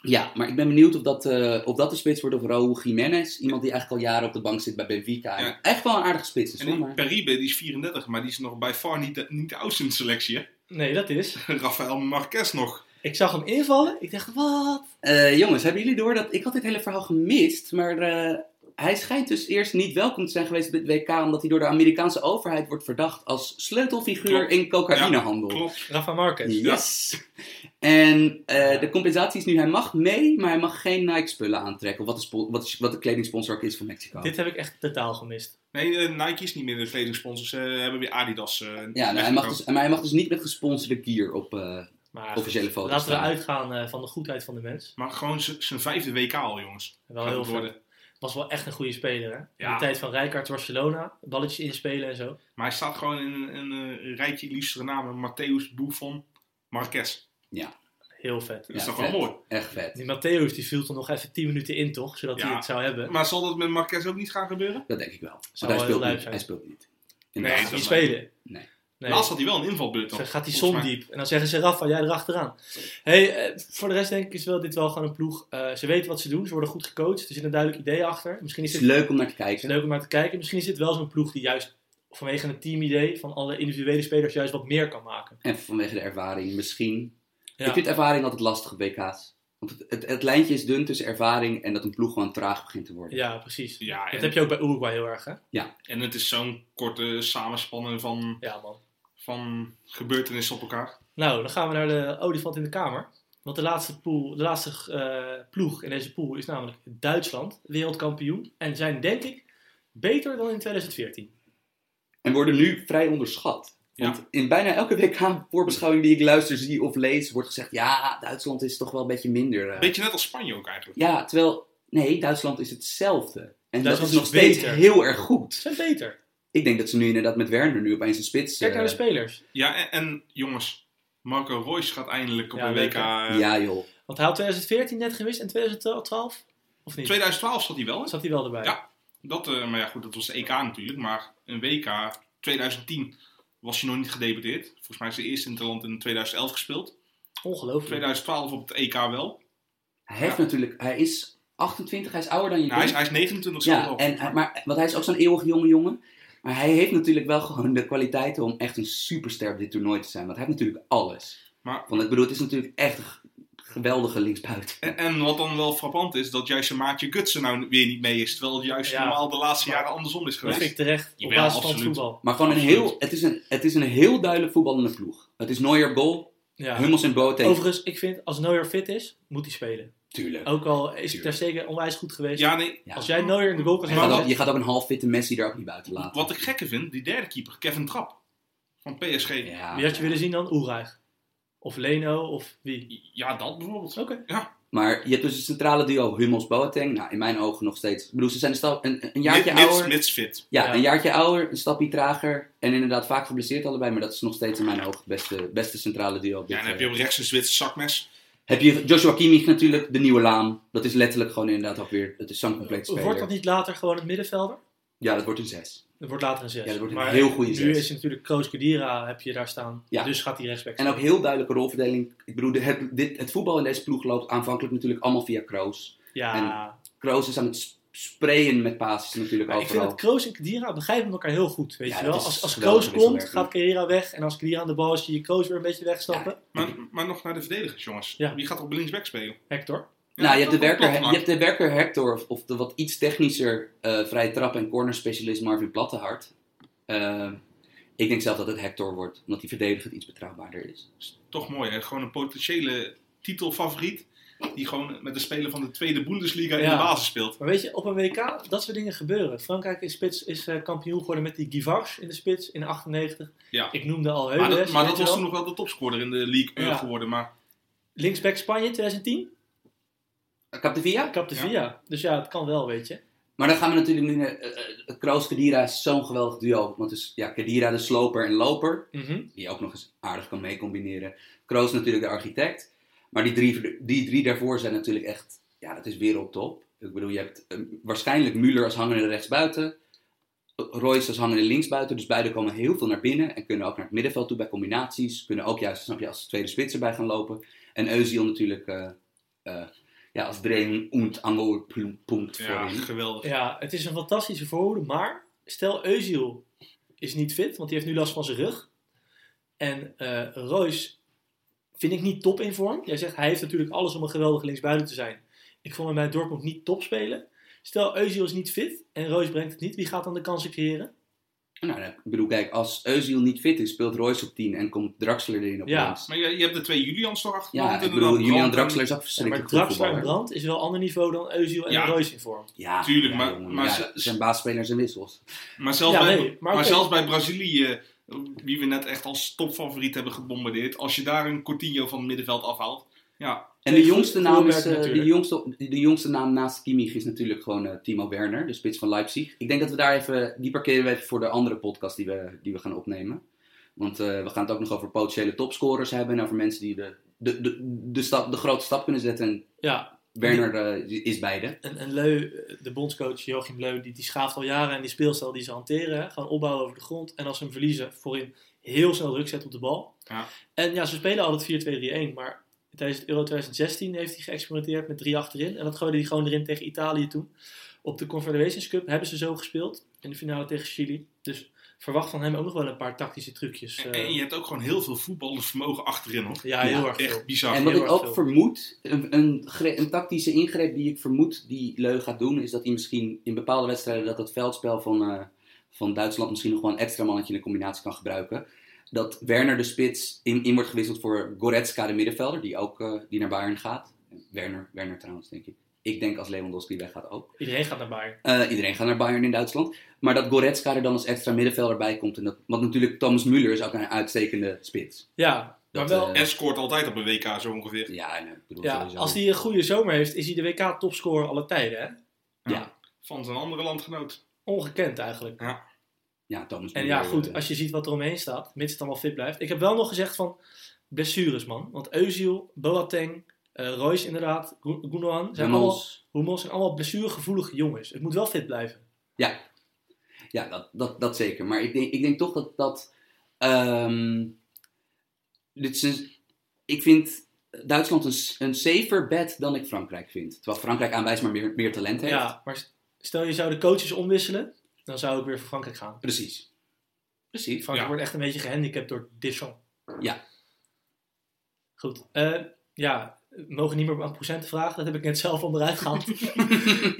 Speaker 3: ja, maar ik ben benieuwd of dat, eh, of dat de spits wordt of Raúl Jiménez. Iemand die eigenlijk al jaren op de bank zit bij Benfica.
Speaker 2: Ja.
Speaker 3: Echt wel een aardige spits is
Speaker 2: En
Speaker 3: hoor,
Speaker 2: die
Speaker 3: maar...
Speaker 2: Peribe, die is 34, maar die is nog bij far niet de, niet de oudste in de selectie, hè? (laughs)
Speaker 1: Nee, dat is.
Speaker 2: Rafael Marquez nog.
Speaker 1: Ik zag hem invallen. Ik dacht, wat?
Speaker 3: Eh, jongens, hebben jullie door dat ik had dit hele verhaal gemist, maar eh, hij schijnt dus eerst niet welkom te zijn geweest bij het WK omdat hij door de Amerikaanse overheid wordt verdacht als sleutelfiguur
Speaker 2: Klopt.
Speaker 3: in cocaïnehandel.
Speaker 2: Klopt.
Speaker 1: Rafa Marquez.
Speaker 3: yes. En eh, de compensatie is nu hij mag mee, maar hij mag geen Nike spullen aantrekken, wat de, spo- wat, is- wat de kledingsponsor ook is van Mexico.
Speaker 1: Dit heb ik echt totaal gemist.
Speaker 2: Nee, eh, Nike is niet meer de kledingsponsor. Ze hebben weer Adidas. eh,
Speaker 3: Ja, nou, hij mag
Speaker 2: weggekocht.
Speaker 3: dus, maar hij mag dus niet met gesponsorde gear op eh,
Speaker 1: Maar
Speaker 3: officiële foto's
Speaker 1: laten we
Speaker 3: staan.
Speaker 1: eruit gaan eh, van de goedheid van de mens.
Speaker 2: Maar gewoon z- zijn vijfde WK al, jongens.
Speaker 1: Wel
Speaker 2: Gaat
Speaker 1: heel
Speaker 2: het
Speaker 1: veel.
Speaker 2: worden.
Speaker 1: was wel echt een goede speler. Hè? In
Speaker 2: Ja.
Speaker 1: de tijd van Rijkaard Barcelona, balletjes inspelen en zo.
Speaker 2: Maar hij staat gewoon in een, een, eh, rijtje illustere namen. Matthäus, Buffon, Marquez.
Speaker 1: Heel vet.
Speaker 2: Dat
Speaker 3: Ja,
Speaker 2: is toch
Speaker 3: vet.
Speaker 2: wel mooi.
Speaker 3: Echt vet.
Speaker 1: Die Matthäus die viel er nog even 10 minuten in, toch? Zodat hij
Speaker 2: Ja.
Speaker 1: het zou hebben.
Speaker 2: Maar zal dat met Marquez ook niet gaan gebeuren?
Speaker 3: Dat denk ik wel. Want
Speaker 1: Zou
Speaker 3: hij
Speaker 1: wel
Speaker 3: speelt,
Speaker 1: heel leuk
Speaker 3: niet,
Speaker 1: zijn.
Speaker 3: hij speelt niet.
Speaker 2: Nee,
Speaker 3: In de
Speaker 1: Gaat
Speaker 2: dat
Speaker 1: hij
Speaker 2: is-
Speaker 1: spelen?
Speaker 3: Nee.
Speaker 1: nee.
Speaker 2: Laatst had hij wel een invalbeurt
Speaker 1: Dan
Speaker 2: dan.
Speaker 1: gaat hij zon
Speaker 2: Volgens mij.
Speaker 1: diep. En dan zeggen ze, Rafa, jij erachteraan. Hey, eh, voor de rest denk ik is wel dit wel gewoon een ploeg. Eh, ze weten wat ze doen. Ze worden goed gecoacht. Er zit een duidelijk idee achter. Misschien is
Speaker 3: Het is
Speaker 1: dit
Speaker 3: leuk om naar te
Speaker 1: is
Speaker 3: kijken.
Speaker 1: leuk om naar te kijken. Misschien is dit wel zo'n ploeg die juist vanwege het teamidee van alle individuele spelers juist wat meer kan maken.
Speaker 3: En vanwege de ervaring misschien.
Speaker 1: Ja.
Speaker 3: Ik vind ervaring altijd lastig op WK's. Want het, het, het lijntje is dun tussen ervaring en dat een ploeg gewoon traag begint te worden.
Speaker 1: Ja, precies.
Speaker 2: Ja,
Speaker 1: Dat
Speaker 2: en,
Speaker 1: heb je ook bij Uruguay heel erg, hè?
Speaker 2: en het is zo'n korte samenspanning van,
Speaker 1: Ja, man.
Speaker 2: van gebeurtenissen op elkaar.
Speaker 1: Nou, dan gaan we naar de olifant in de kamer. Want de laatste, pool, de laatste eh, ploeg in deze pool is namelijk Duitsland, wereldkampioen. En zijn, denk ik, beter dan in 2014.
Speaker 3: En worden nu vrij onderschat. Want in bijna elke WK-voorbeschouwing die ik luister, zie of lees, wordt gezegd: ja, Duitsland is toch wel een beetje minder. eh.
Speaker 2: Beetje net als Spanje ook eigenlijk.
Speaker 3: Ja, terwijl, nee, Duitsland is hetzelfde. En dat
Speaker 1: Duitsland
Speaker 3: is nog
Speaker 1: is
Speaker 3: steeds
Speaker 1: beter.
Speaker 3: heel erg goed.
Speaker 1: Ze zijn beter.
Speaker 3: Ik denk dat ze nu inderdaad met Werner nu opeens een spits...
Speaker 1: Kijk
Speaker 3: eh,
Speaker 1: naar de spelers.
Speaker 2: Ja, en, en jongens, Marco Royce gaat eindelijk op
Speaker 1: Ja,
Speaker 2: een
Speaker 1: leuk,
Speaker 2: WK.
Speaker 1: hè?
Speaker 2: eh,
Speaker 3: ja joh,
Speaker 1: Want hij had 2014 net gemist en 2012? Of niet?
Speaker 2: 2012 zat hij wel. in.
Speaker 1: Zat hij wel erbij?
Speaker 2: Ja. Dat, eh, maar ja, goed, dat was de EK natuurlijk. Maar een WK 2010 was hij nog niet gedebuteerd. Volgens mij is hij eerst in het land in 2011 gespeeld.
Speaker 1: Ongelooflijk.
Speaker 2: 2012 op het EK wel.
Speaker 3: hij heeft natuurlijk, hij is 28, hij is ouder dan je
Speaker 2: Nou, hij, is,
Speaker 3: denkt.
Speaker 2: hij is 29
Speaker 3: Ja,
Speaker 2: zelf al.
Speaker 3: en, hij- maar, want hij is ook zo'n eeuwig jonge jongen. Maar hij heeft natuurlijk wel gewoon de kwaliteiten om echt een superster op dit toernooi te zijn. Want hij heeft natuurlijk alles.
Speaker 2: Maar-
Speaker 3: Want ik bedoel, het is natuurlijk echt een g- geweldige linksbuiten.
Speaker 2: En, en wat dan wel frappant is, dat juist zijn maatje Gutsen nou weer niet mee is. Terwijl het juist
Speaker 1: Ja.
Speaker 2: normaal de laatste jaren andersom is
Speaker 1: Dat
Speaker 2: geweest.
Speaker 1: vind ik terecht. Op
Speaker 2: Jawel,
Speaker 1: basis van het
Speaker 2: absoluut.
Speaker 1: voetbal.
Speaker 3: Maar gewoon een
Speaker 2: Absoluut.
Speaker 3: heel, het is een, het is een heel duidelijk voetballende ploeg. Het is Neuer, Bol,
Speaker 1: Ja.
Speaker 3: Hummels en Boateng.
Speaker 1: Overigens, ik vind als Neuer fit is, moet hij spelen.
Speaker 3: Tuurlijk.
Speaker 1: Ook al is het
Speaker 3: Tuurlijk.
Speaker 1: ter zeker onwijs goed geweest.
Speaker 2: Ja, nee.
Speaker 3: Ja.
Speaker 1: Als jij Neuer in de goal kan
Speaker 3: Je gaat, ook,
Speaker 1: zetten,
Speaker 3: je gaat ook een half fitte Messi er ook niet buiten laten.
Speaker 2: Wat ik gekke vind, die derde keeper, Kevin Trapp. Van PSG. Ja,
Speaker 3: Ja.
Speaker 1: wie had je willen zien dan? Oerijg. Of Leno, of wie?
Speaker 2: dat bijvoorbeeld.
Speaker 1: Oké.
Speaker 3: Maar je hebt dus het centrale duo Hummels, Boateng. Nou, in mijn ogen nog steeds. Ik bedoel, ze zijn een, stap, een, een jaartje
Speaker 2: Mits-
Speaker 3: ouder.
Speaker 2: mits fit.
Speaker 3: Ja,
Speaker 1: Ja.
Speaker 3: een jaartje ouder, een stapje trager. En inderdaad vaak geblesseerd allebei. Maar dat is nog steeds in mijn ogen beste, beste centrale duo. op dit,
Speaker 2: Ja, dan heb je
Speaker 3: eh.
Speaker 2: op rechts een Zwitser zakmes.
Speaker 3: heb je Joshua Kimmich natuurlijk, de nieuwe laan. Dat is letterlijk gewoon inderdaad ook weer, het is zo'n compleet speler.
Speaker 1: Wordt dat niet later gewoon een middenvelder?
Speaker 3: Ja, dat wordt een zes.
Speaker 1: Het wordt later een 6.
Speaker 3: Ja, dat wordt een heel goede
Speaker 1: Nu
Speaker 3: zes.
Speaker 1: is hij natuurlijk Kroos Kedira, heb je daar staan.
Speaker 3: Ja.
Speaker 1: Dus gaat hij rechtsback
Speaker 3: En ook heel duidelijke rolverdeling. Ik bedoel, de- het, dit, het voetbal in deze ploeg loopt aanvankelijk natuurlijk allemaal via Kroos.
Speaker 1: spelen. Ja,
Speaker 3: Kroos is aan het sp- sprayen met passes natuurlijk
Speaker 1: maar ik vind
Speaker 3: overal.
Speaker 1: dat Kroos en Kedira begrijpen elkaar heel goed. Weet
Speaker 3: Ja,
Speaker 1: je
Speaker 3: dat
Speaker 1: wel?
Speaker 3: is
Speaker 1: Als, als
Speaker 3: geweldig
Speaker 1: Kroos komt,
Speaker 3: wisselwerking.
Speaker 1: gaat Kedira weg. En als Kedira aan de bal is, zie je Kroos weer een beetje wegstappen.
Speaker 2: Maar, maar nog naar de verdedigers, jongens.
Speaker 1: Ja.
Speaker 2: Wie gaat op linksback spelen?
Speaker 1: Hector.
Speaker 2: Ja,
Speaker 3: nou, je
Speaker 2: dat
Speaker 3: hebt, de
Speaker 2: wordt
Speaker 3: werker,
Speaker 2: Plattenhart.
Speaker 3: je hebt de werker Hector, of, of de wat iets technischer eh vrije trap- en cornerspecialist Marvin Plattehart. Eh, ik denk zelf dat het Hector wordt, omdat die verdedigend iets betrouwbaarder is.
Speaker 2: Toch mooi, hè? Gewoon een potentiële titelfavoriet. Die gewoon met de speler van de tweede Bundesliga in
Speaker 1: Ja.
Speaker 2: de basis speelt.
Speaker 1: Maar weet je, op een WK, dat soort dingen gebeuren. Frankrijk is, spits, is eh, kampioen geworden met die Givars in de spits in 98.
Speaker 2: Ja.
Speaker 1: Ik noemde al
Speaker 2: Maar
Speaker 1: Heules.
Speaker 2: dat, maar
Speaker 1: weet
Speaker 2: dat
Speaker 1: je
Speaker 2: was
Speaker 1: wel.
Speaker 2: toen nog wel de topscorer in de league eh,
Speaker 1: Ja.
Speaker 2: geworden. Maar
Speaker 1: Linksback Spanje 2010,
Speaker 3: Captevia?
Speaker 1: Captevia. Dus ja, het kan wel, weet je.
Speaker 3: Eh, Maar dan gaan we natuurlijk nu naar... eh, eh, Kroos, Kedira is zo'n geweldig duo. Want dus, ja, Kedira de sloper en loper.
Speaker 2: Mhm.
Speaker 3: die ook nog eens aardig kan meecombineren. Kroos natuurlijk de architect. Maar die drie, die drie daarvoor zijn natuurlijk echt... Ja, dat is wereldtop. Ik bedoel, je hebt eh, waarschijnlijk Müller als hangende rechtsbuiten. Royce als hangende linksbuiten. Dus beide komen heel veel naar binnen. En kunnen ook naar het middenveld toe bij combinaties. Kunnen ook juist, snap je, als tweede spits erbij gaan lopen. En Özil natuurlijk... eh, eh, ja, als Dreen und Angelpunkt
Speaker 2: ja,
Speaker 3: voorin.
Speaker 2: geweldig.
Speaker 1: Ja, het is een fantastische voorhoede. Maar stel Özil is niet fit, want die heeft nu last van zijn rug. En eh Royce vind ik niet top in vorm. Jij zegt, hij heeft natuurlijk alles om een geweldige linksbuiten te zijn. Ik vond hem bij Dortmund niet top spelen. Stel Özil is niet fit en Royce brengt het niet. Wie gaat dan de kansen creëren?
Speaker 3: Nou, ik bedoel, kijk, als Özil niet fit is, speelt Royce op 10 en komt Draxler erin op
Speaker 1: Ja,
Speaker 3: links.
Speaker 2: Maar je, je hebt de twee Julians toch achter de
Speaker 3: Ja,
Speaker 2: hand
Speaker 3: ik
Speaker 2: en dan
Speaker 3: bedoel, Julian
Speaker 2: Brandt en-
Speaker 3: Draxler is ook
Speaker 1: Ja, maar
Speaker 3: verschrikkelijk goed
Speaker 1: Draxler en
Speaker 3: voetballer.
Speaker 1: Brand is wel een ander niveau dan Özil en
Speaker 2: Ja.
Speaker 1: Royce in vorm.
Speaker 3: Ja,
Speaker 2: Tuurlijk,
Speaker 3: ja,
Speaker 2: maar-
Speaker 3: jongen,
Speaker 2: maar
Speaker 3: ja,
Speaker 2: ze-
Speaker 3: zijn baasspelers en wissels.
Speaker 2: Maar zelfs,
Speaker 1: Ja,
Speaker 2: bij,
Speaker 1: nee, maar
Speaker 2: maar
Speaker 1: oké.
Speaker 2: zelfs bij Brazilië, eh, wie we net echt als topfavoriet hebben gebombardeerd. Als je daar een Coutinho van het middenveld afhaalt. Ja,
Speaker 3: En de
Speaker 1: Tegen
Speaker 3: jongste, naam is,
Speaker 1: Groenberg
Speaker 3: eh, de,
Speaker 1: natuurlijk.
Speaker 3: jongste, de jongste naam naast Kimmich is natuurlijk gewoon eh, Timo Werner, de spits van Leipzig. Ik denk dat we daar even, die parkeren we even voor de andere podcast die we, die we gaan opnemen. Want eh, we gaan het ook nog over potentiële topscorers hebben en over mensen die de, de, de, de, stap, de grote stap kunnen zetten. En
Speaker 1: Ja,
Speaker 3: Werner eh, is beide.
Speaker 1: en, en Leu, eh, de bondscoach Joachim Leu, die, die schaaft al jaren en die speelstijl die ze hanteren. hè. Gewoon opbouwen over de grond. En als ze hem verliezen, voorin heel snel druk zetten op de bal.
Speaker 2: Ja.
Speaker 1: En ja, ze spelen altijd 4-2-3-1, maar tijdens het Euro 2016 heeft hij geëxperimenteerd met drie achterin. En dat gooide hij gewoon erin tegen Italië toen. Op de Confederations Cup hebben ze zo gespeeld in de finale tegen Chili. Dus verwacht van hem ook nog wel een paar tactische trucjes.
Speaker 2: en,
Speaker 1: eh.
Speaker 2: en je hebt ook gewoon heel veel voetballend vermogen achterin hoor.
Speaker 1: ja, heel
Speaker 3: Ja,
Speaker 1: erg veel.
Speaker 2: Echt bizar.
Speaker 3: En wat
Speaker 1: heel
Speaker 3: ik
Speaker 1: erg
Speaker 3: ook
Speaker 1: veel.
Speaker 3: vermoed, een, een, gre- een tactische ingreep die ik vermoed die Leu gaat doen, is dat hij misschien in bepaalde wedstrijden dat dat veldspel van, eh, van Duitsland misschien nog wel een extra mannetje in de combinatie kan gebruiken. Dat Werner de spits in, in wordt gewisseld voor Goretzka de middenvelder, die ook eh, die naar Bayern gaat. Werner, Werner trouwens, denk ik. Ik denk als Lewandowski weggaat ook.
Speaker 1: Iedereen gaat naar Bayern.
Speaker 3: Eh, iedereen gaat naar Bayern in Duitsland. Maar dat Goretzka er dan als extra middenvelder bij komt. En dat, want natuurlijk Thomas Müller is ook een uitstekende spits.
Speaker 1: Ja, maar
Speaker 3: Dat,
Speaker 1: wel...
Speaker 3: eh,
Speaker 2: En scoort altijd op een WK zo ongeveer.
Speaker 3: Ja, en, eh, ik bedoel,
Speaker 1: Ja,
Speaker 3: sowieso-
Speaker 1: als hij een goede zomer heeft, is hij de WK-topscorer alle tijden. Hè?
Speaker 2: Van zijn andere landgenoot.
Speaker 1: Ongekend eigenlijk.
Speaker 3: ja, Thomas
Speaker 1: En ja,
Speaker 3: Müller, eh,
Speaker 1: goed, als je ziet wat er omheen staat, mits het allemaal fit blijft. Ik heb wel nog gezegd van blessures, man. Want Eusiel, Boateng, eh Royce inderdaad, Gu- Gundogan, zijn
Speaker 3: Hummels.
Speaker 1: allemaal, Hummels zijn allemaal blessuregevoelige jongens. Het moet wel fit blijven.
Speaker 3: Ja, dat, dat, dat zeker. Maar ik denk, ik denk toch dat dat. ehm, dit is een- ik vind Duitsland een, s- een safer bet dan ik Frankrijk vind. Terwijl Frankrijk aanwijs maar meer, meer talent heeft.
Speaker 1: Ja, maar s- stel je zou de coaches omwisselen, dan zou ik weer voor Frankrijk gaan.
Speaker 3: Precies. Precies.
Speaker 1: Frankrijk
Speaker 2: Ja.
Speaker 1: wordt echt een beetje gehandicapt door Deschamps.
Speaker 3: Ja.
Speaker 1: Goed. eh, ja, we mogen niet meer aan procenten vragen. Dat heb ik net zelf onderuit (laughs) gehaald.
Speaker 3: Ja,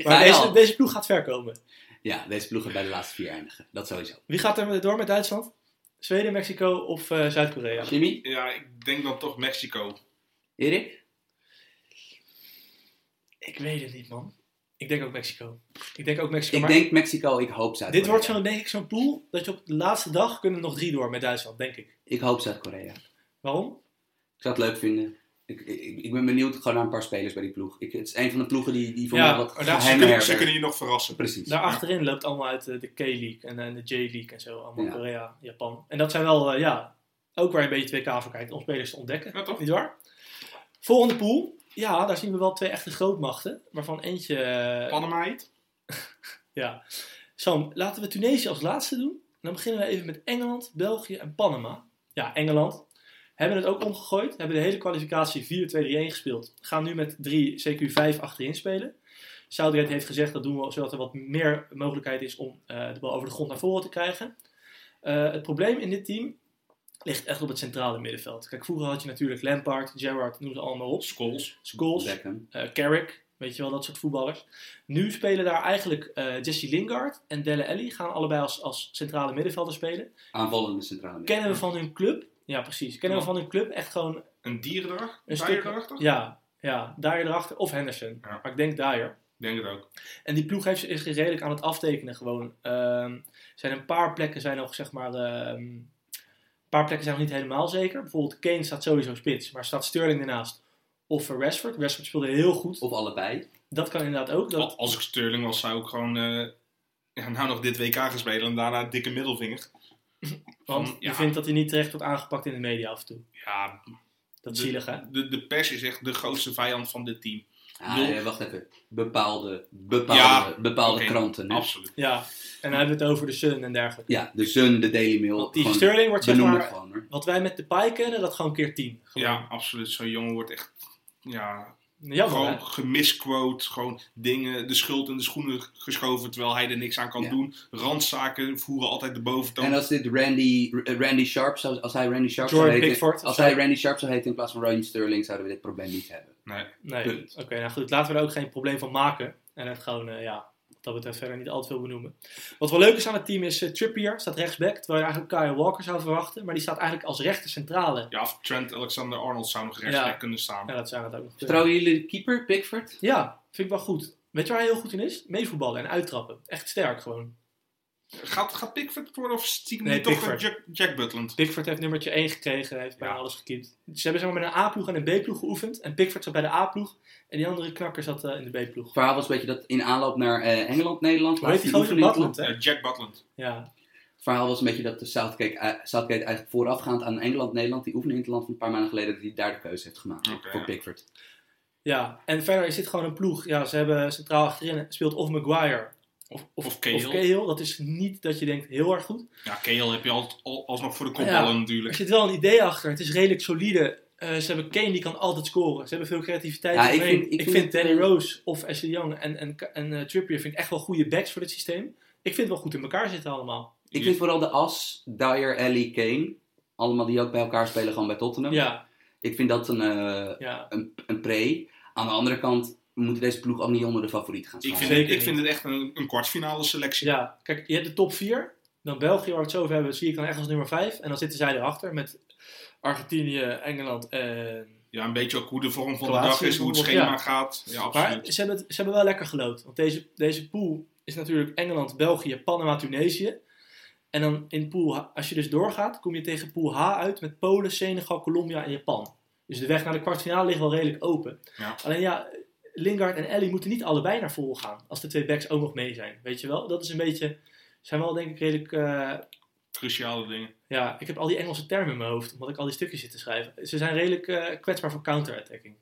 Speaker 1: maar deze,
Speaker 3: wel.
Speaker 1: deze ploeg gaat ver komen.
Speaker 3: Ja, deze ploeg gaat bij de laatste vier eindigen. Dat sowieso.
Speaker 1: Wie gaat er door met Duitsland? Zweden, Mexico of eh, Zuid-Korea?
Speaker 3: Jimmy?
Speaker 2: Ja, ik denk dan toch Mexico.
Speaker 3: Erik?
Speaker 1: Ik weet het niet, man. Ik denk ook Mexico. Ik denk ook Mexico.
Speaker 3: Ik
Speaker 1: maar
Speaker 3: denk Mexico, ik hoop Zuid-Korea.
Speaker 1: dit wordt zo'n, denk ik, zo'n pool dat je op de laatste dag kunnen nog drie door met Duitsland, denk ik.
Speaker 3: Ik hoop Zuid-Korea.
Speaker 1: Waarom?
Speaker 3: Ik zou het leuk vinden. Ik, ik, ik ben benieuwd gewoon naar een paar spelers bij die ploeg. Ik, het is een van de ploegen die, die voor
Speaker 1: Ja,
Speaker 3: mij wat
Speaker 1: maar daar-
Speaker 2: Ze
Speaker 3: geheimen
Speaker 2: kunnen, ze
Speaker 3: herbergt.
Speaker 2: kunnen je nog verrassen.
Speaker 3: Precies.
Speaker 1: Daar achterin loopt allemaal uit eh, de K-League en, en de J-League en zo. Allemaal
Speaker 3: Ja.
Speaker 1: Korea, Japan. En dat zijn wel, eh, ja, ook waar je een beetje 2K voor kijkt om spelers te ontdekken.
Speaker 2: Ja, toch?
Speaker 1: Niet waar? Volgende pool. Ja, daar zien we wel twee echte grootmachten. Waarvan eentje... eh,
Speaker 2: Panama heet.
Speaker 1: Ja. Sam, laten we Tunesië als laatste doen. Dan beginnen we even met Engeland, België en Panama. Ja, Engeland. Hebben het ook omgegooid. Hebben de hele kwalificatie 4-2-3-1 gespeeld. Gaan nu met 3 CQ5 achterin spelen. Southgate heeft gezegd dat doen we zodat er wat meer mogelijkheid is om eh, de bal over de grond naar voren te krijgen. Eh, het probleem in dit team ligt echt op het centrale middenveld. Kijk, vroeger had je natuurlijk Lampard, Gerrard, noem ze allemaal op.
Speaker 2: Scholes.
Speaker 1: Scholes,
Speaker 3: Beckham.
Speaker 1: eh, Carrick, weet je wel, dat soort voetballers. Nu spelen daar eigenlijk eh, Jesse Lingard en Dele Alli gaan allebei als, als centrale middenvelder spelen.
Speaker 3: Aanvallende centrale midden.
Speaker 1: Kennen we van hun club? Ja, precies. Kennen we van hun club echt gewoon,
Speaker 2: Een dierendracht. Een
Speaker 1: Een stuk-
Speaker 2: dierendracht. Ik
Speaker 1: ja, ja, Dyer erachter of Henderson.
Speaker 2: Ja.
Speaker 1: Maar ik denk Dyer.
Speaker 2: denk het ook.
Speaker 1: En die ploeg heeft zich redelijk aan het aftekenen gewoon. Ehm, er zijn een paar plekken zijn nog, zeg maar, ehm, een paar plekken zijn nog niet helemaal zeker. Bijvoorbeeld Kane staat sowieso spits, maar staat Sterling ernaast. Of eh, Rashford. Rashford speelde heel goed.
Speaker 3: Of allebei.
Speaker 1: Dat kan inderdaad ook. Dat,
Speaker 2: Al- Als ik Sterling was, zou ik gewoon eh, ja, nou nog dit WK gaan spelen en daarna dikke middelvinger.
Speaker 1: Want
Speaker 2: Van,
Speaker 1: je
Speaker 2: ja.
Speaker 1: vindt dat hij niet terecht wordt aangepakt in de media af en toe.
Speaker 2: Ja,
Speaker 1: Dat is
Speaker 2: De-
Speaker 1: zielig, hè?
Speaker 2: de, de pers is echt de grootste vijand van dit team.
Speaker 3: Ah,
Speaker 2: Bedoel-
Speaker 3: eh, wacht even. Bepaalde, bepaalde,
Speaker 2: Ja,
Speaker 3: bepaalde
Speaker 2: oké,
Speaker 3: kranten. hè?
Speaker 2: Absoluut.
Speaker 1: Ja, en dan hebben we het over de Sun en dergelijke.
Speaker 3: Ja, de Sun, de Daily Mail.
Speaker 1: Want die
Speaker 3: gewoon
Speaker 1: Sterling wordt zeg
Speaker 3: benoem het
Speaker 1: maar,
Speaker 3: gewoon hoor.
Speaker 1: wat wij met de Pai kennen, dat gewoon keer 10. Gewoon.
Speaker 2: Ja, absoluut. Zo'n jongen wordt echt ja,
Speaker 1: Jammer, hè?
Speaker 2: gewoon gemisquote. Gewoon dingen, de schuld in de schoenen geschoven terwijl hij er niks aan kan
Speaker 3: Ja.
Speaker 2: doen. Randzaken voeren altijd de boventoon.
Speaker 3: En als dit Randy, eh, Randy Sharp zou, als hij Randy Sharp
Speaker 1: Jordan
Speaker 3: zou heten,
Speaker 1: Pickford of
Speaker 3: als
Speaker 1: zo.
Speaker 3: hij Randy Sharp zou heten in plaats van Ryan Sterling, zouden we dit probleem niet hebben.
Speaker 2: Nee.
Speaker 1: Nee,
Speaker 3: Punt.
Speaker 1: oké, nou goed, laten we er ook geen probleem van maken. En het gewoon, eh, ja, wat dat betreft verder niet al te veel benoemen. Wat wel leuk is aan het team is eh, Trippier, staat rechtsback, terwijl je eigenlijk Kyle Walker zou verwachten. Maar die staat eigenlijk als rechter centrale.
Speaker 2: Ja, of Trent Alexander-Arnold zou nog rechtsback
Speaker 1: Ja.
Speaker 2: kunnen staan.
Speaker 1: Ja, dat zijn het ook nog. kunnen.
Speaker 3: Vertrouwen jullie de keeper, Pickford?
Speaker 1: Ja, vind ik wel goed. Weet je waar hij heel goed in is? Meevoetballen en uittrappen. Echt sterk gewoon.
Speaker 2: Gaat, gaat Pickford het worden of stiekem
Speaker 1: Nee,
Speaker 2: niet toch
Speaker 1: Pickford.
Speaker 2: Jack, Jack Butland?
Speaker 1: Pickford heeft nummertje 1 gekregen, hij heeft bijna
Speaker 2: Ja.
Speaker 1: alles gekiept. Ze hebben zeg maar, met een A-ploeg en een B-ploeg geoefend. En Pickford zat bij de A-ploeg en die andere knakker zat eh, in de B-ploeg.
Speaker 3: Het verhaal was een beetje dat in aanloop naar eh, Engeland, Nederland,
Speaker 1: Hoe heet die
Speaker 3: laatste
Speaker 1: gozer in
Speaker 3: oefening.
Speaker 1: Badland, hè?
Speaker 2: Ja, Jack Butland.
Speaker 1: Ja,
Speaker 3: Het verhaal was een beetje dat de Southgate, eh, Southgate eigenlijk voorafgaand aan Engeland, Nederland, die oefening in het land van een paar maanden geleden, dat hij daar de keuze heeft gemaakt
Speaker 2: Oké,
Speaker 3: voor
Speaker 2: ja.
Speaker 3: Pickford.
Speaker 1: ja. En verder is dit gewoon een ploeg. Ja, ze hebben centraal achterin speelt of Maguire of, of,
Speaker 2: Of
Speaker 1: of
Speaker 2: Cahill.
Speaker 1: Cahill. Dat is niet dat je denkt heel erg goed.
Speaker 2: Ja, Keel heb je al, al, alsnog voor de
Speaker 1: Ja.
Speaker 2: kopballen
Speaker 1: Er
Speaker 2: natuurlijk.
Speaker 1: zit wel een idee achter. Het is redelijk solide. Eh, ze hebben Kane die kan altijd scoren. Ze hebben veel creativiteit.
Speaker 3: Ja, ik
Speaker 1: omheen.
Speaker 3: vind- ik
Speaker 1: ik
Speaker 3: vind
Speaker 1: vind
Speaker 3: het,
Speaker 1: Danny
Speaker 3: eh,
Speaker 1: Rose of Ashley Young en, en, en eh, Trippier vind ik echt wel goede backs voor dit systeem. Ik vind het wel goed in elkaar zitten allemaal.
Speaker 3: Ik vind vooral de As, Dyer, Ellie, Kane, allemaal die ook bij elkaar spelen gewoon bij Tottenham.
Speaker 1: Ja,
Speaker 3: Ik vind dat een, eh,
Speaker 1: ja.
Speaker 3: een, een pre. Aan de andere kant moet deze ploeg ook niet onder de favoriet gaan
Speaker 2: Ik
Speaker 3: staan.
Speaker 2: vind,
Speaker 1: Zeker
Speaker 2: ik
Speaker 1: niet.
Speaker 2: vind het echt een, een kwartfinale selectie.
Speaker 1: ja. Kijk, je hebt de top 4. Dan België, waar we het zo over hebben, zie ik dan echt als nummer 5. En dan zitten zij erachter met Argentinië, Engeland en
Speaker 2: Ja, een beetje ook hoe de vorm van
Speaker 1: Kroatië,
Speaker 2: de dag is, hoe het
Speaker 1: bijvoorbeeld,
Speaker 2: schema
Speaker 1: ja.
Speaker 2: gaat. Ja,
Speaker 1: Maar
Speaker 2: absoluut.
Speaker 1: ze hebben, het- ze hebben wel lekker gelood. Want deze, deze pool is natuurlijk Engeland, België, Panama, Tunesië. En dan in pool H, als je dus doorgaat, kom je tegen pool H uit met Polen, Senegal, Colombia en Japan. Dus de weg naar de kwartfinale ligt wel redelijk open.
Speaker 2: Ja.
Speaker 1: Alleen ja, Lingard en Ellie moeten niet allebei naar vol gaan. Als de twee backs ook nog mee zijn. Weet je wel? Dat is een beetje. Zijn wel denk ik redelijk. eh,
Speaker 2: Cruciale dingen.
Speaker 1: ja, ik heb al die Engelse termen in mijn hoofd. Omdat ik al die stukjes zit te schrijven. Ze zijn redelijk eh, kwetsbaar voor counterattacking.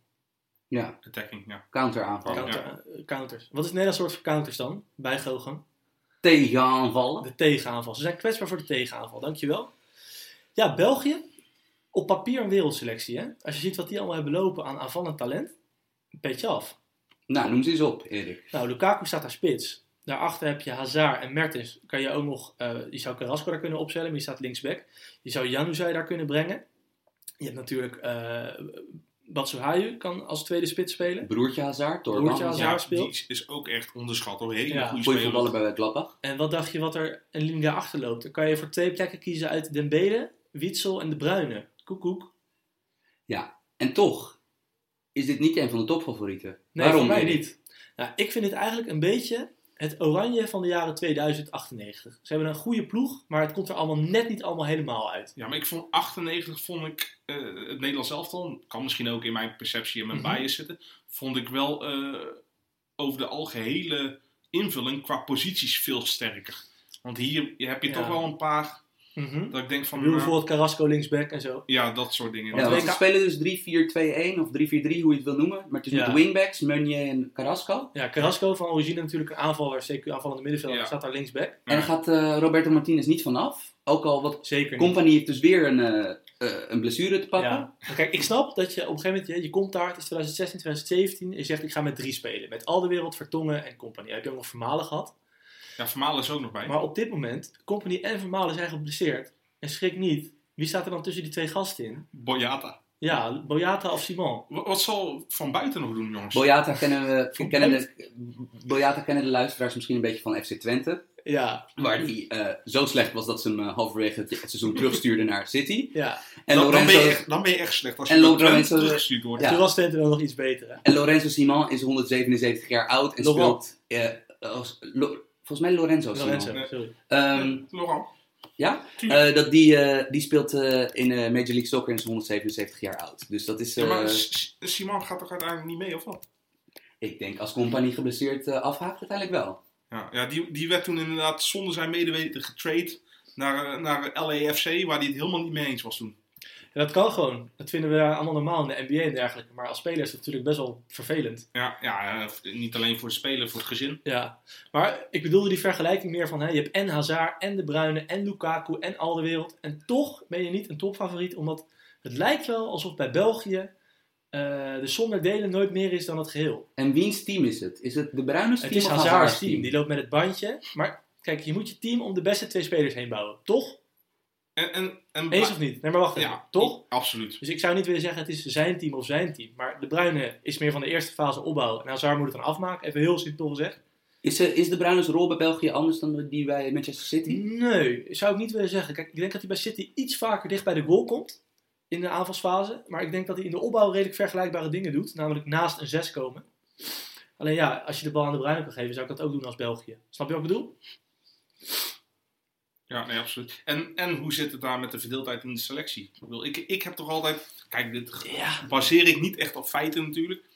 Speaker 3: Ja,
Speaker 2: Attacking, ja.
Speaker 3: counteraanval.
Speaker 2: Ja.
Speaker 1: Counter, eh, counters. Wat is het Nederlands soort voor counters dan? Bij Gogan?
Speaker 3: Tegenaanvallen.
Speaker 1: De tegenaanval. Ze zijn kwetsbaar voor de tegenaanval. Dankjewel. Ja, België. Op papier een wereldselectie, hè? Als je ziet wat die allemaal hebben lopen aan aanvallend talent. Een beetje af.
Speaker 3: Nou, noem ze eens op, Erik.
Speaker 1: Nou, Lukaku staat daar spits. Daarachter heb je Hazard en Mertens. Kan je ook nog... eh je zou Carrasco daar kunnen opstellen, maar die staat linksback. Je zou Januzaj daar kunnen brengen. Je hebt natuurlijk... eh Batsuhayu kan als tweede spits spelen.
Speaker 3: Broertje Hazard, Torban.
Speaker 1: Broertje Hazard.
Speaker 2: Ja,
Speaker 1: speelt.
Speaker 2: die is ook echt onderschat hoor. Hele
Speaker 1: Ja.
Speaker 2: goede
Speaker 3: Goeie
Speaker 2: speler.
Speaker 3: voetballer bij Gladbach.
Speaker 1: En wat dacht je wat er een linie achter loopt? Dan kan je voor twee plekken kiezen uit Dembele, Witsel en De Bruyne. Koekoek.
Speaker 3: En toch is dit niet een van de topfavorieten.
Speaker 1: Nee,
Speaker 3: Waarom
Speaker 1: voor mij
Speaker 3: Erik?
Speaker 1: niet. Nou, ik vind het eigenlijk een beetje het oranje van de jaren 2098. Ze hebben een goede ploeg, maar het komt er allemaal net niet allemaal helemaal uit.
Speaker 2: Ja, maar ik vond 98 vond ik eh, het Nederlands elftal, kan misschien ook in mijn perceptie en mijn
Speaker 1: Mhm.
Speaker 2: bias zitten, vond ik wel eh, over de algehele invulling qua posities veel sterker. Want hier heb je
Speaker 1: Ja.
Speaker 2: toch wel een paar
Speaker 1: mm
Speaker 2: dat ik denk van, nou,
Speaker 1: Bijvoorbeeld Carrasco linksback en zo.
Speaker 2: ja, dat soort dingen.
Speaker 3: Ja,
Speaker 1: Want
Speaker 3: want ze
Speaker 1: WK
Speaker 3: spelen dus 3-4-2-1 of 3-4-3, hoe je het wil noemen. Maar het is
Speaker 1: Ja.
Speaker 3: met wingbacks, Meunier en Carrasco.
Speaker 1: Ja, Carrasco van origine natuurlijk een aanvaller, CQ aanvallende middenvelder,
Speaker 2: Ja.
Speaker 1: staat daar linksback.
Speaker 3: En daar gaat eh, Roberto Martinez niet vanaf. Ook al wat
Speaker 1: Zeker niet.
Speaker 3: Company heeft dus weer een, eh, eh, een blessure te pakken.
Speaker 1: Ja. Maar Kijk, ik snap dat je op een gegeven moment, je, je komt daar, het is 2016, 2017, en je zegt ik ga met drie spelen. Met al de wereld, Vertongen en compagnie. Heb je ook nog Vermalen gehad.
Speaker 2: Ja, Vermalen is ook nog bij.
Speaker 1: Maar op dit moment, compagnie en Vermalen zijn geblesseerd. En schrik niet, wie staat er dan tussen die twee gasten in?
Speaker 2: Boyata.
Speaker 1: Ja, Boyata of Simon.
Speaker 2: Wa- Wat zal Van Buiten nog doen, jongens?
Speaker 3: Boyata kennen,
Speaker 2: (laughs)
Speaker 3: we, kennen, de, Boyata kennen de luisteraars misschien een beetje van FC Twente.
Speaker 1: Ja,
Speaker 3: Waar die eh, zo slecht was dat ze hem eh, halverwege het,
Speaker 2: (laughs)
Speaker 3: het seizoen terugstuurde naar City.
Speaker 1: ja.
Speaker 3: En
Speaker 2: dan, dan, ben je
Speaker 3: Lorenzo,
Speaker 2: echt, dan ben je echt slecht als
Speaker 3: En
Speaker 2: je door
Speaker 3: Lorenzo-
Speaker 2: Trent teruggestuurd wordt.
Speaker 3: Ja.
Speaker 1: Toen was Twente wel nog iets beter, hè?
Speaker 3: en Lorenzo Simon is 177 jaar oud en
Speaker 1: Laurent.
Speaker 3: speelt... eh, als, Lo- volgens mij Lorenzo, Simon.
Speaker 1: Lorenzo, sorry.
Speaker 3: Ehm,
Speaker 2: Laurent.
Speaker 3: Ja? Eh, dat die, eh, die speelt eh, in eh, Major League Soccer en is 177 jaar oud. Dus dat is...
Speaker 2: Ja, maar
Speaker 3: eh,
Speaker 2: S- S- Simon gaat toch uiteindelijk niet mee, of wat?
Speaker 3: Ik denk als Company geblesseerd eh, afhaakt, uiteindelijk wel.
Speaker 2: Ja, ja die, die werd toen inderdaad zonder zijn medeweten getrade naar, eh, naar LAFC, waar hij het helemaal niet mee eens was toen.
Speaker 1: En dat kan gewoon. Dat vinden we allemaal normaal in de NBA en dergelijke. Maar als speler is dat natuurlijk best wel vervelend.
Speaker 2: Ja, ja eh, niet alleen voor de speler, voor het gezin.
Speaker 1: Ja. Maar ik bedoelde die vergelijking meer van... Hè, je hebt en Hazard, en De Bruyne, en Lukaku, en al de wereld. En toch ben je niet een topfavoriet. Omdat het lijkt wel alsof bij België... eh, de som der delen nooit meer is dan het geheel.
Speaker 3: En wiens team is het? Is het de Bruines team
Speaker 1: Het is
Speaker 3: of
Speaker 1: Hazard's team. Die loopt met het bandje. Maar kijk, je moet je team om de beste twee spelers heen bouwen. Toch?
Speaker 2: En, en, en
Speaker 1: Eens of niet? Nee, maar wacht even.
Speaker 2: Ja,
Speaker 1: Toch?
Speaker 2: Absoluut.
Speaker 1: Dus ik zou niet willen zeggen het is zijn team of zijn team. Maar De Bruyne is meer van de eerste fase opbouwen. En Hazard moet het dan afmaken. Even heel simpel gezegd.
Speaker 3: Is, eh, is de Bruines rol bij België anders dan die bij Manchester City?
Speaker 1: Nee, zou ik niet willen zeggen. Kijk, ik denk dat hij bij City iets vaker dicht bij de goal komt. In de aanvalsfase. Maar ik denk dat hij in de opbouw redelijk vergelijkbare dingen doet. Namelijk naast een 6 komen. Alleen ja, als je de bal aan De Bruyne kan geven, zou ik dat ook doen als België. Snap je wat ik bedoel?
Speaker 2: Ja, nee, absoluut. En, en hoe zit het daar met de verdeeldheid in de selectie? Ik, bedoel, ik, ik heb toch altijd. Kijk, dit
Speaker 1: Ja.
Speaker 2: baseer ik niet echt op feiten natuurlijk.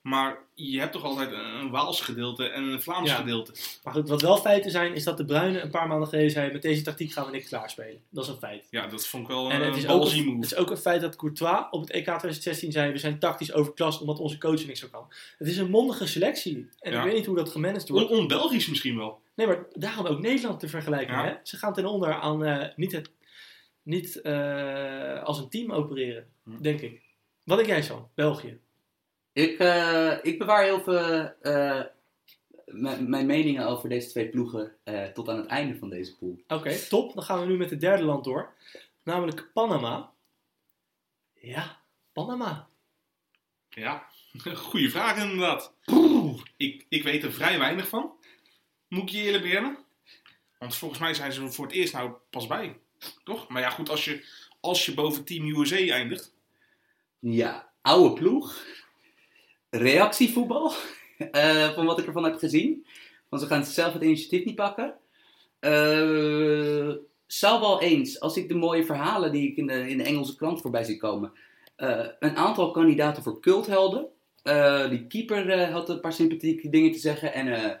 Speaker 2: Maar je hebt toch altijd een- een Waals gedeelte en een Vlaams
Speaker 1: Ja.
Speaker 2: gedeelte.
Speaker 1: Maar goed, wat wel feiten zijn, is dat de Bruinen een paar maanden geleden zei: met deze tactiek gaan we niks klaarspelen. Dat is een feit.
Speaker 2: Ja, dat vond ik wel
Speaker 1: En
Speaker 2: een,
Speaker 1: het
Speaker 2: een
Speaker 1: is, ook
Speaker 2: ballsy
Speaker 1: een, het
Speaker 2: move.
Speaker 1: is ook een feit dat Courtois op het EK 2016 zei: we zijn tactisch overklast omdat onze coach er niks aan kan. Het is een mondige selectie. En
Speaker 2: Ja.
Speaker 1: ik weet niet hoe dat gemanaged
Speaker 2: On-
Speaker 1: wordt.
Speaker 2: On-Belgisch misschien wel.
Speaker 1: Nee, maar daarom ook Nederland te vergelijken.
Speaker 2: Ja.
Speaker 1: Hè? Ze gaan ten onder aan eh, niet, het, niet eh, als een team opereren,
Speaker 2: Hm.
Speaker 1: denk ik. Wat denk jij zo? België.
Speaker 3: Ik, eh, ik bewaar heel veel eh, mijn- mijn meningen over deze twee ploegen eh, tot aan het einde van deze pool.
Speaker 1: Oké, top. Dan gaan we nu met het derde land door. Namelijk Panama. Ja, Panama.
Speaker 2: Ja, (laughs) goede vraag inderdaad. Ik, ik weet er vrij weinig van. Moet ik je eerlijk bekennen? Want volgens mij zijn ze voor het eerst nou pas bij. Toch? Maar ja, goed, als je, als je boven Team USA eindigt.
Speaker 3: Ja, oude ploeg. Reactievoetbal. (laughs) Eh, van wat ik ervan heb gezien. Want ze gaan zelf het initiatief niet pakken. Eh, zou wel eens, als ik de mooie verhalen die ik in de, in de Engelse krant voorbij zie komen. eh, een aantal kandidaten voor culthelden. Eh, die keeper eh, had een paar sympathieke dingen te zeggen. En eh,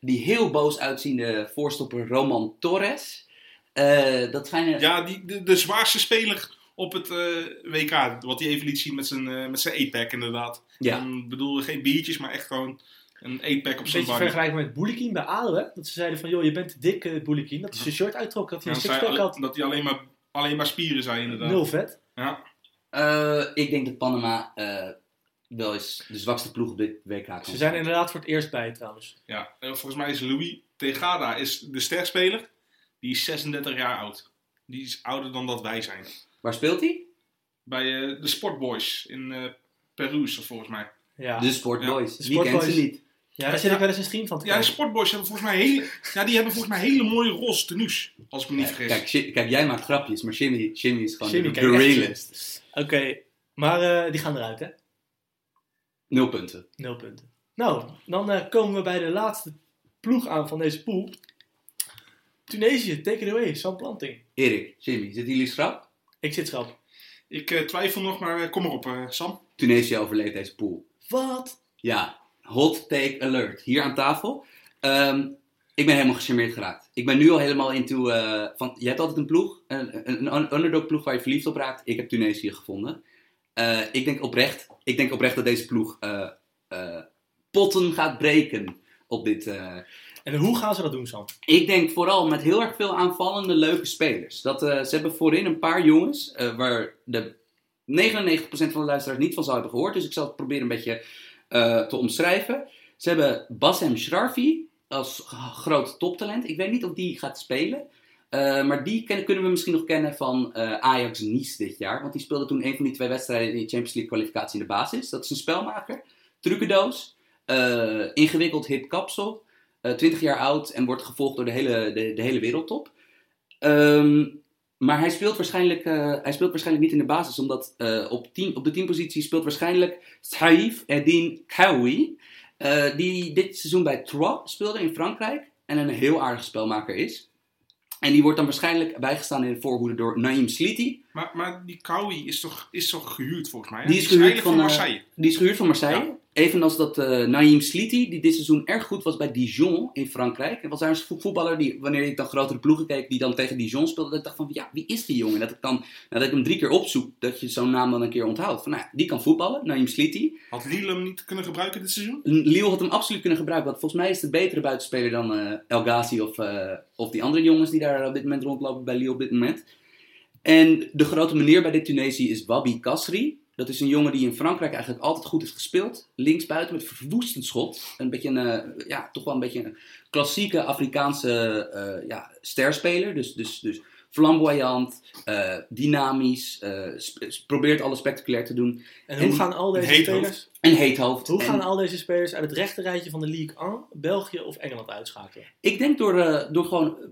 Speaker 3: die heel boos uitziende voorstopper Roman Torres. Eh, dat schijnen
Speaker 2: Ja, die, de, de zwaarste speler op het eh, WK. Wat hij even liet zien met zijn, eh, met zijn 8-pack inderdaad.
Speaker 3: Ja.
Speaker 2: Ik bedoel, geen biertjes, maar echt gewoon een 8-pack
Speaker 1: Een
Speaker 2: op zijn
Speaker 1: beetje
Speaker 2: body.
Speaker 1: vergelijken met Boulikin bij ADO, hè? Dat ze zeiden van, joh, je bent te dik, eh, Boulikin. Dat hij zijn shirt uittrok, dat hij
Speaker 2: Ja,
Speaker 1: een
Speaker 2: dat hij
Speaker 1: sixpack
Speaker 2: alle-
Speaker 1: had.
Speaker 2: dat hij alleen maar, alleen maar spieren zijn inderdaad.
Speaker 1: Nul vet.
Speaker 2: Ja,
Speaker 3: Eh, ik denk dat Panama eh, wel eens de zwakste ploeg op dit WK kan
Speaker 1: Ze zijn er inderdaad voor het eerst bij, trouwens.
Speaker 2: ja. Eh, Volgens mij is Louis Tegada is de sterspeler. Die is 36 jaar oud. Die is ouder dan dat wij zijn.
Speaker 3: Waar speelt hij?
Speaker 2: Bij eh, de Sportboys in eh Peru is dat volgens mij.
Speaker 1: Ja,
Speaker 3: De Sportboys.
Speaker 1: De
Speaker 3: Die kent
Speaker 1: Sportboys.
Speaker 3: ze niet.
Speaker 1: ja daar zit ik wel eens een stream van te
Speaker 2: Ja, de
Speaker 1: kijken.
Speaker 2: Sportboys hebben volgens mij hele, ja, die hebben volgens mij hele mooie roze tenues. Als ik me niet
Speaker 3: Eh,
Speaker 2: vergis.
Speaker 3: Kijk, Shi- kijk, jij maakt grapjes, maar Jimmy, Jimmy is gewoon
Speaker 1: Jimmy
Speaker 3: de
Speaker 1: kijkt echt-
Speaker 3: realist.
Speaker 1: Oké, maar eh, die gaan eruit, hè?
Speaker 3: Nul punten.
Speaker 1: Nul punten. Nou, dan eh, komen we bij de laatste ploeg aan van deze pool. Tunesië, take it away, Sam Planting.
Speaker 3: Erik, Jimmy, zitten jullie schrap?
Speaker 1: Ik zit schrap.
Speaker 2: Ik eh, twijfel nog, maar eh, kom erop, eh, Sam.
Speaker 3: Tunesië overleeft deze pool.
Speaker 1: Wat?
Speaker 3: Ja, hot take alert. Hier aan tafel. Ehm, ik ben helemaal gecharmeerd geraakt. Ik ben nu al helemaal into... eh, van, je hebt altijd een ploeg, een, een, een underdog ploeg waar je verliefd op raakt. Ik heb Tunesië gevonden. Eh, ik, denk oprecht, ik denk oprecht dat deze ploeg eh, eh, potten gaat breken op dit... eh,
Speaker 1: En hoe gaan ze dat doen, Sam?
Speaker 3: ik denk vooral met heel erg veel aanvallende leuke spelers. Dat, eh, ze hebben voorin een paar jongens eh, waar de 99% van de luisteraars niet van zou hebben gehoord. Dus ik zal het proberen een beetje eh, te omschrijven. Ze hebben Bassem Sharfi als g- groot toptalent. Ik weet niet of die gaat spelen. Eh, maar die ken- kunnen we misschien nog kennen van eh, Ajax Nice dit jaar. Want die speelde toen een van die twee wedstrijden in de Champions League kwalificatie in de basis. Dat is een spelmaker. Trucendoos. eh, ingewikkeld hip kapsel. Eh, 20 jaar oud en wordt gevolgd door de hele, de, de hele wereldtop. Ehm, maar hij speelt, waarschijnlijk, eh, hij speelt waarschijnlijk niet in de basis, omdat eh, op, tien, op de teampositie speelt waarschijnlijk Saif Eddin Kawi, eh, die dit seizoen bij Troyes speelde in Frankrijk en een heel aardige spelmaker is. En die wordt dan waarschijnlijk bijgestaan in de voorhoede door Naim Sliti.
Speaker 2: Maar, maar die Kawi is toch, is toch gehuurd volgens mij? hè?
Speaker 3: Die is gehuurd
Speaker 2: eigenlijk
Speaker 3: van, eh,
Speaker 2: Marseille.
Speaker 3: Die is gehuurd van Marseille. Evenals dat eh Naim Sliti, die dit seizoen erg goed was bij Dijon in Frankrijk. En was daar een vo- voetballer die, wanneer ik dan grotere ploegen keek, die dan tegen Dijon speelde. Dat ik dacht van, ja, wie is die jongen? Dat ik dan, nadat ik hem drie keer opzoek, dat je zo'n naam dan een keer onthoudt. Van, nou, ja, die kan voetballen, Naim Sliti.
Speaker 2: Had Lille hem niet kunnen gebruiken dit seizoen?
Speaker 3: Lille had hem absoluut kunnen gebruiken, want volgens mij is het een betere buitenspeler dan eh, El Ghazi of, eh, of die andere jongens die daar op dit moment rondlopen bij Lille op dit moment. En de grote meneer bij dit Tunesië is Wabi Kasri. Dat is een jongen die in Frankrijk eigenlijk altijd goed is gespeeld. Linksbuiten met verwoestend schot. Een beetje een, eh, ja, toch wel een beetje een klassieke Afrikaanse eh ja, sterspeler. Dus, dus, dus flamboyant, eh, dynamisch, eh, sp- probeert alles spectaculair te doen.
Speaker 1: En hoe
Speaker 3: En
Speaker 1: gaan al deze
Speaker 2: heet
Speaker 1: spelers...
Speaker 3: Een heet hoofd.
Speaker 1: Hoe
Speaker 3: En-
Speaker 1: gaan al deze spelers uit het rechte rijtje van de League 1 België of Engeland uitschakelen?
Speaker 3: Ik denk door, eh, door gewoon eh,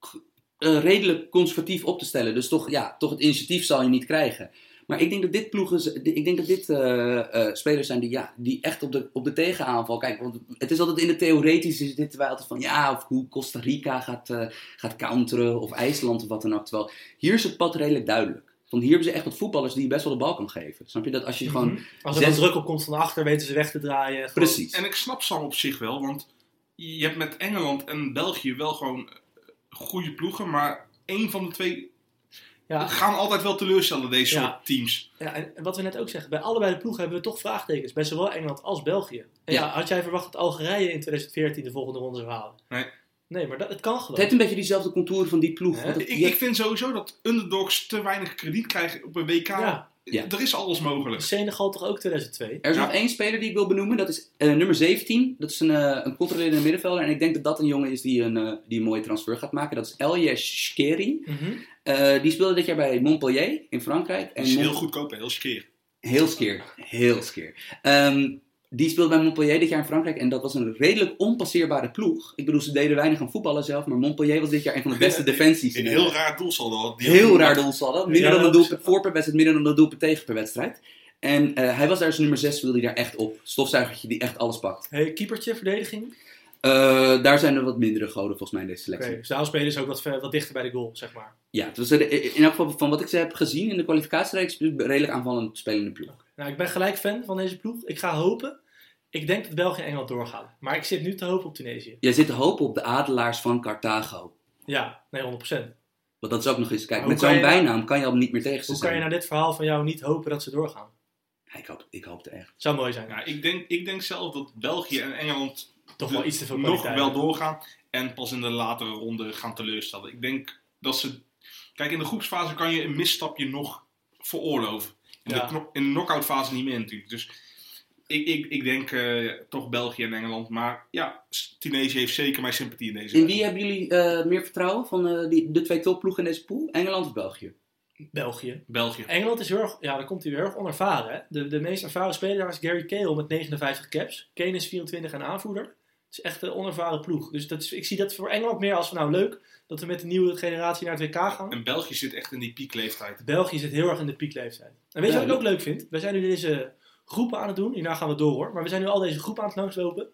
Speaker 3: k- eh, redelijk conservatief op te stellen. Dus toch, ja, toch het initiatief zal je niet krijgen. Maar ik denk dat dit ploegen, z- ik denk dat dit eh, eh, spelers zijn die, ja, die echt op de, op de tegenaanval kijken. Want het is altijd in de theoretisch is dit wij altijd van ja, of hoe Costa Rica gaat, eh, gaat counteren of IJsland of wat dan ook. Terwijl hier is het pad redelijk duidelijk. Want hier hebben ze echt wat voetballers die je best wel de bal kan geven. Snap je dat als je gewoon.
Speaker 2: Mhm.
Speaker 1: Als er dan
Speaker 3: Zes-
Speaker 1: druk op komt van achter, weten ze weg te draaien. Gewoon-
Speaker 3: Precies.
Speaker 2: En ik snap ze al op zich wel, want je hebt met Engeland en België wel gewoon eh, goede ploegen, maar één van de twee
Speaker 1: Ja,
Speaker 2: gaan altijd wel teleurstellen, deze
Speaker 1: Ja.
Speaker 2: soort teams.
Speaker 1: ja, en wat we net ook zeggen, bij allebei de ploegen hebben we toch vraagtekens. Bij zowel Engeland als België. En ja.
Speaker 3: Ja.
Speaker 1: had jij verwacht dat Algerije in 2014 de volgende ronde zou halen?
Speaker 2: Nee.
Speaker 1: Nee, maar dat, het kan
Speaker 3: Het
Speaker 1: gewoon.
Speaker 3: heeft een beetje diezelfde contouren van die ploeg.
Speaker 1: Ja,
Speaker 3: want het-
Speaker 2: Ik,
Speaker 3: je-
Speaker 2: ik vind sowieso dat underdogs te weinig krediet krijgen op een WK.
Speaker 1: Ja,
Speaker 3: Ja.
Speaker 2: Er is alles mogelijk.
Speaker 1: Senegal toch ook 2002?
Speaker 3: Er is
Speaker 2: Ja.
Speaker 3: nog één speler die ik wil benoemen. Dat is eh, nummer 17. Dat is een, eh een controlerende middenvelder. En ik denk dat dat een jongen is die een, eh, die een mooie transfer gaat maken. Dat is Eljes Shkeri.
Speaker 1: Mhm.
Speaker 3: Eh, die speelde dit jaar bij Montpellier in Frankrijk. En
Speaker 2: Het is
Speaker 3: Mon-
Speaker 2: heel goedkoop en heel skeer.
Speaker 3: Heel skeer. Heel skeer. Ehm, die speelde bij Montpellier dit jaar in Frankrijk. En dat was een redelijk onpasseerbare ploeg. Ik bedoel, ze deden weinig aan voetballen zelf. Maar Montpellier was dit jaar een van de
Speaker 2: (laughs)
Speaker 3: beste defensies. in
Speaker 2: Een
Speaker 3: de
Speaker 2: heel raar doelsaldo. had die
Speaker 3: Heel raar doelsaldo. dat. Minder
Speaker 1: Ja,
Speaker 3: dan een
Speaker 1: dat
Speaker 3: doelpunt
Speaker 1: is-
Speaker 3: voor per wedstrijd, minder dan een doelpunt tegen per wedstrijd. En eh, hij was daar als nummer 6, wilde hij daar echt op. Stofzuigertje die echt alles pakt.
Speaker 1: Hey, keepertje, verdediging.
Speaker 3: Eh, daar zijn er wat mindere goden volgens mij in deze
Speaker 1: Oké,
Speaker 3: selectie.
Speaker 1: dus daarom spelen ze ook wat, ver- wat dichter bij de goal, zeg maar.
Speaker 3: Ja, het was er- in elk geval van wat ik ze heb gezien in de kwalificatiereeks, een redelijk aanvallend spelende ploeg.
Speaker 1: Nou, ik ben gelijk fan van deze ploeg. Ik ga hopen. Ik denk dat België en Engeland doorgaan. Maar ik zit nu te hopen op Tunesië.
Speaker 3: Jij zit te hopen op de adelaars van Carthago.
Speaker 1: Ja, nee, 100%.
Speaker 3: Want dat is ook nog eens, kijk,
Speaker 1: Maar
Speaker 3: met
Speaker 1: hoe kan
Speaker 3: zo'n
Speaker 1: je- nou-
Speaker 3: bijnaam kan je al niet meer tegen ze
Speaker 1: Hoe kan
Speaker 3: zijn.
Speaker 1: je nou- naar dit verhaal van jou niet hopen dat ze doorgaan?
Speaker 3: Ja, ik, hoop, ik hoop het echt.
Speaker 1: Zou mooi zijn.
Speaker 2: Ja, ik, denk, ik denk zelf dat België en Engeland
Speaker 1: Toch
Speaker 2: de-
Speaker 1: wel iets te veel
Speaker 2: Dus nog
Speaker 1: kwaliteit.
Speaker 2: wel doorgaan. En pas in de latere ronde gaan teleurstellen. Ik denk dat ze. Kijk, in de groepsfase kan je een misstapje nog veroorloven. In,
Speaker 1: Ja.
Speaker 2: de, kno- in de knock-outfase niet meer natuurlijk. Dus ik, ik, ik denk eh, toch België en Engeland. Maar ja, S- Tunesië heeft zeker mijn sympathie in deze.
Speaker 3: In wie hebben jullie eh, meer vertrouwen van eh, die, de twee topploegen in deze pool? Engeland of België?
Speaker 1: België.
Speaker 2: België.
Speaker 1: Engeland is heel erg, ja, daar komt hij weer erg onervaren. hè. De, de meest ervaren speler daar is Gary Cahill met 59 caps. Kane is 24 en aanvoerder. Het is echt een onervaren ploeg. Dus dat is, ik zie dat voor Engeland meer als van nou leuk dat we met de nieuwe generatie naar het WK gaan.
Speaker 2: En België zit echt in die piekleeftijd.
Speaker 1: België zit heel erg in de piekleeftijd. En weet je wat ik ook leuk vind? We zijn nu deze groepen aan het doen. Hierna gaan we door hoor. Maar we zijn nu al deze groepen aan het langslopen.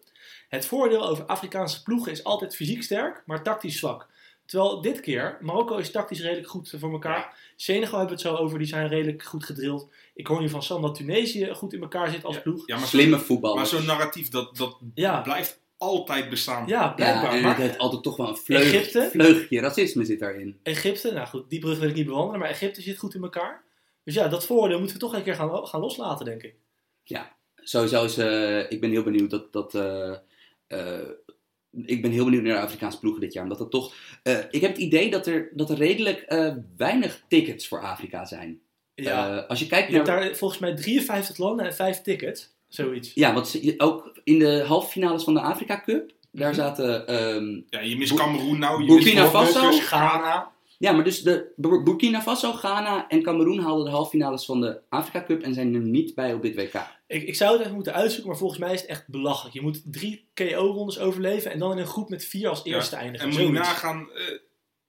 Speaker 1: Het voordeel over Afrikaanse ploegen is altijd fysiek sterk, maar tactisch zwak. Terwijl dit keer, Marokko is tactisch redelijk goed voor elkaar.
Speaker 2: Ja.
Speaker 1: Senegal hebben we het zo over, die zijn redelijk goed gedrild. Ik hoor nu van Sam dat Tunesië goed in elkaar zit als ploeg.
Speaker 2: Ja, maar zo-
Speaker 3: Slimme voetballers.
Speaker 2: maar zo'n narratief dat, dat
Speaker 1: Ja,
Speaker 2: blijft altijd bestaan.
Speaker 1: ja
Speaker 3: Ja,
Speaker 1: blijkbaar.
Speaker 3: en het
Speaker 1: maar
Speaker 3: heeft altijd toch wel een vleug,
Speaker 1: Egypte?
Speaker 3: vleugje racisme zit daarin.
Speaker 1: Egypte, nou goed, die brug wil ik niet bewandelen, maar Egypte zit goed in elkaar. Dus ja, dat voordeel moeten we toch een keer gaan, gaan loslaten, denk ik.
Speaker 3: Sowieso is, eh, ik ben heel benieuwd dat, dat eh, eh, ik ben heel benieuwd naar de Afrikaanse ploegen dit jaar. Omdat dat toch, eh, ik heb het idee dat er, dat er redelijk eh, weinig tickets voor Afrika zijn.
Speaker 1: Ja.
Speaker 3: Eh, als je kijkt
Speaker 1: Je hebt
Speaker 3: naar,
Speaker 1: daar volgens mij 53 landen en 5 tickets. Zoiets.
Speaker 3: ja, want ze- je- ook in de halve finales van de Afrika Cup, daar
Speaker 1: Mhm.
Speaker 3: zaten, ehm,
Speaker 2: Ja, je mist
Speaker 3: Bo-
Speaker 2: Cameroen nou. Je
Speaker 3: Burkina
Speaker 2: mist Marokko,
Speaker 3: Faso?
Speaker 2: Ghana.
Speaker 3: ja, maar dus de Bur- Burkina Faso, Ghana en Cameroen haalden de halve finales van de Afrika Cup en zijn er niet bij op dit WK.
Speaker 1: Ik, ik zou het even moeten uitzoeken, maar volgens mij is het echt belachelijk. Je moet drie KO-rondes overleven en dan in een groep met vier als eerste eindigen.
Speaker 2: En moet je
Speaker 1: Zoiets.
Speaker 2: nagaan, eh,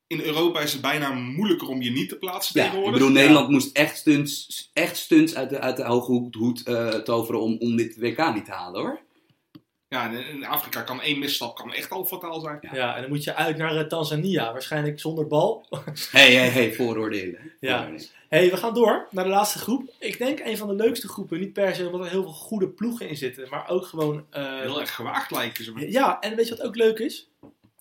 Speaker 2: in Europa is het bijna moeilijker om je niet te plaatsen
Speaker 3: Ja, ik
Speaker 2: tegenwoordig.
Speaker 3: bedoel, Nederland moest echt stunts, echt stunts uit de, uit de hoge hoed, hoed eh, toveren om, om dit WK niet te halen hoor.
Speaker 2: Ja, in- in Afrika kan één misstap kan echt al fataal zijn.
Speaker 1: Ja. en dan moet je uit naar eh, Tanzania, waarschijnlijk zonder bal. (laughs)
Speaker 3: Hé, hé, hé, vooroordelen.
Speaker 1: Ja.
Speaker 3: Vooroordelen.
Speaker 1: hey, we gaan door naar de laatste groep. Ik denk een van de leukste groepen, niet per se omdat er heel veel goede ploegen in zitten, maar ook gewoon... eh,
Speaker 2: Heel erg gewaagd lijken ze me.
Speaker 1: ja, en weet je wat ook leuk is?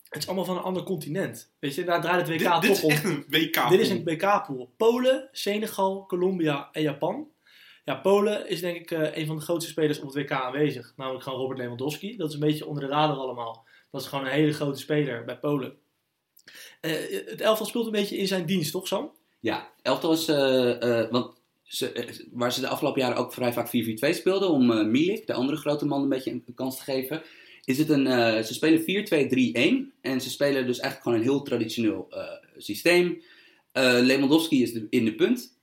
Speaker 1: Het is allemaal van een ander continent. Weet je, daar draait het WK
Speaker 2: Dit, dit
Speaker 1: toch
Speaker 2: is
Speaker 1: om.
Speaker 2: echt een WK.
Speaker 1: Dit is een BK-pool. Polen, Senegal, Colombia en Japan. Ja, Polen is denk ik eh, een van de grootste spelers op het WK aanwezig. Namelijk gewoon Robert Lewandowski. Dat is een beetje onder de radar allemaal. Dat is gewoon een hele grote speler bij Polen. Eh, het elftal speelt een beetje in zijn dienst, toch Sam?
Speaker 3: Ja, elftal is, eh, eh, want ze, eh, waar ze de afgelopen jaren ook vrij vaak 4-4-2 speelden, om eh, Milik, de andere grote man, een beetje een, een kans te geven, is het een, eh, ze spelen 4-2-3-1 en ze spelen dus eigenlijk gewoon een heel traditioneel eh, systeem. Eh Lewandowski is de- in de punt.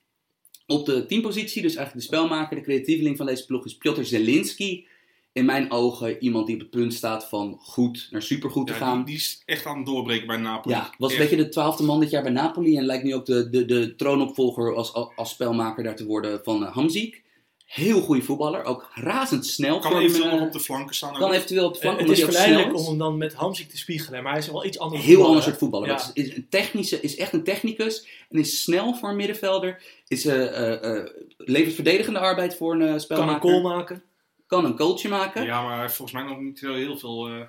Speaker 3: Op de teampositie, dus eigenlijk de spelmaker, de creatieveling van deze ploeg is Piotr Zelinski. in mijn ogen iemand die op het punt staat van goed naar supergoed te
Speaker 2: Ja,
Speaker 3: gaan.
Speaker 2: die, die is echt aan het doorbreken bij Napoli.
Speaker 3: Ja, was een
Speaker 2: Echt.
Speaker 3: beetje de twaalfde man dit jaar bij Napoli. En lijkt nu ook de, de, de troonopvolger als, als spelmaker daar te worden van eh, Hamziek. Heel goede voetballer, ook razendsnel.
Speaker 2: Kan
Speaker 3: Gewoon,
Speaker 2: eventueel
Speaker 3: eh,
Speaker 2: nog op de flanken staan.
Speaker 3: kan eventueel op de flank,
Speaker 1: Eh, het
Speaker 3: omdat
Speaker 1: is
Speaker 3: hij ook snel
Speaker 1: verleidelijk
Speaker 3: is.
Speaker 1: om hem dan met Hamzik te spiegelen, maar hij is wel iets
Speaker 3: Een
Speaker 1: anders. eh,
Speaker 3: heel ander soort voetballer.
Speaker 1: Ja.
Speaker 3: Dat Is, is, een technische, is echt een technicus en is snel voor een middenvelder. Is, eh eh, eh, levert verdedigende arbeid voor een eh,
Speaker 1: Kan
Speaker 3: spelmaker.
Speaker 1: een goal maken.
Speaker 3: Kan een goaltje maken.
Speaker 2: Ja, maar hij heeft volgens mij nog niet heel, heel veel... eh,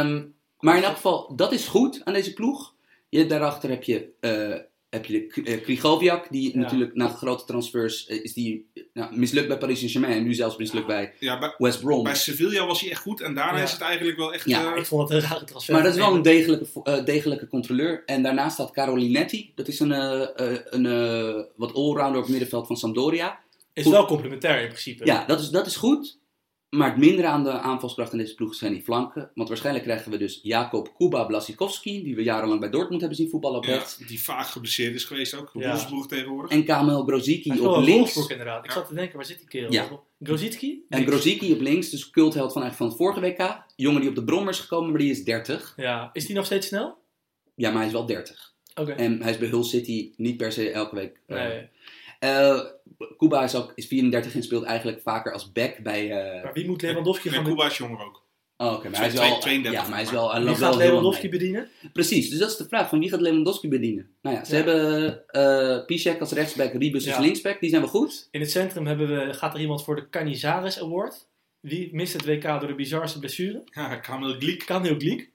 Speaker 3: Ehm, maar in elk geval, dat is goed aan deze ploeg. Je, daarachter heb je, eh, heb je de K- eh, Krigoviak, die
Speaker 1: Ja.
Speaker 3: natuurlijk na grote transfers eh, is die, eh, nou, mislukt bij Paris Saint-Germain en nu zelfs mislukt bij
Speaker 2: ja, bij,
Speaker 3: West Brom.
Speaker 2: bij Sevilla was hij echt goed. En daarna
Speaker 1: Ja.
Speaker 2: is het eigenlijk wel echt...
Speaker 3: Ja,
Speaker 2: eh,
Speaker 1: Ik vond dat een rare transfer.
Speaker 3: Maar dat is wel een degelijke, vo- eh, degelijke controleur. En daarnaast staat Carolinetti. Dat is een, eh, eh, een eh, wat allrounder op het middenveld van Sampdoria.
Speaker 1: Is wel complementair in principe.
Speaker 3: Ja, dat is, dat is goed. Maar het minder aan de aanvalskracht in deze ploeg zijn die flanken. Want waarschijnlijk krijgen we dus Jacob Kuba Blasikowski, die we jarenlang bij Dortmund hebben zien voetballen op
Speaker 2: ja,
Speaker 3: rechts.
Speaker 2: die vaak geblesseerd is geweest ook.
Speaker 1: Ja.
Speaker 2: Wolfsburg tegenwoordig.
Speaker 3: En Kamel
Speaker 1: Hij
Speaker 3: Grozicki
Speaker 1: is wel
Speaker 3: op
Speaker 1: een
Speaker 3: links.
Speaker 1: Wolfsburg inderdaad. Ik
Speaker 2: Ja.
Speaker 1: zat te denken, waar zit die kerel?
Speaker 3: Ja.
Speaker 1: Grozitski?
Speaker 3: En Grozicki op links, dus cultheld van, eigenlijk van het vorige WK. Jongen die op de brommer is gekomen, maar die is 30.
Speaker 1: Ja. Is die nog steeds snel?
Speaker 3: Ja, maar hij is wel 30.
Speaker 1: Oké.
Speaker 3: En hij is bij Hull City niet per se elke week. eh,
Speaker 1: Nee.
Speaker 3: eh Kuba is, ook, is 34 en speelt eigenlijk vaker als back bij... eh,
Speaker 1: Maar wie moet Lewandowski
Speaker 2: En
Speaker 1: gaan
Speaker 2: Cuba is jonger ook.
Speaker 3: oh, oké, maar hij is
Speaker 2: Twee-
Speaker 3: wel...
Speaker 2: 32
Speaker 3: ja, maar hij is wel... hij
Speaker 1: Wie
Speaker 3: loopt
Speaker 1: gaat
Speaker 3: wel heel lang
Speaker 1: Lewandowski
Speaker 3: mee.
Speaker 1: bedienen?
Speaker 3: Precies, dus dat is de vraag. Van wie gaat Lewandowski bedienen? Nou ja, ze
Speaker 1: Ja.
Speaker 3: hebben eh Piszek als rechtsback, Ribus als
Speaker 1: Ja.
Speaker 3: linksback. Die zijn wel goed.
Speaker 1: In het centrum hebben we, gaat er iemand voor de Canizares Award. Wie mist het WK door de bizarste blessure?
Speaker 2: Ja, Kamel Glik.
Speaker 1: Kan heel gliek.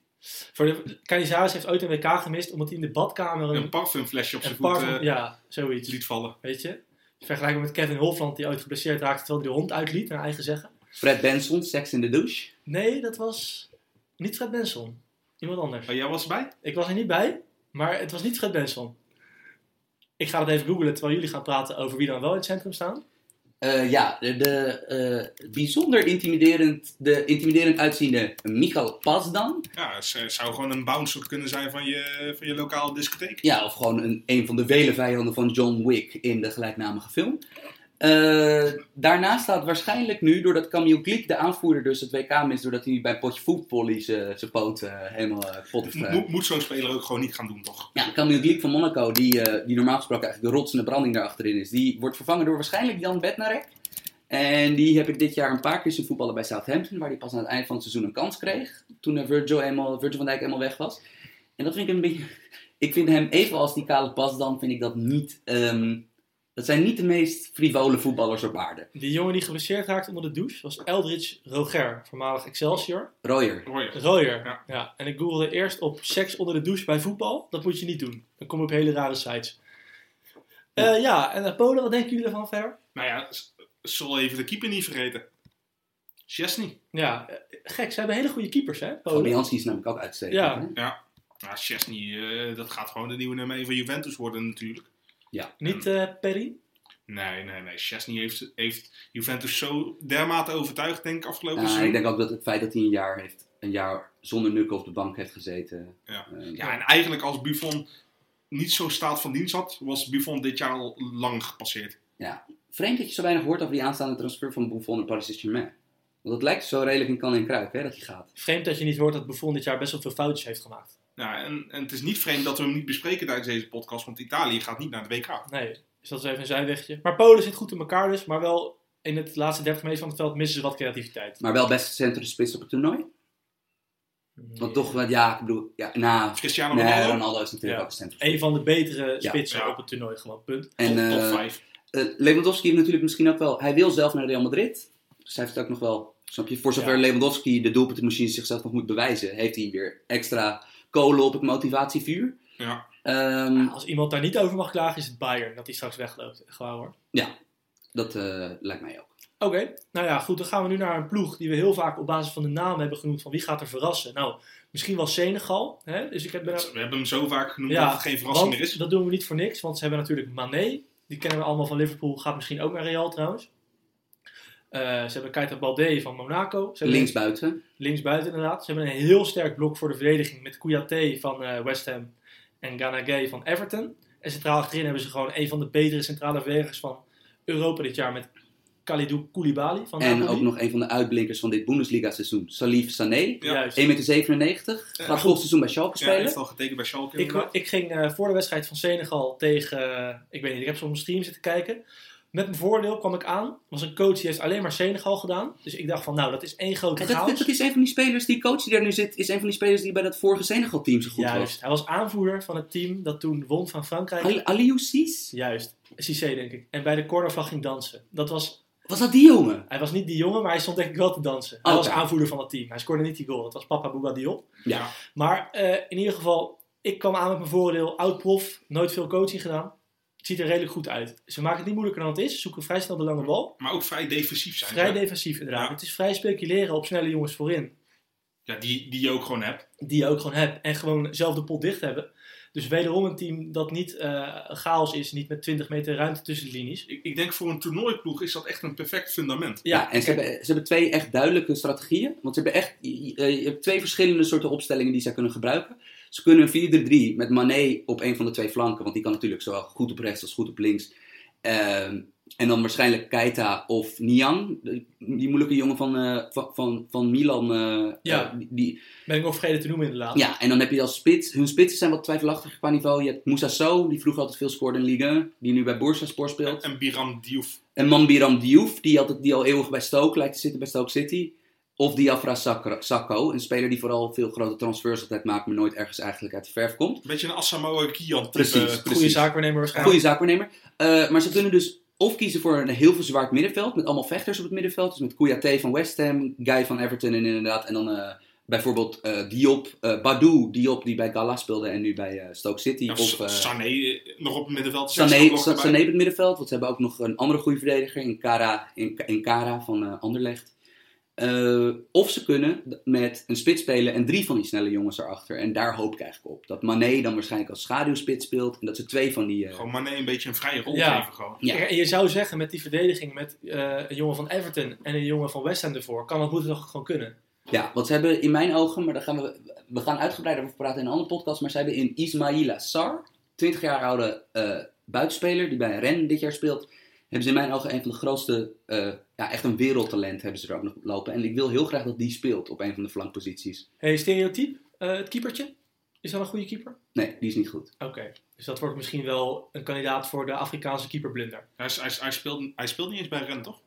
Speaker 1: Voor de Canizares heeft ooit een WK gemist omdat hij in de badkamer
Speaker 2: Een
Speaker 1: een,
Speaker 2: parfumflesje op zijn
Speaker 1: een
Speaker 2: voet
Speaker 1: par...
Speaker 2: eh,
Speaker 1: ja, zoiets.
Speaker 2: liet vallen.
Speaker 1: Weet je? Vergelijken met Kevin Hofland die ooit geblesseerd raakte terwijl hij de hond uitliet, naar eigen zeggen.
Speaker 3: Fred Benson, Sex in the Douche.
Speaker 1: Nee, dat was niet Fred Benson. Iemand anders.
Speaker 2: Oh, jij was erbij?
Speaker 1: Ik was er niet bij, maar het was niet Fred Benson. Ik ga dat even googlen terwijl jullie gaan praten over wie dan wel in het centrum staan.
Speaker 3: Eh, ja, de, de, eh, bijzonder intimiderend, de intimiderend uitziende Michael Pasdan.
Speaker 2: Ja, het z- zou gewoon een bouncer kunnen zijn van je, van je lokale discotheek.
Speaker 3: Ja, of gewoon een, een van de vele vijanden van John Wick in de gelijknamige film. Eh, daarnaast staat waarschijnlijk nu, doordat Camille Glick, de aanvoerder, dus het WK mist, doordat hij bij een potje voetvolley zijn zijn poot eh, helemaal eh, pot heeft eh,
Speaker 2: Moet, moet zo'n speler ook gewoon niet gaan doen, toch?
Speaker 3: Ja, Camille Glick van Monaco, die, eh, die normaal gesproken eigenlijk de rotsende branding daarachterin is, die wordt vervangen door waarschijnlijk Jan Bednarek. En die heb ik dit jaar een paar keer zien voetballen bij Southampton, waar hij pas aan het eind van het seizoen een kans kreeg. Toen eh, Virgil, eenmaal, Virgil van Dijk eenmaal weg was. En dat vind ik een beetje... (laughs) Ik vind hem, evenals die kale pas dan, vind ik dat niet... ehm, dat zijn niet de meest frivole voetballers op aarde.
Speaker 1: Die jongen die geblesseerd raakt onder de douche was Eldridge Roger, voormalig Excelsior.
Speaker 3: Royer.
Speaker 2: Hoor je?
Speaker 1: Roger,
Speaker 2: Ja.
Speaker 1: ja. En ik googelde eerst op seks onder de douche bij voetbal. Dat moet je niet doen. Dan kom je op hele rare sites. Eh, ja, en eh, Polen, wat denken jullie ervan verder?
Speaker 2: Nou ja, z- zal even de keeper niet vergeten. Chesney.
Speaker 1: Ja, eh, gek. Ze hebben hele goede keepers, hè, Polen.
Speaker 3: Fabianski is namelijk ook uitstekend.
Speaker 1: Oh. Ja.
Speaker 3: hè?
Speaker 2: Ja, Chesney, eh, dat gaat gewoon de nieuwe nummer 1 van Juventus worden natuurlijk.
Speaker 1: Niet eh Perry?
Speaker 2: Nee, nee, nee. Chesney heeft, heeft Juventus zo dermate overtuigd, denk ik, afgelopen
Speaker 3: Nou,
Speaker 2: seizoen.
Speaker 3: ik denk ook dat het feit dat hij een jaar, heeft, een jaar zonder nukken op de bank heeft gezeten...
Speaker 2: Ja.
Speaker 3: eh,
Speaker 2: Ja, en eigenlijk als Buffon niet zo staat van dienst had, was Buffon dit jaar al lang gepasseerd.
Speaker 3: Vreemd dat je zo weinig hoort over die aanstaande transfer van Buffon naar Paris Saint-Germain. Want dat lijkt zo redelijk in kan en kruik, hè, dat hij gaat.
Speaker 1: Vreemd dat je niet hoort dat Buffon dit jaar best wel veel foutjes heeft gemaakt.
Speaker 2: Ja, Nou, en, en het is niet vreemd dat we hem niet bespreken tijdens deze podcast, want Italië gaat niet naar de WK.
Speaker 1: Nee, dus dat is even een zijwegje. Maar Polen zit goed in elkaar dus, maar wel in het laatste 30 meter van het veld missen ze wat creativiteit.
Speaker 3: Maar wel best centrumspits op het toernooi. Want toch, wel, ja, ik bedoel, ja, nou,
Speaker 2: Cristiano
Speaker 3: nee,
Speaker 2: Ronaldo,
Speaker 3: Ronaldo is natuurlijk
Speaker 1: Ja.
Speaker 3: ook een centrum.
Speaker 1: Een van de betere
Speaker 3: Ja.
Speaker 1: spitsen
Speaker 2: Ja.
Speaker 1: op het toernooi, gewoon punt.
Speaker 3: En
Speaker 2: top, top
Speaker 3: eh,
Speaker 2: 5.
Speaker 3: eh, Lewandowski heeft natuurlijk misschien ook wel, hij wil zelf naar Real Madrid. Dus hij heeft ook nog wel, snap je, voor zover
Speaker 1: Ja.
Speaker 3: Lewandowski de doelpuntenmachine zichzelf nog moet bewijzen, heeft hij weer extra kolen op het motivatievuur.
Speaker 2: Ja.
Speaker 3: Ehm,
Speaker 1: Als iemand daar niet over mag klagen, is het Bayern dat hij straks wegloopt. Gewoon hoor.
Speaker 3: Dat eh, lijkt mij ook.
Speaker 1: Oké, nou ja, goed. Dan gaan we nu naar een ploeg die we heel vaak op basis van de naam hebben genoemd. Van wie gaat er verrassen? Nou, misschien wel Senegal. Hè? Dus ik heb ben er-
Speaker 2: We hebben hem zo vaak genoemd
Speaker 1: Ja,
Speaker 2: dat het geen verrassing meer
Speaker 1: want
Speaker 2: is.
Speaker 1: dat doen we niet voor niks. Want ze hebben natuurlijk Mané. Die kennen we allemaal van Liverpool. Gaat misschien ook naar Real trouwens. Eh, ze hebben Keita Balde van Monaco. Ze hebben-
Speaker 3: Linksbuiten.
Speaker 1: Linksbuiten inderdaad. Ze hebben een heel sterk blok voor de verdediging met Kouyaté van eh, West Ham en Ganagay van Everton. En centraal achterin hebben ze gewoon een van de betere centrale verdedigers van Europa dit jaar met Kalidou Koulibaly van
Speaker 3: En
Speaker 1: Napoli.
Speaker 3: ook nog een van de uitblinkers van dit Bundesliga-seizoen. Salif Sané, 1,97
Speaker 2: Ja.
Speaker 1: Juist.
Speaker 3: meter.
Speaker 2: Ja,
Speaker 3: Gaat
Speaker 1: goed.
Speaker 3: volgend seizoen bij Schalke
Speaker 2: Ja, hij
Speaker 3: spelen.
Speaker 2: heeft al getekend bij Schalke.
Speaker 1: Ik,
Speaker 2: inderdaad.
Speaker 1: ik ging eh, voor de wedstrijd van Senegal tegen, eh, ik weet niet, ik heb soms een stream zitten kijken. Met mijn voordeel kwam ik aan. was een coach die heeft alleen maar Senegal gedaan. Dus ik dacht van, nou, dat is één grote
Speaker 3: Kijk, dat,
Speaker 1: chaos.
Speaker 3: dat is een van die spelers, die coach die daar nu zit, is een van die spelers die bij dat vorige Senegal-team zo goed
Speaker 1: Juist. Hij was aanvoerder van het team dat toen won van Frankrijk.
Speaker 3: was. Ali- Aliou Sis?
Speaker 1: Juist. Cissé, denk ik. En bij de cornervlag ging dansen. Dat was,
Speaker 3: Was dat die jongen?
Speaker 1: hij was niet die jongen, maar hij stond denk ik wel te dansen. Hij
Speaker 3: Oké.
Speaker 1: was aanvoerder van het team. Hij scoorde niet die goal. Dat was Papa Bouba Diop.
Speaker 3: Ja.
Speaker 1: Maar eh, in ieder geval, ik kwam aan met mijn voordeel. Oud prof, nooit veel coaching gedaan. Het ziet er redelijk goed uit. Ze maken het niet moeilijker dan het is. Ze zoeken vrij snel de lange bal.
Speaker 2: Maar ook vrij defensief zijn.
Speaker 1: Vrij
Speaker 2: ja.
Speaker 1: defensief inderdaad.
Speaker 2: Ja.
Speaker 1: Het is vrij speculeren op snelle jongens voorin.
Speaker 2: ja, die, die je ook gewoon hebt.
Speaker 1: Die je ook gewoon hebt. En gewoon zelf de pot dicht hebben. Dus wederom een team dat niet eh, chaos is. Niet met 20 meter ruimte tussen de linies.
Speaker 2: Ik, ik denk voor een toernooiploeg is dat echt een perfect fundament.
Speaker 1: Ja,
Speaker 3: en ze hebben, ze hebben twee echt duidelijke strategieën. Want ze hebben echt je, eh, je- je hebt twee verschillende soorten opstellingen die zij kunnen gebruiken. Ze kunnen een 4-3 met Mané op een van de twee flanken, want die kan natuurlijk zowel goed op rechts als goed op links. Ehm, en dan waarschijnlijk Keita of Niang, die die moeilijke jongen van, eh, van, van, van Milan. eh,
Speaker 1: Ja.
Speaker 3: eh, die,
Speaker 1: Ben ik nog vergeten te noemen inderdaad.
Speaker 3: Ja, en dan heb je als spits... Hun spitsen zijn wat twijfelachtig qua niveau. Je hebt Moussa Sow, die vroeger altijd veel scoorde in Ligue 1. Die nu bij Bursaspor speelt.
Speaker 2: En Biram Diouf.
Speaker 3: En Mambiram Diouf, die, altijd, die al eeuwig bij Stoke lijkt te zitten, bij Stoke City. Of Diafra Sakra- Sakho, een speler die vooral veel grote transfers altijd maakt... maar nooit ergens eigenlijk uit de verf komt.
Speaker 2: Een beetje een Asamoah Gyan
Speaker 3: Precies.
Speaker 2: type.
Speaker 1: Goede zaakwaarnemer waarschijnlijk.
Speaker 3: Goeie zaakwaarnemer. Eh, maar ze kunnen dus of kiezen voor een heel verzwaard middenveld... met allemaal vechters op het middenveld. Dus met Kouyaté van West Ham, Guy van Everton en inderdaad... en dan... eh, Bijvoorbeeld eh, Diop, eh Badou, Diop die bij Gala speelde en nu bij eh, Stoke City.
Speaker 2: Ja,
Speaker 3: of, eh,
Speaker 2: Sané eh, nog op het middenveld. Zes
Speaker 3: Sané,
Speaker 2: ook nog
Speaker 3: Sa-
Speaker 2: erbij.
Speaker 3: Sané op het middenveld. Want ze hebben ook nog een andere goede verdediger in Kara, in, in Kara van eh, Anderlecht. Eh, of ze kunnen d- met een spits spelen en drie van die snelle jongens erachter. En daar hoop ik eigenlijk op. Dat Mané dan waarschijnlijk als schaduwspits speelt. En dat ze twee van die... eh,
Speaker 2: Gewoon Mané een beetje een vrije rol
Speaker 1: Ja.
Speaker 2: geven gewoon.
Speaker 3: Ja.
Speaker 1: Kijk, en je zou zeggen met die verdediging met eh, een jongen van Everton en een jongen van West Ham ervoor, kan dat moet het toch gewoon kunnen.
Speaker 3: ja, want ze hebben in mijn ogen... Maar daar gaan we, we gaan uitgebreider over praten in een andere podcast. Maar ze hebben in Ismaila Sar, 20 jaar oude eh, buitenspeler... die bij Rennes dit jaar speelt... hebben ze in mijn ogen een van de grootste, eh, ja, echt een wereldtalent hebben ze er ook nog lopen. En ik wil heel graag dat die speelt op een van de flankposities.
Speaker 1: Hey, stereotype, eh, het keepertje, is dat een goede keeper?
Speaker 3: Nee, die is niet goed.
Speaker 1: Oké, dus dat wordt misschien wel een kandidaat voor de Afrikaanse keeperblunder.
Speaker 2: Hij, is- hij, is- hij, speelt, hij speelt niet eens bij Ren, toch?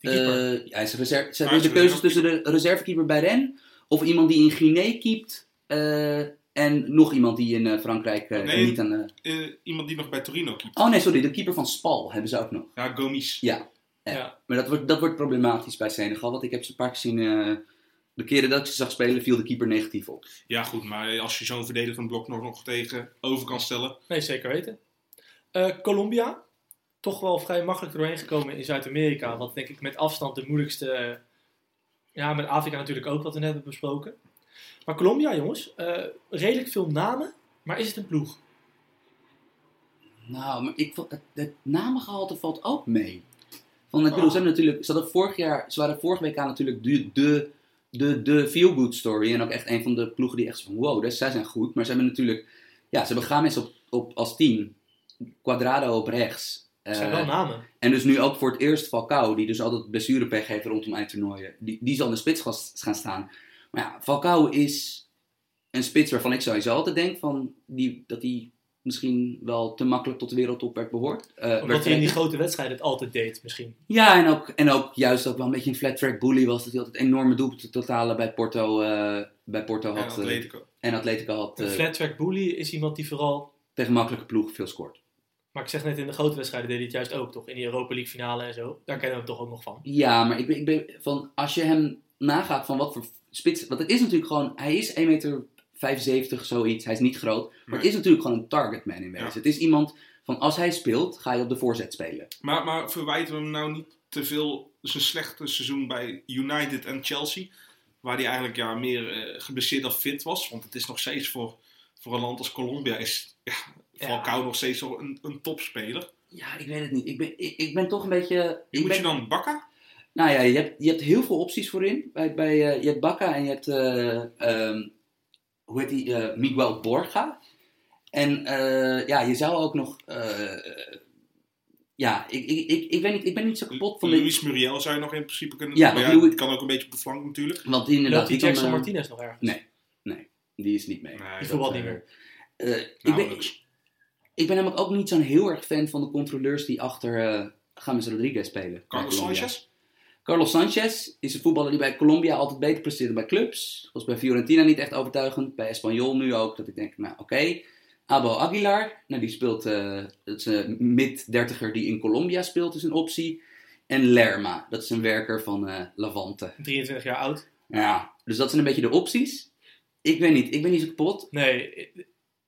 Speaker 1: Die keeper.
Speaker 3: Eh, hij is reserve, ze
Speaker 2: Hij
Speaker 3: hebben
Speaker 2: is
Speaker 3: de keuze
Speaker 2: reserve-
Speaker 3: tussen de reservekeeper bij Rennes of iemand die in Guinea keept eh, en nog iemand die in eh, Frankrijk eh,
Speaker 2: Nee.
Speaker 3: niet aan... eh,
Speaker 2: Eh, iemand die nog bij Torino keept.
Speaker 3: Oh nee, sorry, de keeper van Spal hebben ze ook nog.
Speaker 2: Ja, Gomis.
Speaker 3: eh.
Speaker 1: ja.
Speaker 3: Maar dat wordt, dat wordt problematisch bij Senegal, want ik heb ze een paar keer gezien... eh, de keren dat ik ze zag spelen, viel de keeper negatief op.
Speaker 2: Ja, goed, maar als je zo'n verdedigend blok nog, nog tegen over kan stellen.
Speaker 1: Nee, zeker weten. Eh, Colombia, toch wel vrij makkelijk doorheen gekomen in Zuid-Amerika, wat denk ik met afstand de moeilijkste, eh, ja met Afrika natuurlijk ook wat we net hebben besproken. Maar Colombia jongens, eh, redelijk veel namen, maar is het een ploeg?
Speaker 3: Nou, maar ik vond, het, het namengehalte valt ook mee. Want ik bedoel,
Speaker 2: Oh.
Speaker 3: ze, hebben natuurlijk, ze, hadden vorig jaar, ze waren vorige week aan natuurlijk de, de, de, de feel-good story. En ook echt een van de ploegen die echt zo van, wow, dus zij zijn goed. Maar ze hebben natuurlijk, ja, ze hebben Games op, op, als team. Quadrado op rechts.
Speaker 1: Het zijn
Speaker 3: Eh,
Speaker 1: wel namen.
Speaker 3: en dus nu ook voor het eerst Falcao, die dus altijd blessurepech heeft rondom eindtoernooien. Die, die zal in de spits gas- gaan staan. Maar ja, Falcao is een spits waarvan ik sowieso altijd denk van die, dat hij misschien wel te makkelijk tot de wereldtop werd behoord. eh, werd
Speaker 1: Omdat hij in die
Speaker 3: verrekt.
Speaker 1: grote wedstrijden het altijd deed, misschien.
Speaker 3: Ja, en ook, en ook juist ook wel een beetje een flat track bully was. Dat hij altijd enorme doelpunten totalen bij Porto, eh, bij Porto
Speaker 2: En
Speaker 3: had. eh,
Speaker 2: Atletico.
Speaker 3: en Atletico had
Speaker 1: Een
Speaker 3: eh,
Speaker 1: flat track bully is iemand die vooral...
Speaker 3: tegen makkelijke ploegen veel scoort.
Speaker 1: Maar ik zeg net, in de grote wedstrijden deed hij het juist ook, toch? In die Europa League finale en zo. Daar kennen we hem toch ook nog van.
Speaker 3: Ja, maar ik ben, ik ben van, als je hem nagaat van wat voor spits. Want het is natuurlijk gewoon, hij is 1,75 meter, zoiets. Hij is niet groot. Maar het
Speaker 2: Nee.
Speaker 3: is natuurlijk gewoon een targetman in wezen.
Speaker 2: Ja.
Speaker 3: Het is iemand van als hij speelt, ga je op de voorzet spelen.
Speaker 2: Maar, maar verwijten we hem nou niet te veel zijn slechte seizoen bij United en Chelsea? Waar hij eigenlijk ja, meer eh, geblesseerd dan fit was. Want het is nog steeds voor, voor een land als Colombia is ja, Falcao nog steeds wel een, een topspeler.
Speaker 3: Ja, ik weet het niet. Ik ben, ik, ik ben toch een beetje.
Speaker 2: Wie
Speaker 3: ik
Speaker 2: moet
Speaker 3: ben-
Speaker 2: je dan bakken?
Speaker 3: Nou ja, je hebt, je hebt heel veel opties voorin. Bij, bij, eh, je hebt Bakka en je hebt, eh, ehm, hoe heet die, eh, Miguel Borga. En eh, ja, je zou ook nog eh, ja, ik, ik, ik, ik, weet niet, ik ben niet zo kapot van dit.
Speaker 2: Luis Muriel zou je nog in principe kunnen
Speaker 3: Ja,
Speaker 2: doen, maar
Speaker 3: want Louis-
Speaker 2: het kan ook een beetje op de flank natuurlijk.
Speaker 3: Want inderdaad,
Speaker 1: Loopt die
Speaker 3: kan,
Speaker 1: Jackson
Speaker 3: eh,
Speaker 1: Martinez nog ergens?
Speaker 3: nee. die is niet mee.
Speaker 2: Nee, Nou,
Speaker 1: Die voetbalt
Speaker 3: Dat,
Speaker 1: niet
Speaker 3: eh,
Speaker 1: meer.
Speaker 3: eh, ik, ben,
Speaker 2: Nauwelijks.
Speaker 3: ik ben namelijk ook niet zo'n heel erg fan van de controleurs die achter eh James Rodriguez spelen.
Speaker 2: Carlos
Speaker 3: Bij Colombia.
Speaker 2: Sanchez?
Speaker 3: Carlos Sanchez is een voetballer die bij Colombia altijd beter presteerde bij clubs. Was bij Fiorentina niet echt overtuigend. Bij Espanyol nu ook. Dat ik denk, nou oké. Abo Aguilar, nou, die speelt, eh, dat is een mid-dertiger die in Colombia speelt, is een optie. En Lerma, dat is een werker van eh, Levante.
Speaker 1: 23 jaar oud.
Speaker 3: Ja, dus dat zijn een beetje de opties. Ik weet niet, ik ben niet zo kapot.
Speaker 1: Nee,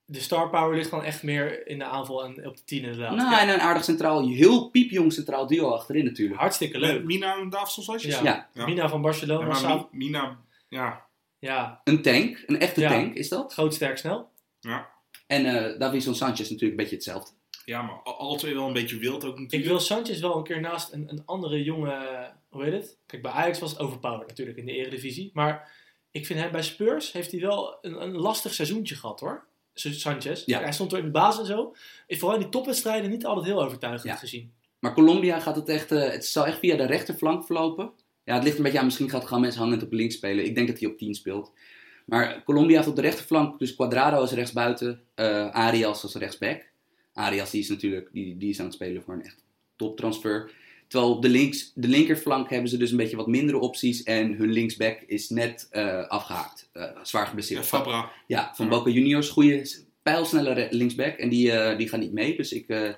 Speaker 1: de star power ligt gewoon echt meer in de aanval en op de 10 inderdaad.
Speaker 3: Nou,
Speaker 1: Ja,
Speaker 3: en een aardig centraal, heel piepjong centraal duo achterin natuurlijk.
Speaker 1: Hartstikke leuk.
Speaker 2: Mina en Davidson Sanchez?
Speaker 1: Ja.
Speaker 3: Ja,
Speaker 2: Ja.
Speaker 1: Mina van
Speaker 2: Ja,
Speaker 1: Barcelona,
Speaker 2: maar
Speaker 1: Sao-
Speaker 2: Mi- Mina, ja,
Speaker 1: ja,
Speaker 3: een tank, een echte
Speaker 1: Ja.
Speaker 3: tank is dat.
Speaker 1: groot, sterk, snel.
Speaker 2: ja,
Speaker 3: En eh Davinson Sanchez natuurlijk een beetje hetzelfde.
Speaker 2: ja, maar al al twee wel een beetje wild ook
Speaker 1: Ik
Speaker 2: natuurlijk.
Speaker 1: wil Sanchez wel een keer naast een, een andere jonge, eh, hoe heet het? Kijk, bij Ajax was het overpowered natuurlijk in de Eredivisie. Maar ik vind hem bij Spurs heeft hij wel een, een lastig seizoentje gehad hoor. Sa- Sanchez.
Speaker 3: Ja.
Speaker 1: Hij stond er in de baas en zo. Ik vooral in die topwedstrijden niet altijd heel overtuigend
Speaker 3: Ja.
Speaker 1: gezien.
Speaker 3: Maar Colombia gaat het echt, eh, het zal echt via de rechterflank verlopen. Ja, het ligt een beetje aan, misschien gaat Games hangend op links spelen. Ik denk dat hij op 10 speelt. Maar Colombia heeft op de rechterflank, dus Quadrado is rechtsbuiten, eh, Arias als rechtsback. Arias die is natuurlijk, die, die is aan het spelen voor een echt toptransfer. Terwijl op de, links, de linkerflank hebben ze dus een beetje wat mindere opties en hun linksback is net eh, afgehaakt. Eh, zwaar
Speaker 2: Ja,
Speaker 3: geblesseerd.
Speaker 2: Fabra.
Speaker 3: Ja, van
Speaker 2: Ja.
Speaker 3: Boca Juniors. Goede, pijlsnelle re- linksback. En die, eh, die gaan niet mee. Dus ik, eh, en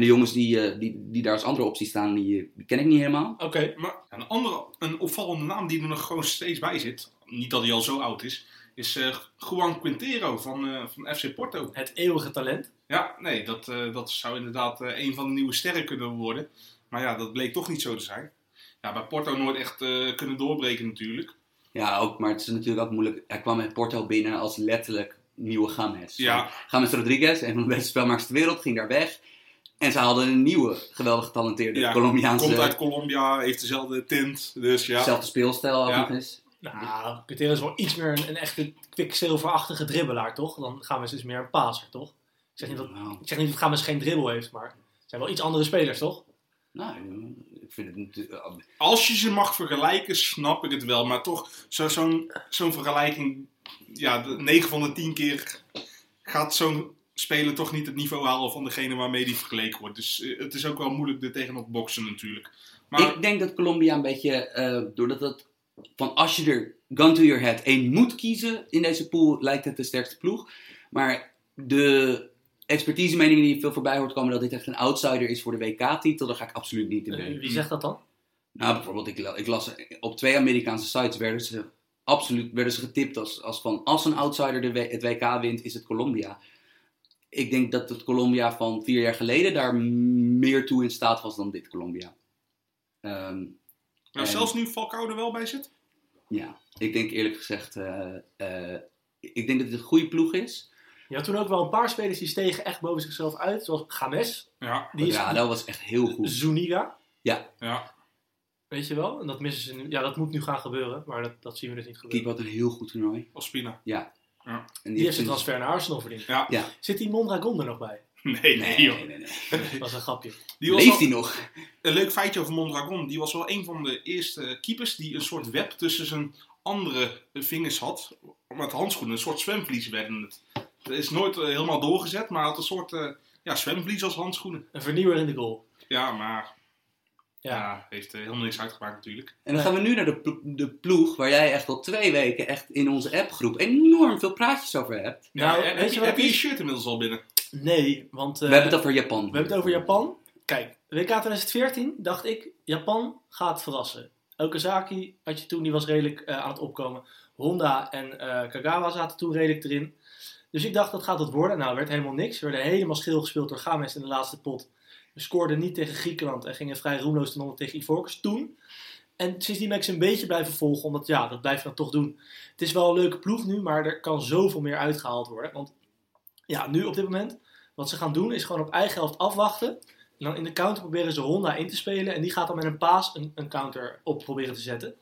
Speaker 3: de jongens die, eh, die, die daar als andere optie staan, die, eh, die ken ik niet helemaal.
Speaker 1: Oké,
Speaker 2: Maar een andere, een opvallende naam die er nog gewoon steeds bij zit, niet dat hij al zo oud is, is eh, Juan Quintero van, eh, van FC Porto.
Speaker 1: het eeuwige talent.
Speaker 2: Ja, nee, dat, eh, dat zou inderdaad eh, een van de nieuwe sterren kunnen worden. Maar ja, dat bleek toch niet zo te zijn. Ja, bij Porto nooit echt eh, kunnen doorbreken natuurlijk.
Speaker 3: Ja, ook, maar het is natuurlijk ook moeilijk. Hij kwam met Porto binnen als letterlijk nieuwe Games.
Speaker 2: Ja.
Speaker 3: Games Rodriguez, een van de beste spelmakers ter wereld, ging daar weg. En ze hadden een nieuwe, geweldig getalenteerde
Speaker 2: Ja,
Speaker 3: Colombiaanse...
Speaker 2: Komt uit Colombia, heeft dezelfde tint, dus ja.
Speaker 3: Zelfde speelstijl ook
Speaker 2: Ja.
Speaker 3: nog eens.
Speaker 1: Nou, Quintero is wel iets meer een, een echte kwikzilverachtige dribbelaar, toch? Dan gaan we dus meer een paser, toch? Ik zeg niet dat,
Speaker 3: Nou,
Speaker 1: ik zeg niet dat Games geen dribbel heeft, maar het zijn wel iets andere spelers, toch?
Speaker 3: nou, ik vind het natuurlijk...
Speaker 2: Als je ze mag vergelijken, snap ik het wel. Maar toch, zo- zo'n zo'n vergelijking, ja, 9 van de 10 keer gaat zo'n speler toch niet het niveau halen van degene waarmee die vergeleken wordt. Dus eh, het is ook wel moeilijk er tegenop boksen natuurlijk. Maar nou,
Speaker 3: Ik denk dat Colombia een beetje, eh, doordat het van als je er gun to your head één moet kiezen in deze pool, lijkt het de sterkste ploeg. Maar de expertise meningen die veel voorbij hoort komen, dat dit echt een outsider is voor de WK-titel, daar ga ik absoluut niet in
Speaker 1: Eh,
Speaker 3: mee.
Speaker 1: Wie zegt dat dan?
Speaker 3: Nou, bijvoorbeeld, ik, la- ik las op twee Amerikaanse sites werden ze absoluut werden ze getipt als, als van als een outsider de, W- het WK wint, is het Colombia. Ik denk dat het Colombia van vier jaar geleden daar m- meer toe in staat was dan dit Colombia. Ehm,
Speaker 2: nou,
Speaker 3: en-
Speaker 2: zelfs nu Falcao er wel bij zit.
Speaker 3: ja, ik denk eerlijk gezegd, eh, eh, ik denk dat het een goede ploeg is.
Speaker 1: Je had toen ook wel een paar spelers die stegen echt boven zichzelf uit, zoals Games,
Speaker 2: Ja,
Speaker 1: die is
Speaker 3: ja, dat was echt heel goed.
Speaker 1: Zuniga,
Speaker 2: ja.
Speaker 1: weet je wel? En dat missen ze nu. Ja, dat moet nu gaan gebeuren, maar dat, dat zien we dus niet
Speaker 3: Keep
Speaker 1: gebeuren.
Speaker 3: had een heel goed toernooi.
Speaker 2: Ospina. (laughs)
Speaker 3: En
Speaker 1: Die heeft zijn transfer naar Arsenal verdiend.
Speaker 2: Ja.
Speaker 3: Ja.
Speaker 1: Zit die Mondragon er nog bij?
Speaker 2: Nee, nee,
Speaker 3: Nee,
Speaker 2: joh.
Speaker 3: nee, nee, nee.
Speaker 1: Dat is een grapje.
Speaker 2: Die was
Speaker 3: Leeft
Speaker 2: wel-
Speaker 3: hij nog?
Speaker 2: Een leuk feitje over Mondragon. Die was wel een van de eerste keepers die een soort web tussen zijn andere vingers had. Met handschoenen, een soort zwemvlies werden het. Het is nooit eh, helemaal doorgezet, maar hij had een soort eh, ja, zwemvlies als handschoenen.
Speaker 1: Een vernieuwer in de goal.
Speaker 2: Ja, maar ja.
Speaker 1: Ja.
Speaker 2: heeft eh, helemaal niks uitgemaakt natuurlijk.
Speaker 3: En dan gaan we nu naar de, plo- de ploeg waar jij echt al twee weken echt in onze appgroep enorm veel praatjes over hebt.
Speaker 1: Nou,
Speaker 2: Ja, en
Speaker 1: weet
Speaker 2: heb
Speaker 1: je
Speaker 2: je,
Speaker 1: wat
Speaker 2: heb je
Speaker 1: het
Speaker 2: je
Speaker 1: is?
Speaker 2: shirt inmiddels al binnen?
Speaker 1: Nee, want... eh,
Speaker 3: we hebben het over Japan.
Speaker 1: We hebben het over Japan. Kijk, WK 2014 dacht ik, Japan gaat verrassen. Okazaki had je toen, die was redelijk eh, aan het opkomen. Honda en eh, Kagawa zaten toen redelijk erin. Dus ik dacht, dat gaat het worden. Nou, werd helemaal niks. We werden helemaal schil gespeeld door Games in de laatste pot. We scoorden niet tegen Griekenland en gingen vrij roemloos ten onder tegen Ivorcus toen. En sindsdien ben ik ze een beetje blijven volgen, omdat ja, dat blijf je dan toch doen. Het is wel een leuke ploeg nu, maar er kan zoveel meer uitgehaald worden. Want ja, nu op dit moment wat ze gaan doen is gewoon op eigen helft afwachten. En dan in de counter proberen ze Honda in te spelen. En die gaat dan met een paas een, een counter op proberen te zetten.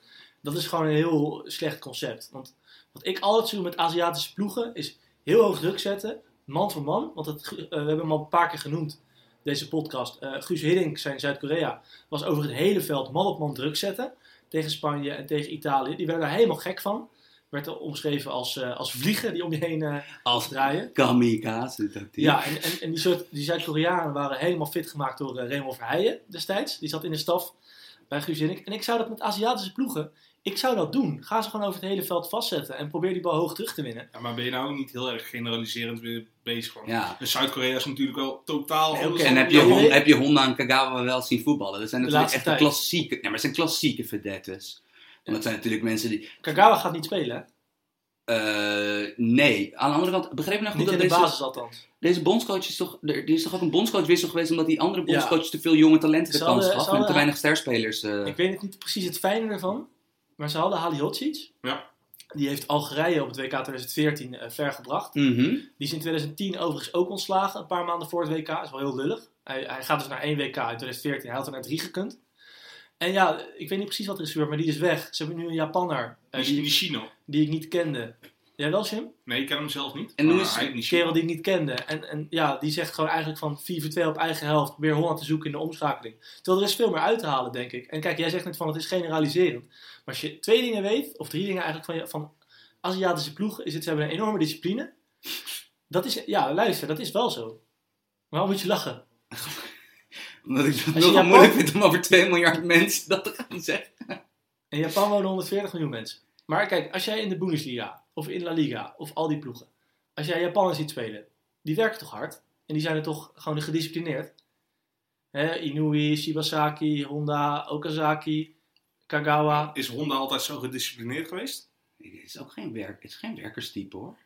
Speaker 1: Dat is gewoon een heel slecht concept. Want wat ik altijd doe met Aziatische ploegen is heel hoog druk zetten. Man voor man. Want het, eh, we hebben hem al een paar keer genoemd. deze podcast. Eh, Guus Hiddink, zijn Zuid-Korea, was over het hele veld man op man druk zetten. Tegen Spanje en tegen Italië. Die werden daar helemaal gek van. Werd al omschreven als, eh, als vliegen die om je heen eh
Speaker 3: Als
Speaker 1: draaien.
Speaker 3: kamikaze tactiek.
Speaker 1: Ja, en, en, en die, soort, die Zuid-Koreanen waren helemaal fit gemaakt door eh, Raymond Verheijen destijds. Die zat in de staf bij Guus Hiddink. En ik zou dat met Aziatische ploegen, ik zou dat doen. Ga ze gewoon over het hele veld vastzetten en probeer die bal hoog terug te winnen.
Speaker 2: Ja, maar ben je nou ook niet heel erg generaliserend weer bezig? Want
Speaker 3: Ja.
Speaker 2: de Zuid-Korea is natuurlijk wel totaal
Speaker 1: Nee,
Speaker 2: anders
Speaker 1: oké,
Speaker 2: dan
Speaker 3: En heb je,
Speaker 1: Ja,
Speaker 2: Japan.
Speaker 1: nee.
Speaker 3: Hon- heb je Honda en Kagawa wel zien voetballen? Dat zijn
Speaker 1: De
Speaker 3: natuurlijk echt
Speaker 1: laatste
Speaker 3: de
Speaker 1: tijd.
Speaker 3: klassieke, ja, maar het zijn klassieke verdettes. Want dat zijn natuurlijk mensen die...
Speaker 1: Kagawa gaat niet spelen, hè?
Speaker 3: eh, nee, aan de andere kant, begreep je nou goed
Speaker 1: Niet in
Speaker 3: dat
Speaker 1: de
Speaker 3: deze,
Speaker 1: basis althans.
Speaker 3: deze bondscoach is toch... Er die is toch ook een bondscoachwissel geweest omdat die andere
Speaker 1: Ja.
Speaker 3: bondscoach te veel jonge talenten de
Speaker 1: Ze
Speaker 3: kans
Speaker 1: hadden- ze
Speaker 3: gaf en te
Speaker 1: hadden-
Speaker 3: weinig sterspelers... eh,
Speaker 1: Ik weet het niet precies het fijne ervan, maar ze hadden Halihocic.
Speaker 2: Ja.
Speaker 1: Die heeft Algerije op het WK 2014 eh, ver gebracht.
Speaker 3: mhm.
Speaker 1: Die is in 2010 overigens ook ontslagen, een paar maanden voor het WK. is wel heel lullig. Hij, hij gaat dus naar één WK in 2014. Hij had er naar drie gekund. En ja, ik weet niet precies wat er is gebeurd, maar die is weg. Ze hebben nu een Japanner eh,
Speaker 2: Die,
Speaker 1: die,
Speaker 2: die
Speaker 1: ik-
Speaker 2: Chino.
Speaker 1: die ik niet kende. Jij wel, Jim?
Speaker 2: Nee, ik ken hem zelf niet.
Speaker 3: En hoe
Speaker 2: Maar
Speaker 3: is-
Speaker 2: hij- die
Speaker 1: Die
Speaker 2: Chino.
Speaker 1: kerel die ik niet kende. En, en ja, die zegt gewoon eigenlijk van 4 voor 2 op eigen helft. Probeer Holland te zoeken in de omschakeling. Terwijl er is veel meer uit te halen, denk ik. En kijk, jij zegt net van het is generaliserend. Maar als je twee dingen weet, of drie dingen eigenlijk van, je- van Aziatische ploegen, is het ze hebben een enorme discipline. Dat is, ja, luister, dat is wel zo. Waarom moet je lachen?
Speaker 3: Omdat ik het
Speaker 1: je
Speaker 3: nogal
Speaker 1: Japan-
Speaker 3: moeilijk vind om over 2 miljard mensen dat te gaan zeggen.
Speaker 1: In Japan wonen 140 miljoen mensen. Maar kijk, als jij in de Bundesliga of in La Liga of al die ploegen, als jij Japanners ziet spelen, die werken toch hard? En die zijn er toch gewoon gedisciplineerd? Hè, Inui, Shibasaki, Honda, Okazaki, Kagawa.
Speaker 2: Is Honda altijd zo gedisciplineerd geweest?
Speaker 3: Het is ook geen, werk, het is geen werkerstype hoor.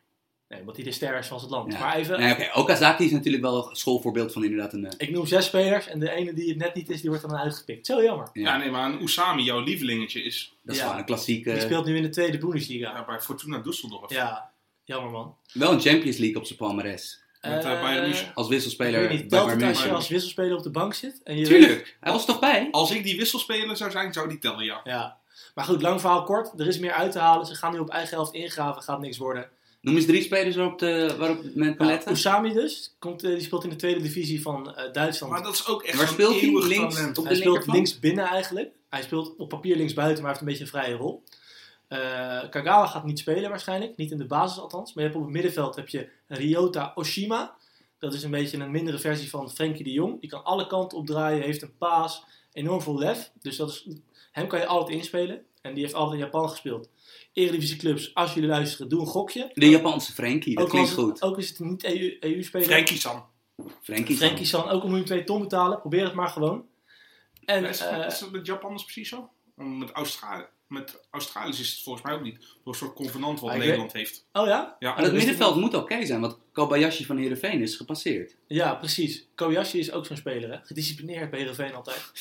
Speaker 1: Nee, want die de ster is van het land.
Speaker 3: Ja.
Speaker 1: Maar even,
Speaker 3: Nee, oké. Okazaki is natuurlijk wel een schoolvoorbeeld van inderdaad een... eh,
Speaker 1: ik noem zes spelers en de ene die het net niet is, die wordt dan uitgepikt. Zo jammer.
Speaker 3: Ja.
Speaker 2: Ja, nee, maar een Usami, jouw lievelingetje, is
Speaker 3: Dat is
Speaker 1: Ja.
Speaker 3: gewoon een klassieke...
Speaker 1: Die speelt nu in de tweede Bundesliga.
Speaker 2: ja, bij Fortuna Düsseldorf.
Speaker 1: Ja, jammer man.
Speaker 3: Wel een Champions League op zijn palmarès.
Speaker 2: Met, eh,
Speaker 1: Eh,
Speaker 2: Bayern München.
Speaker 3: Als
Speaker 1: ik
Speaker 3: wisselspeler
Speaker 1: weet
Speaker 3: bij
Speaker 1: niet, telt
Speaker 3: Bayern
Speaker 1: het als je
Speaker 3: München.
Speaker 1: als wisselspeler op de bank zit? En je
Speaker 3: Tuurlijk, hij was toch bij?
Speaker 2: Als ik die wisselspeler zou zijn, zou die tellen, ja.
Speaker 1: Ja. Maar goed, lang verhaal kort. Er is meer uit te halen. Ze gaan nu op eigen helft ingraven. Gaat niks worden.
Speaker 3: Noem eens drie spelers waarop, de, waarop men kan
Speaker 1: Nou,
Speaker 3: letten.
Speaker 1: Ousami dus. Komt, eh, die speelt in de tweede divisie van eh, Duitsland.
Speaker 2: Maar dat is ook echt
Speaker 3: Waar
Speaker 2: zo'n
Speaker 3: speelt hij?
Speaker 2: eeuwig
Speaker 3: Links?
Speaker 2: talent.
Speaker 3: Op de
Speaker 1: hij speelt
Speaker 3: linkerkant?
Speaker 1: links binnen eigenlijk. Hij speelt op papier links buiten, maar heeft een beetje een vrije rol. Eh, Kagawa gaat niet spelen waarschijnlijk. Niet in de basis althans. Maar je hebt op het middenveld heb je Ryota Oshima. Dat is een beetje een mindere versie van Frenkie de Jong. Die kan alle kanten opdraaien. Heeft een paas. Enorm veel lef. Dus dat is, hem kan je altijd inspelen. En die heeft altijd in Japan gespeeld. Eredivisie clubs, als jullie luisteren, doe een gokje.
Speaker 3: De Japanse Frenkie, dat
Speaker 1: ook, al
Speaker 3: klinkt
Speaker 1: is het-
Speaker 3: goed.
Speaker 1: ook is het niet E EU-speler.
Speaker 2: Frankie San.
Speaker 3: Frenkie. is
Speaker 1: Frenkie San, ook al moet je twee ton betalen. Probeer het maar gewoon. En,
Speaker 2: Is,
Speaker 1: eh,
Speaker 2: is dat met Japanners precies zo? Want Met, Austra met Australiërs is het volgens mij ook niet. Door een soort convenant wat
Speaker 1: Ah, ik
Speaker 2: Nederland heeft.
Speaker 1: oh ja?
Speaker 2: Ja,
Speaker 3: dan- Maar dat middenveld moet oké zijn, want Kobayashi van Heerenveen is gepasseerd.
Speaker 1: Ja, precies. Kobayashi is ook zo'n speler, hè? Gedisciplineerd bij Heerenveen
Speaker 2: (laughs)
Speaker 1: altijd.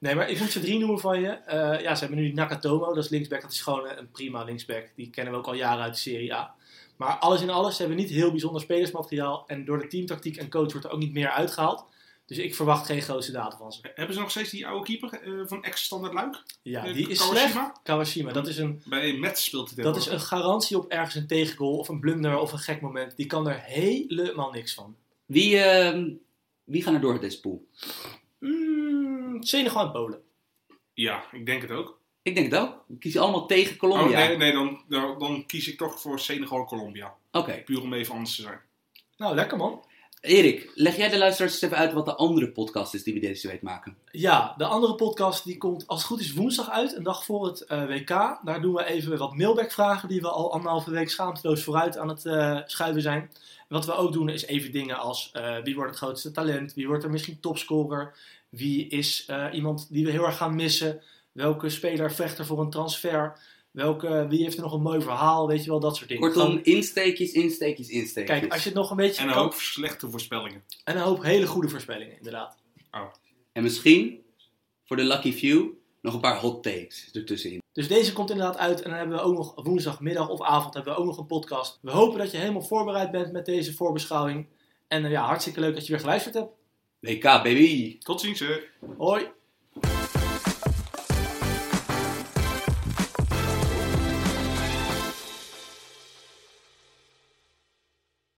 Speaker 1: Nee, maar ik moet ze drie noemen van je. Eh, ja, ze hebben nu Nakatomo, dat is linksback. Dat is gewoon eh, een prima linksback. Die kennen we ook al jaren uit de Serie A. Maar alles in alles, ze hebben niet heel bijzonder spelersmateriaal. En door de teamtactiek en coach wordt er ook niet meer uitgehaald. Dus ik verwacht geen grote daden van ze.
Speaker 2: Hebben ze nog steeds die oude keeper eh, van ex-standard Luik?
Speaker 1: Ja,
Speaker 2: Eh,
Speaker 1: die is
Speaker 2: Kawashima?
Speaker 1: slecht. Kawashima, dat is een
Speaker 2: Bij Mets speelt hij
Speaker 1: Dat is
Speaker 2: tegenwoordig.
Speaker 1: een garantie op ergens een tegengoal of een blunder of een gek moment. Die kan er helemaal niks van.
Speaker 3: Wie, ehm, wie gaan er door uit deze pool?
Speaker 1: Mm, Senegal en Polen.
Speaker 2: Ja, ik denk het ook.
Speaker 3: Ik denk het ook. We kiezen allemaal tegen
Speaker 2: Oh,
Speaker 3: Colombia.
Speaker 2: nee, nee dan, dan, dan kies ik toch voor Senegal en Colombia.
Speaker 3: Oké.
Speaker 2: Puur om even anders te zijn.
Speaker 1: Nou, lekker man.
Speaker 3: Erik, leg jij de luisteraars eens even uit wat de andere podcast is die we deze week maken.
Speaker 1: Ja, de andere podcast die komt als het goed is woensdag uit, een dag voor het eh, WK. Daar doen we even wat mailback-vragen die we al anderhalve week schaamteloos vooruit aan het eh, schuiven zijn. En wat we ook doen is even dingen als eh, wie wordt het grootste talent, wie wordt er misschien topscorer, wie is eh, iemand die we heel erg gaan missen, welke speler vecht er voor een transfer, welke, wie heeft er nog een mooi verhaal, weet je wel, dat soort dingen.
Speaker 3: Kortom,
Speaker 1: Gewoon-
Speaker 3: insteekjes, insteekjes, insteekjes.
Speaker 1: Kijk, als je het nog een beetje
Speaker 2: En een
Speaker 1: kan-
Speaker 2: hoop slechte voorspellingen.
Speaker 1: en een hoop hele goede voorspellingen, inderdaad.
Speaker 3: En misschien, voor de lucky few, nog een paar hot takes ertussenin.
Speaker 1: Dus deze komt inderdaad uit en dan hebben we ook nog woensdagmiddag of avond hebben we ook nog een podcast. We hopen dat je helemaal voorbereid bent met deze voorbeschouwing. En eh, ja, hartstikke leuk dat je weer geluisterd hebt.
Speaker 3: WK, baby!
Speaker 2: Tot ziens, hè.
Speaker 1: Hoi!